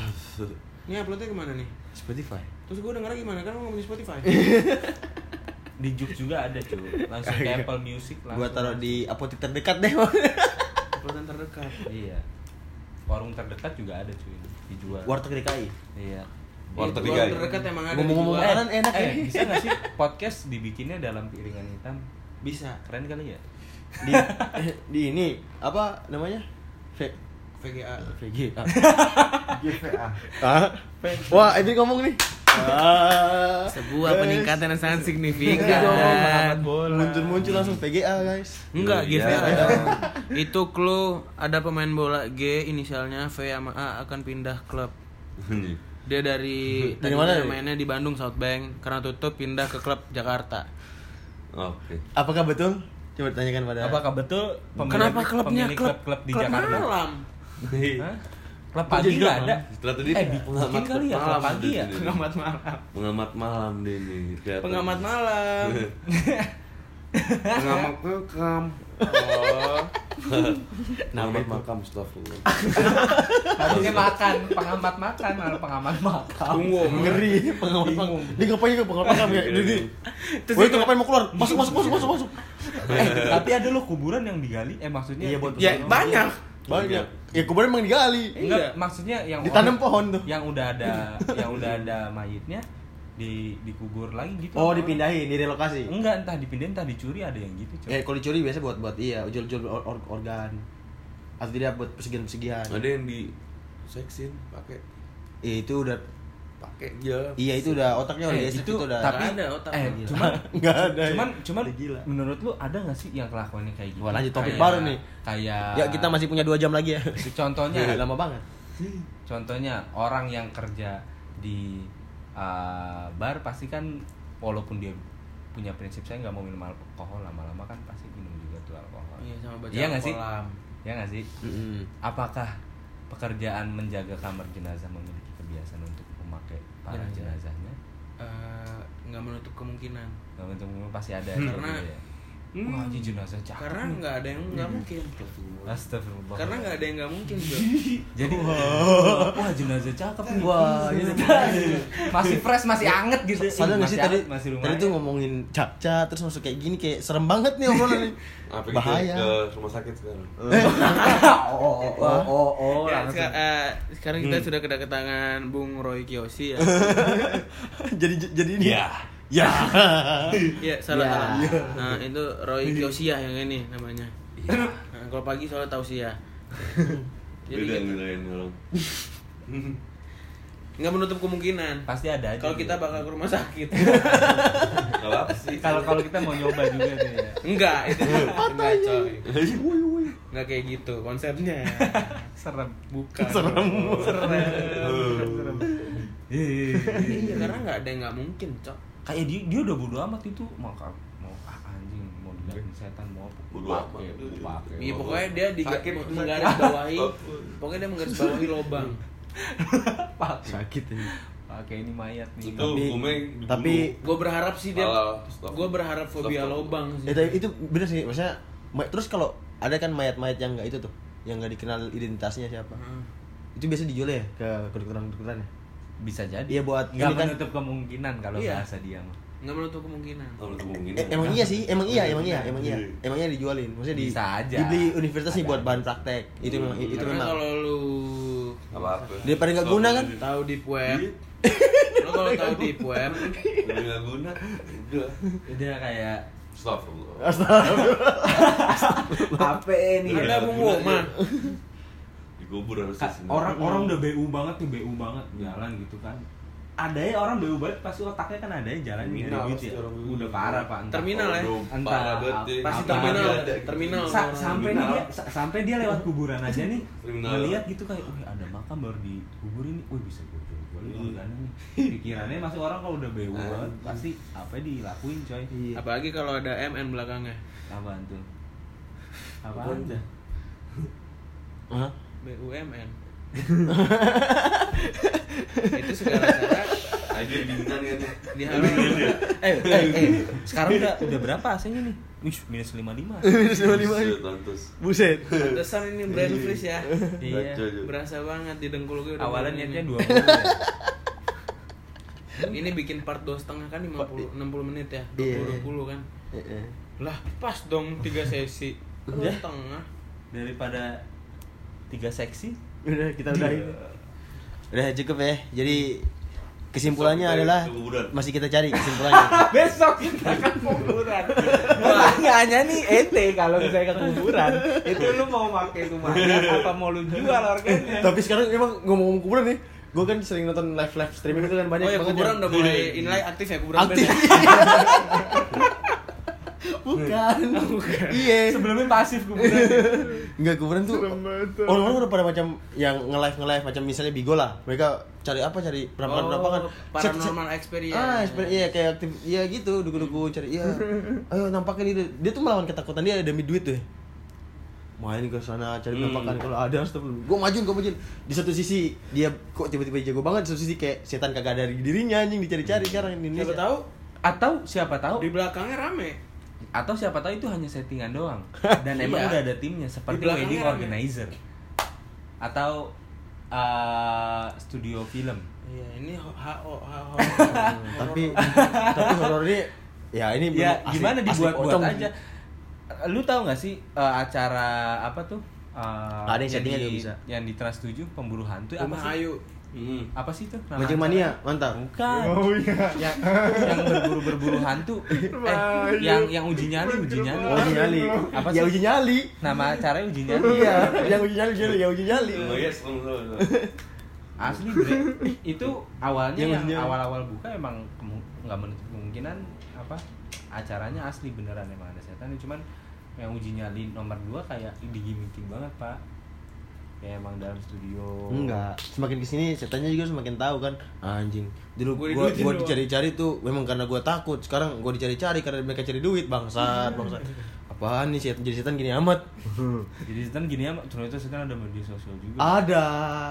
[SPEAKER 2] Ini uploadnya kemana nih?
[SPEAKER 1] Spotify.
[SPEAKER 2] Terus gue dengarnya gimana kan lo gak punya Spotify?
[SPEAKER 5] Di Juk juga ada, cuy. Langsung ke Apple Music langsung.
[SPEAKER 1] Gua taruh di apotek terdekat deh.
[SPEAKER 2] Uploadan terdekat.
[SPEAKER 5] Iya. Warung terdekat juga ada, cuy. Dijual.
[SPEAKER 1] Warteg DKI.
[SPEAKER 5] Iya.
[SPEAKER 3] Warteg
[SPEAKER 2] Iya,
[SPEAKER 3] DKI.
[SPEAKER 2] terdekat emang ada.
[SPEAKER 1] Ngomong-ngomong
[SPEAKER 2] dijual.
[SPEAKER 1] makanan enak ya.
[SPEAKER 5] eh, bisa gak sih podcast dibikinnya dalam piringan hitam?
[SPEAKER 2] bisa
[SPEAKER 5] Keren kali ya?
[SPEAKER 1] Di di ini apa namanya? V
[SPEAKER 2] VGA.
[SPEAKER 1] VG.
[SPEAKER 4] GVA
[SPEAKER 1] Ah. Wah, ini ngomong nih. Ah.
[SPEAKER 5] Sebuah peningkatan yang sangat signifikan.
[SPEAKER 1] Ini ngomong pengamat Muncul-muncul langsung VGA, guys.
[SPEAKER 2] Enggak,
[SPEAKER 3] Iya.
[SPEAKER 2] GVA. Itu clue ada pemain bola G inisialnya V sama A akan pindah klub.
[SPEAKER 3] [laughs] Ini.
[SPEAKER 2] Dia
[SPEAKER 5] [laughs]
[SPEAKER 2] dari
[SPEAKER 1] Dari
[SPEAKER 2] tadi
[SPEAKER 1] mana
[SPEAKER 2] dia
[SPEAKER 1] ya?
[SPEAKER 2] mainnya di Bandung South Bank karena tutup pindah ke klub Jakarta.
[SPEAKER 3] Oke.
[SPEAKER 1] Apakah betul? Coba tanyakan pada
[SPEAKER 5] Apakah betul pemilik-
[SPEAKER 2] Kenapa klubnya
[SPEAKER 5] pemilik
[SPEAKER 2] klub
[SPEAKER 5] klub di
[SPEAKER 2] klub
[SPEAKER 5] Jakarta?
[SPEAKER 2] malam?
[SPEAKER 5] Hah? Klub pagi nggak ada.
[SPEAKER 3] Setelah tadi
[SPEAKER 5] Eh, bikin kali ya klub pagi
[SPEAKER 3] dia
[SPEAKER 5] ya.
[SPEAKER 3] tadi.
[SPEAKER 2] Pengamat malam.
[SPEAKER 3] Pengamat malam deh ini. kelihatan.
[SPEAKER 2] Pengamat
[SPEAKER 5] [laughs]
[SPEAKER 2] malam.
[SPEAKER 3] Iya.
[SPEAKER 1] [laughs]
[SPEAKER 3] Pengamat makam. [laughs]
[SPEAKER 2] Oh.
[SPEAKER 3] Pengamat makam astagfirullah.
[SPEAKER 5] Harusnya makan, pengamat makan, malah pengamat makan.
[SPEAKER 1] Tunggu, Ah,
[SPEAKER 5] [laughs]
[SPEAKER 1] ngeri pengamat pang. Dia ngapain ke pengamat pang ya? Dia. dia-
[SPEAKER 5] Terus
[SPEAKER 1] Woi, itu
[SPEAKER 5] dia-
[SPEAKER 1] ngapain mau keluar? Masuk, masuk, masuk, masuk, masuk.
[SPEAKER 5] Eh, tapi ada loh kuburan yang digali. Eh maksudnya
[SPEAKER 1] Iya, buat-
[SPEAKER 2] ya banyak.
[SPEAKER 5] Iya.
[SPEAKER 1] Banyak. Ya kuburan emang digali.
[SPEAKER 5] Enggak, maksudnya yang
[SPEAKER 1] Ditanam
[SPEAKER 5] orang-
[SPEAKER 1] pohon tuh.
[SPEAKER 5] yang udah ada yang udah ada mayitnya di dikubur lagi gitu.
[SPEAKER 1] Oh, dipindahin, direlokasi.
[SPEAKER 5] Enggak, entah dipindahin, entah dicuri ada yang gitu, coy.
[SPEAKER 1] Ya, kalau dicuri biasa buat buat iya, jual-jual or- or- organ. Atau tidak buat persegian-persegian.
[SPEAKER 3] Ada yang di seksin pakai
[SPEAKER 1] Ya, itu udah
[SPEAKER 3] pakai aja.
[SPEAKER 1] iya itu udah otaknya udah
[SPEAKER 5] Eh,
[SPEAKER 1] gesek,
[SPEAKER 5] itu
[SPEAKER 1] udah.
[SPEAKER 5] tapi
[SPEAKER 2] Nggak ada otak.
[SPEAKER 5] eh,
[SPEAKER 1] Gila.
[SPEAKER 5] cuman
[SPEAKER 1] [laughs] Nggak ada. ya.
[SPEAKER 5] cuman cuman
[SPEAKER 1] Udah gila.
[SPEAKER 5] menurut lu ada nggak sih yang kelakuannya kayak gitu?
[SPEAKER 1] Wah, lanjut topik
[SPEAKER 5] Kayak-
[SPEAKER 1] baru nih.
[SPEAKER 5] Kayak
[SPEAKER 1] Ya kita masih punya dua jam lagi ya.
[SPEAKER 5] contohnya
[SPEAKER 1] Lama banget.
[SPEAKER 5] contohnya orang yang kerja di uh, bar pasti kan walaupun dia punya prinsip saya nggak mau minum alkohol lama-lama kan pasti minum juga tuh alkohol.
[SPEAKER 2] Iya sama baca
[SPEAKER 5] Iya nggak sih?
[SPEAKER 2] kolam.
[SPEAKER 5] Iya nggak sih?
[SPEAKER 1] Mm-mm.
[SPEAKER 5] Apakah pekerjaan menjaga kamar jenazah memiliki kebiasaan untuk memakai para
[SPEAKER 2] Iya.
[SPEAKER 5] jenazahnya?
[SPEAKER 2] Eh, nggak menutup kemungkinan.
[SPEAKER 5] Nah, untuk umum pasti ada
[SPEAKER 2] Karena-
[SPEAKER 5] gitu ya. Wah, ini jenazah cakep.
[SPEAKER 2] Karena
[SPEAKER 5] nih.
[SPEAKER 2] nggak ada yang nggak
[SPEAKER 5] Hmm.
[SPEAKER 2] mungkin.
[SPEAKER 5] Astagfirullah.
[SPEAKER 2] Karena nggak ada yang nggak mungkin. Bro.
[SPEAKER 5] Jadi [laughs] wah jenazah cakep nih.
[SPEAKER 1] Wah,
[SPEAKER 5] ini
[SPEAKER 1] ini
[SPEAKER 5] masih fresh, masih anget gitu.
[SPEAKER 1] Padahal nggak
[SPEAKER 5] masih
[SPEAKER 1] sih tadi
[SPEAKER 5] anget, masih lumayan.
[SPEAKER 1] tadi tuh ngomongin caca terus masuk kayak gini kayak serem banget nih obrolan ini.
[SPEAKER 3] [laughs] Apa kita
[SPEAKER 1] Bahaya.
[SPEAKER 3] ke rumah sakit sekarang?
[SPEAKER 5] [laughs] oh, oh, oh, oh, [laughs] oh,
[SPEAKER 2] Ya,
[SPEAKER 5] langsung. Hmm.
[SPEAKER 2] seka- eh, sekarang kita sudah kedatangan Bung Roy Kiyoshi ya.
[SPEAKER 1] [laughs]
[SPEAKER 5] [laughs]
[SPEAKER 1] jadi jadi ini.
[SPEAKER 5] Iya.
[SPEAKER 1] Ya. Ya.
[SPEAKER 2] Iya, salah
[SPEAKER 5] Ya.
[SPEAKER 2] salah. Nah, itu Roy Kiyoshi ya yang ini namanya. Nah, kalau pagi soalnya
[SPEAKER 3] [laughs]
[SPEAKER 2] tausiah. Jadi
[SPEAKER 3] Beda
[SPEAKER 2] gitu.
[SPEAKER 3] nilainya orang.
[SPEAKER 2] nggak menutup kemungkinan.
[SPEAKER 5] Pasti ada aja.
[SPEAKER 2] Kalau kita
[SPEAKER 5] gitu.
[SPEAKER 2] bakal ke rumah sakit.
[SPEAKER 3] Enggak apa-apa [laughs] sih.
[SPEAKER 5] kalau kalau kita mau nyoba juga tuh ya.
[SPEAKER 2] Enggak, itu enggak coy. Enggak kayak gitu konsepnya.
[SPEAKER 5] Serem.
[SPEAKER 2] Bukan.
[SPEAKER 1] Serem.
[SPEAKER 5] Serem. serem.
[SPEAKER 2] Iya, karena nggak ada yang nggak mungkin, Cok.
[SPEAKER 5] Kayak dia dia udah bodo amat itu mau mau ah, anjing mau dilihatin setan mau apa?
[SPEAKER 3] Bodo
[SPEAKER 5] Pakai,
[SPEAKER 3] amat.
[SPEAKER 5] pakai.
[SPEAKER 2] Iya, pokoknya dia di
[SPEAKER 3] Sakit, sakit.
[SPEAKER 2] menggaris bawahi. Pokoknya dia menggaris bawahi
[SPEAKER 3] [laughs]
[SPEAKER 2] lobang.
[SPEAKER 5] pakai.
[SPEAKER 1] Sakit ini.
[SPEAKER 5] Pakai ini mayat nih.
[SPEAKER 3] Itu hukumnya dibunuh.
[SPEAKER 1] tapi
[SPEAKER 2] Gue berharap sih dia
[SPEAKER 3] Halal, stop.
[SPEAKER 2] Gue berharap fobia
[SPEAKER 3] Stop.
[SPEAKER 2] lobang sih.
[SPEAKER 1] Eh, tapi itu bener sih maksudnya ma- terus kalau ada kan mayat-mayat yang nggak itu tuh yang nggak dikenal identitasnya siapa
[SPEAKER 2] Hmm.
[SPEAKER 1] itu biasa dijual ya ke kedokteran-kedokteran ya
[SPEAKER 5] bisa jadi
[SPEAKER 1] Iya, buat
[SPEAKER 5] nggak
[SPEAKER 1] ini kan-
[SPEAKER 5] menutup kemungkinan kalau
[SPEAKER 2] Iya.
[SPEAKER 5] bahasa dia mah
[SPEAKER 2] Nggak menutup kemungkinan.
[SPEAKER 3] Kalau ya. itu mungkin.
[SPEAKER 1] Eh, emang iya sih, emang iya, emang iya, emang iya, emangnya dijualin, maksudnya di,
[SPEAKER 5] ya. Bisa aja.
[SPEAKER 1] dibeli universitas nih
[SPEAKER 5] Ada. Hmm.
[SPEAKER 1] buat bahan praktek, itu memang, itu
[SPEAKER 2] Karena
[SPEAKER 1] memang.
[SPEAKER 2] kalau lu
[SPEAKER 3] Nggak apa-apa. Iya.
[SPEAKER 1] Daripada nggak guna kan?
[SPEAKER 2] tahu di web, lu kalau tahu di web,
[SPEAKER 3] Daripada nggak guna. Udah.
[SPEAKER 5] dia kayak
[SPEAKER 3] Stop.
[SPEAKER 5] apa ini
[SPEAKER 3] [laughs]
[SPEAKER 2] ada bung Woma,
[SPEAKER 3] Gobur harus
[SPEAKER 5] Iya,
[SPEAKER 3] Iya,
[SPEAKER 5] Ka- orang
[SPEAKER 3] Hmm.
[SPEAKER 5] orang udah BU banget nih BU banget jalan gitu kan ada ya orang BU banget pasti otaknya kan ada ya jalan nyari
[SPEAKER 3] Terminal
[SPEAKER 5] duit
[SPEAKER 3] pasti
[SPEAKER 5] ya
[SPEAKER 3] orang BU.
[SPEAKER 5] udah parah pak entah-
[SPEAKER 2] Terminal ya?
[SPEAKER 3] Aduh,
[SPEAKER 5] Entah
[SPEAKER 3] parah banget
[SPEAKER 5] apa-
[SPEAKER 3] ya.
[SPEAKER 2] Pasti
[SPEAKER 5] Apa
[SPEAKER 2] terminal,
[SPEAKER 5] dia
[SPEAKER 2] ada. terminal.
[SPEAKER 5] Sa- sampai
[SPEAKER 3] Terminal.
[SPEAKER 5] dia sa- sampai dia lewat kuburan aja nih
[SPEAKER 3] Terminal.
[SPEAKER 5] ngeliat gitu kayak wih ada makam baru dikuburin nih wih bisa gue jual
[SPEAKER 3] Iya.
[SPEAKER 5] nih pikirannya masuk orang kalau udah BU banget pasti apa dilakuin coy
[SPEAKER 2] Apalagi kalau ada MN belakangnya.
[SPEAKER 5] apaan tuh apaan
[SPEAKER 3] Apaan dah?
[SPEAKER 1] Hah?
[SPEAKER 5] [laughs]
[SPEAKER 2] BUMN. itu segala-gala
[SPEAKER 3] Aja bintan kan ya.
[SPEAKER 2] dihalang.
[SPEAKER 5] eh, eh, eh, sekarang udah udah berapa AC-nya nih wih minus lima lima
[SPEAKER 3] Buset, Lantus.
[SPEAKER 1] [laughs] Buset.
[SPEAKER 2] Pantesan ini brain freeze ya.
[SPEAKER 5] iya
[SPEAKER 3] Kacau juga.
[SPEAKER 2] Berasa banget di dengkul gue udah
[SPEAKER 5] awalnya
[SPEAKER 2] bunyi
[SPEAKER 5] niatnya
[SPEAKER 2] ini.
[SPEAKER 5] dua puluh ya.
[SPEAKER 2] Ini bikin part 2 setengah kan 50 60 menit ya.
[SPEAKER 5] Iya.
[SPEAKER 2] 20 20 kan.
[SPEAKER 1] Heeh.
[SPEAKER 2] Lah, pas dong 3 sesi.
[SPEAKER 5] Iya.
[SPEAKER 2] Udah setengah.
[SPEAKER 5] daripada tiga seksi
[SPEAKER 1] Udah kita udah ini. Udah cukup ya. Jadi kesimpulannya adalah
[SPEAKER 3] Keguguran.
[SPEAKER 1] masih kita cari kesimpulannya.
[SPEAKER 5] [laughs] besok kita akan kuburan pertanyaannya nih ente kalau misalnya ke kuburan itu lu mau pakai rumahnya apa mau lu jual organnya
[SPEAKER 1] [laughs] Tapi sekarang emang ngomong-ngomong kuburan nih, gue kan sering nonton live live streaming itu kan banyak
[SPEAKER 2] oh ya,
[SPEAKER 1] banget
[SPEAKER 2] kuburan
[SPEAKER 1] yang-
[SPEAKER 2] udah mulai inline aktif ya kuburan
[SPEAKER 1] aktif.
[SPEAKER 2] band ya? [laughs]
[SPEAKER 1] [laughs]
[SPEAKER 2] [laughs]
[SPEAKER 1] Bukan. Iya.
[SPEAKER 5] Eh, sebelumnya pasif kuburan
[SPEAKER 1] Enggak kuburan tuh orang-orang udah pada macam yang nge-live nge-live macam misalnya Bigola. Mereka cari apa? Cari perampokan perampokan.
[SPEAKER 2] Oh, paranormal experience.
[SPEAKER 1] Ah, sebenarnya iya kayak aktif iya gitu, duku-duku cari iya. Ayo nampaknya dia dia tuh melawan ketakutan dia demi duit tuh. Main ke sana cari penampakan kalau ada astagfirullah. Gua majuin, gua majuin. Di satu sisi dia kok tiba-tiba jago banget, di satu sisi kayak setan kagak ada di dirinya anjing dicari-cari sekarang di
[SPEAKER 2] Siapa
[SPEAKER 1] Indonesia.
[SPEAKER 2] tahu
[SPEAKER 5] atau siapa
[SPEAKER 2] di
[SPEAKER 5] tahu
[SPEAKER 2] belakangnya rame.
[SPEAKER 5] atau siapa tahu itu hanya settingan doang dan emang
[SPEAKER 2] Iya.
[SPEAKER 5] udah ada timnya seperti
[SPEAKER 2] Di belakangnya
[SPEAKER 5] wedding
[SPEAKER 2] ada.
[SPEAKER 5] organizer atau eh, studio film
[SPEAKER 2] Iya, ini ho- HO [laughs] HO.
[SPEAKER 1] Hmm, tapi tapi horor ini ya ini memang
[SPEAKER 5] ya
[SPEAKER 1] asli-
[SPEAKER 5] gimana
[SPEAKER 1] asli
[SPEAKER 5] dibuat buat
[SPEAKER 1] pocong.
[SPEAKER 5] aja lu tahu nggak sih eh, acara apa tuh Eh,
[SPEAKER 1] Ada yang settingnya
[SPEAKER 5] di-
[SPEAKER 1] juga bisa.
[SPEAKER 5] yang di Trans 7 pemburu hantu apa
[SPEAKER 2] Rumah
[SPEAKER 5] sih
[SPEAKER 2] Ayu.
[SPEAKER 3] Hmm.
[SPEAKER 5] apa sih itu nama
[SPEAKER 1] Mancing
[SPEAKER 5] acaranya?
[SPEAKER 1] mania, mantap.
[SPEAKER 5] Nah, bukan
[SPEAKER 4] Oh iya.
[SPEAKER 5] yang yang berburu berburu hantu eh
[SPEAKER 4] Ayu.
[SPEAKER 5] yang yang uji nyali uji nyali
[SPEAKER 1] Oh, uji nyali.
[SPEAKER 5] Apa
[SPEAKER 1] Ya
[SPEAKER 5] sih?
[SPEAKER 1] uji nyali.
[SPEAKER 5] nama acaranya uji nyali
[SPEAKER 1] Iya, yang uji nyali, uji nyali, ya uji nyali.
[SPEAKER 3] Oh yes, kamu tahu.
[SPEAKER 5] asli bre itu awalnya
[SPEAKER 1] Yang
[SPEAKER 5] yang
[SPEAKER 1] uji nyali.
[SPEAKER 5] awal awal buka emang kemu- nggak menutup kemungkinan apa acaranya asli beneran emang ada setan cuman yang uji nyali nomor dua kayak digimikin banget pak kayak emang dalam studio
[SPEAKER 1] Enggak, semakin kesini setannya juga semakin tahu kan Anjing, dulu
[SPEAKER 2] Gua
[SPEAKER 1] gua,
[SPEAKER 2] diduitin
[SPEAKER 1] gua
[SPEAKER 2] doang.
[SPEAKER 1] dicari-cari tuh memang karena gua takut Sekarang gua dicari-cari karena mereka cari duit, bangsat, bangsat Apaan nih setan, jadi setan gini
[SPEAKER 2] [laughs]
[SPEAKER 1] amat
[SPEAKER 5] jadi setan gini ya ternyata setan ada media sosial juga
[SPEAKER 1] Ada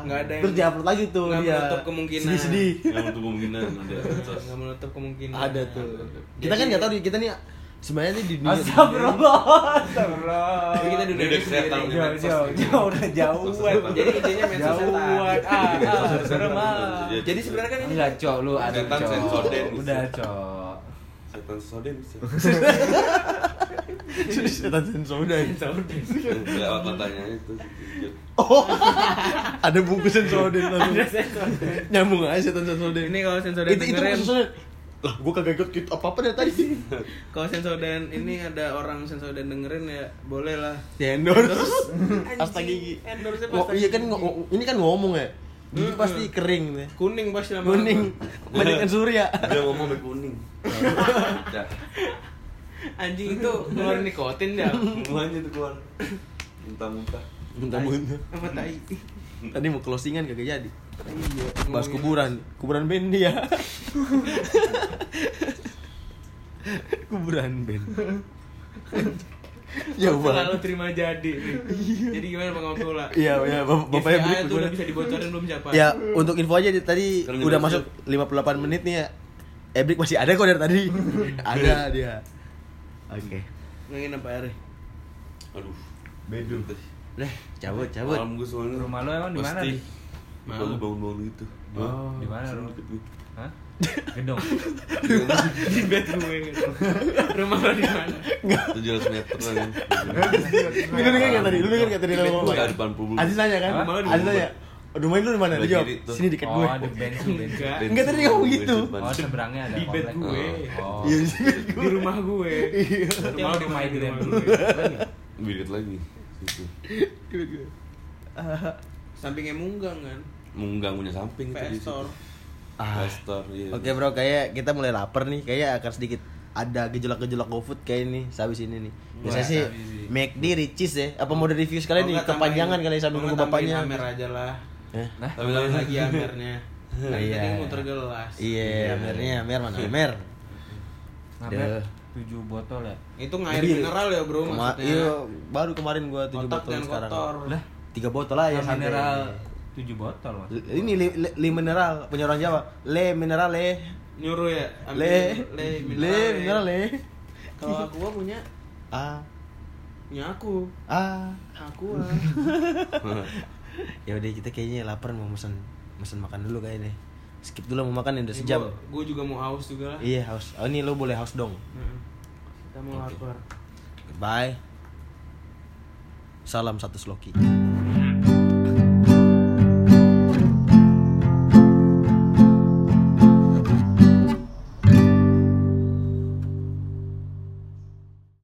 [SPEAKER 2] Nggak ada yang-
[SPEAKER 1] Terus diupload lagi tuh
[SPEAKER 2] nggak
[SPEAKER 1] dia
[SPEAKER 2] menutup kemungkinan.
[SPEAKER 1] Sedih-sedih
[SPEAKER 3] Yang untuk kemungkinan ada medsos.
[SPEAKER 2] Enggak menutup kemungkinan.
[SPEAKER 1] Ada tuh Kita kan nggak tahu, nih, kita nih sebenarnya nih di dunia [laughs]
[SPEAKER 5] Astagfirullah, astagfirullah.
[SPEAKER 2] Tapi kita dunia
[SPEAKER 3] Udah
[SPEAKER 2] ini sendiri.
[SPEAKER 3] kelihatan,
[SPEAKER 5] jauh, jauh, jauh, udah jauhan.
[SPEAKER 2] Jadi intinya medsos
[SPEAKER 5] jauhan.
[SPEAKER 2] setan.
[SPEAKER 5] Ah, ah, serem ah.
[SPEAKER 3] Jadi-
[SPEAKER 2] Jadi sebenarnya kan ini
[SPEAKER 5] Enggak, cok, lu ada
[SPEAKER 3] Setan
[SPEAKER 5] cok.
[SPEAKER 3] sensoden.
[SPEAKER 5] Udah, cok.
[SPEAKER 3] Setan soden bisa.
[SPEAKER 1] Setan sensoda
[SPEAKER 2] [laughs]
[SPEAKER 3] Lewat matanya itu.
[SPEAKER 1] Oh, [laughs] ada bungkus
[SPEAKER 2] [laughs]
[SPEAKER 1] sensoden langsung. Nyambung aja setan sensoden.
[SPEAKER 2] ini kalau sensor dan
[SPEAKER 1] itu itu
[SPEAKER 2] dengerin.
[SPEAKER 1] bungkus sensoden. Lah, gua kagak ikut gitu apa apa dari tadi.
[SPEAKER 2] [laughs] Kalau sensor dan ini ada orang sensor dan dengerin ya boleh lah.
[SPEAKER 1] Di Ya, endorse. [laughs] Pasta gigi.
[SPEAKER 2] Endorse
[SPEAKER 1] Ngo- iya kan ngo- ngo- ini kan ngomong ya. Gigi
[SPEAKER 2] Mm-mm.
[SPEAKER 1] pasti kering nih.
[SPEAKER 2] kuning bos lama
[SPEAKER 1] Kuning, kebanyakan surya.
[SPEAKER 3] Dia ngomong sampai kuning. Dah.
[SPEAKER 2] anjing itu keluar nikotin dah
[SPEAKER 3] Mulanya tuh keluar. Muntah-muntah.
[SPEAKER 1] Bentar bentar.
[SPEAKER 2] sama tai
[SPEAKER 1] Tadi mau closingan kagak jadi.
[SPEAKER 2] iya
[SPEAKER 1] Bahas kuburan, kuburan band dia. [laughs] kuburan band. [laughs] ya
[SPEAKER 2] selalu
[SPEAKER 1] banget.
[SPEAKER 2] terima jadi nih. jadi gimana bang Abdullah
[SPEAKER 1] Iya, iya, bap- bapaknya
[SPEAKER 2] FYI
[SPEAKER 1] break
[SPEAKER 2] tuh udah
[SPEAKER 1] kuburan.
[SPEAKER 2] bisa dibocorin belum siapa
[SPEAKER 1] Ya, untuk info aja di- tadi
[SPEAKER 3] Kalau
[SPEAKER 1] udah
[SPEAKER 3] nyebut
[SPEAKER 1] masuk 58 menit nih ya. Ebrik masih ada kok dari [laughs] tadi. ada dia. Oke.
[SPEAKER 2] ngingin apa ya
[SPEAKER 3] Aduh.
[SPEAKER 4] Bedu.
[SPEAKER 1] Udah, cabut, cabut.
[SPEAKER 3] Malam gue soalnya.
[SPEAKER 5] Rumah lu emang di mana,
[SPEAKER 3] Pasti.
[SPEAKER 5] Di?
[SPEAKER 3] Malam gua bangun-bangun gitu.
[SPEAKER 5] Oh, di mana
[SPEAKER 3] Serem
[SPEAKER 5] lu?
[SPEAKER 3] dikit gua.
[SPEAKER 5] Hah? Gedong.
[SPEAKER 2] di bed gue rumah lo di mana
[SPEAKER 3] 700 meter kan.
[SPEAKER 1] Lu denger nggak tadi? Lu denger nggak tadi
[SPEAKER 3] Di
[SPEAKER 1] lu ngomong?
[SPEAKER 3] bawah depan publik.
[SPEAKER 1] Aziz nanya kan?
[SPEAKER 5] Apa?
[SPEAKER 1] Aziz nanya. Rumah lu di mana?
[SPEAKER 3] Sebelah
[SPEAKER 1] Dia jawab,
[SPEAKER 3] kiri tuh.
[SPEAKER 1] sini dekat
[SPEAKER 5] Oh,
[SPEAKER 1] gue.
[SPEAKER 5] ada bensu, bensu.
[SPEAKER 2] enggak
[SPEAKER 1] Enggak, tadi dia ngomong gitu.
[SPEAKER 5] Oh, seberangnya ada
[SPEAKER 2] Di bed
[SPEAKER 5] komplek.
[SPEAKER 2] gue.
[SPEAKER 5] Oh.
[SPEAKER 1] Iya, di sini.
[SPEAKER 2] di rumah gue
[SPEAKER 1] Iya.
[SPEAKER 5] Berarti yang rumah
[SPEAKER 2] di
[SPEAKER 5] Grand
[SPEAKER 2] Iya. rumah
[SPEAKER 5] dulu.
[SPEAKER 2] gue.
[SPEAKER 3] Birit lagi. Gitu.
[SPEAKER 2] sampingnya munggang kan
[SPEAKER 3] Munggang punya samping itu di situ.
[SPEAKER 2] investor
[SPEAKER 1] Ah.
[SPEAKER 3] Investor, iya.
[SPEAKER 1] Oke bro, kayak kita mulai lapar nih. Kayak akan sedikit ada gejolak-gejolak GoFood kayak ini sehabis ini nih. Biasanya
[SPEAKER 2] Wah,
[SPEAKER 1] sih
[SPEAKER 2] habis sih.
[SPEAKER 1] McD, Ricis ya. Apa mau review sekalian
[SPEAKER 2] Iya, Kalau
[SPEAKER 1] nih?
[SPEAKER 2] nggak tambahin-
[SPEAKER 1] Kepanjangan kali ya sambil
[SPEAKER 2] kalau
[SPEAKER 1] nunggu
[SPEAKER 2] nggak tambahin
[SPEAKER 1] bapaknya.
[SPEAKER 2] amer aja lah
[SPEAKER 1] Eh?
[SPEAKER 2] tambahin lagi
[SPEAKER 1] [laughs]
[SPEAKER 2] amernya Nah,
[SPEAKER 1] Iya.
[SPEAKER 2] tadi muter gelas
[SPEAKER 1] Iya, amernya, amer mana? Amer. Aduh.
[SPEAKER 5] tujuh botol ya
[SPEAKER 2] itu ngair
[SPEAKER 1] Lebih.
[SPEAKER 2] mineral ya bro
[SPEAKER 1] Kema-
[SPEAKER 2] maksudnya
[SPEAKER 1] iya, baru kemarin gua tujuh
[SPEAKER 2] Otak
[SPEAKER 1] botol
[SPEAKER 2] dan
[SPEAKER 1] sekarang.
[SPEAKER 2] kotor.
[SPEAKER 1] Lah, tiga botol lah ya
[SPEAKER 5] Nah,
[SPEAKER 1] santai.
[SPEAKER 5] mineral tujuh botol mas
[SPEAKER 1] Le- Ini le, le- le mineral punya orang Jawa. Le mineral le.
[SPEAKER 2] nyuruh ya ambil
[SPEAKER 1] Le
[SPEAKER 2] le ya.
[SPEAKER 1] le mineral ya. le.
[SPEAKER 2] kalau aku gua punya
[SPEAKER 1] Ah
[SPEAKER 2] punya aku
[SPEAKER 1] ah.
[SPEAKER 2] aku ah.
[SPEAKER 1] Ya udah kita kayaknya lapar mau mesen mesen makan dulu kayaknya. Skip dulu mau makan ya, udah
[SPEAKER 2] Ya,
[SPEAKER 1] [laughs] sejam.
[SPEAKER 2] gua- gua juga mau haus juga lah
[SPEAKER 1] Iya haus. Oh, ini lo boleh haus dong.
[SPEAKER 2] Heeh. kita mau lapar
[SPEAKER 1] Goodbye. Salam satu sloki.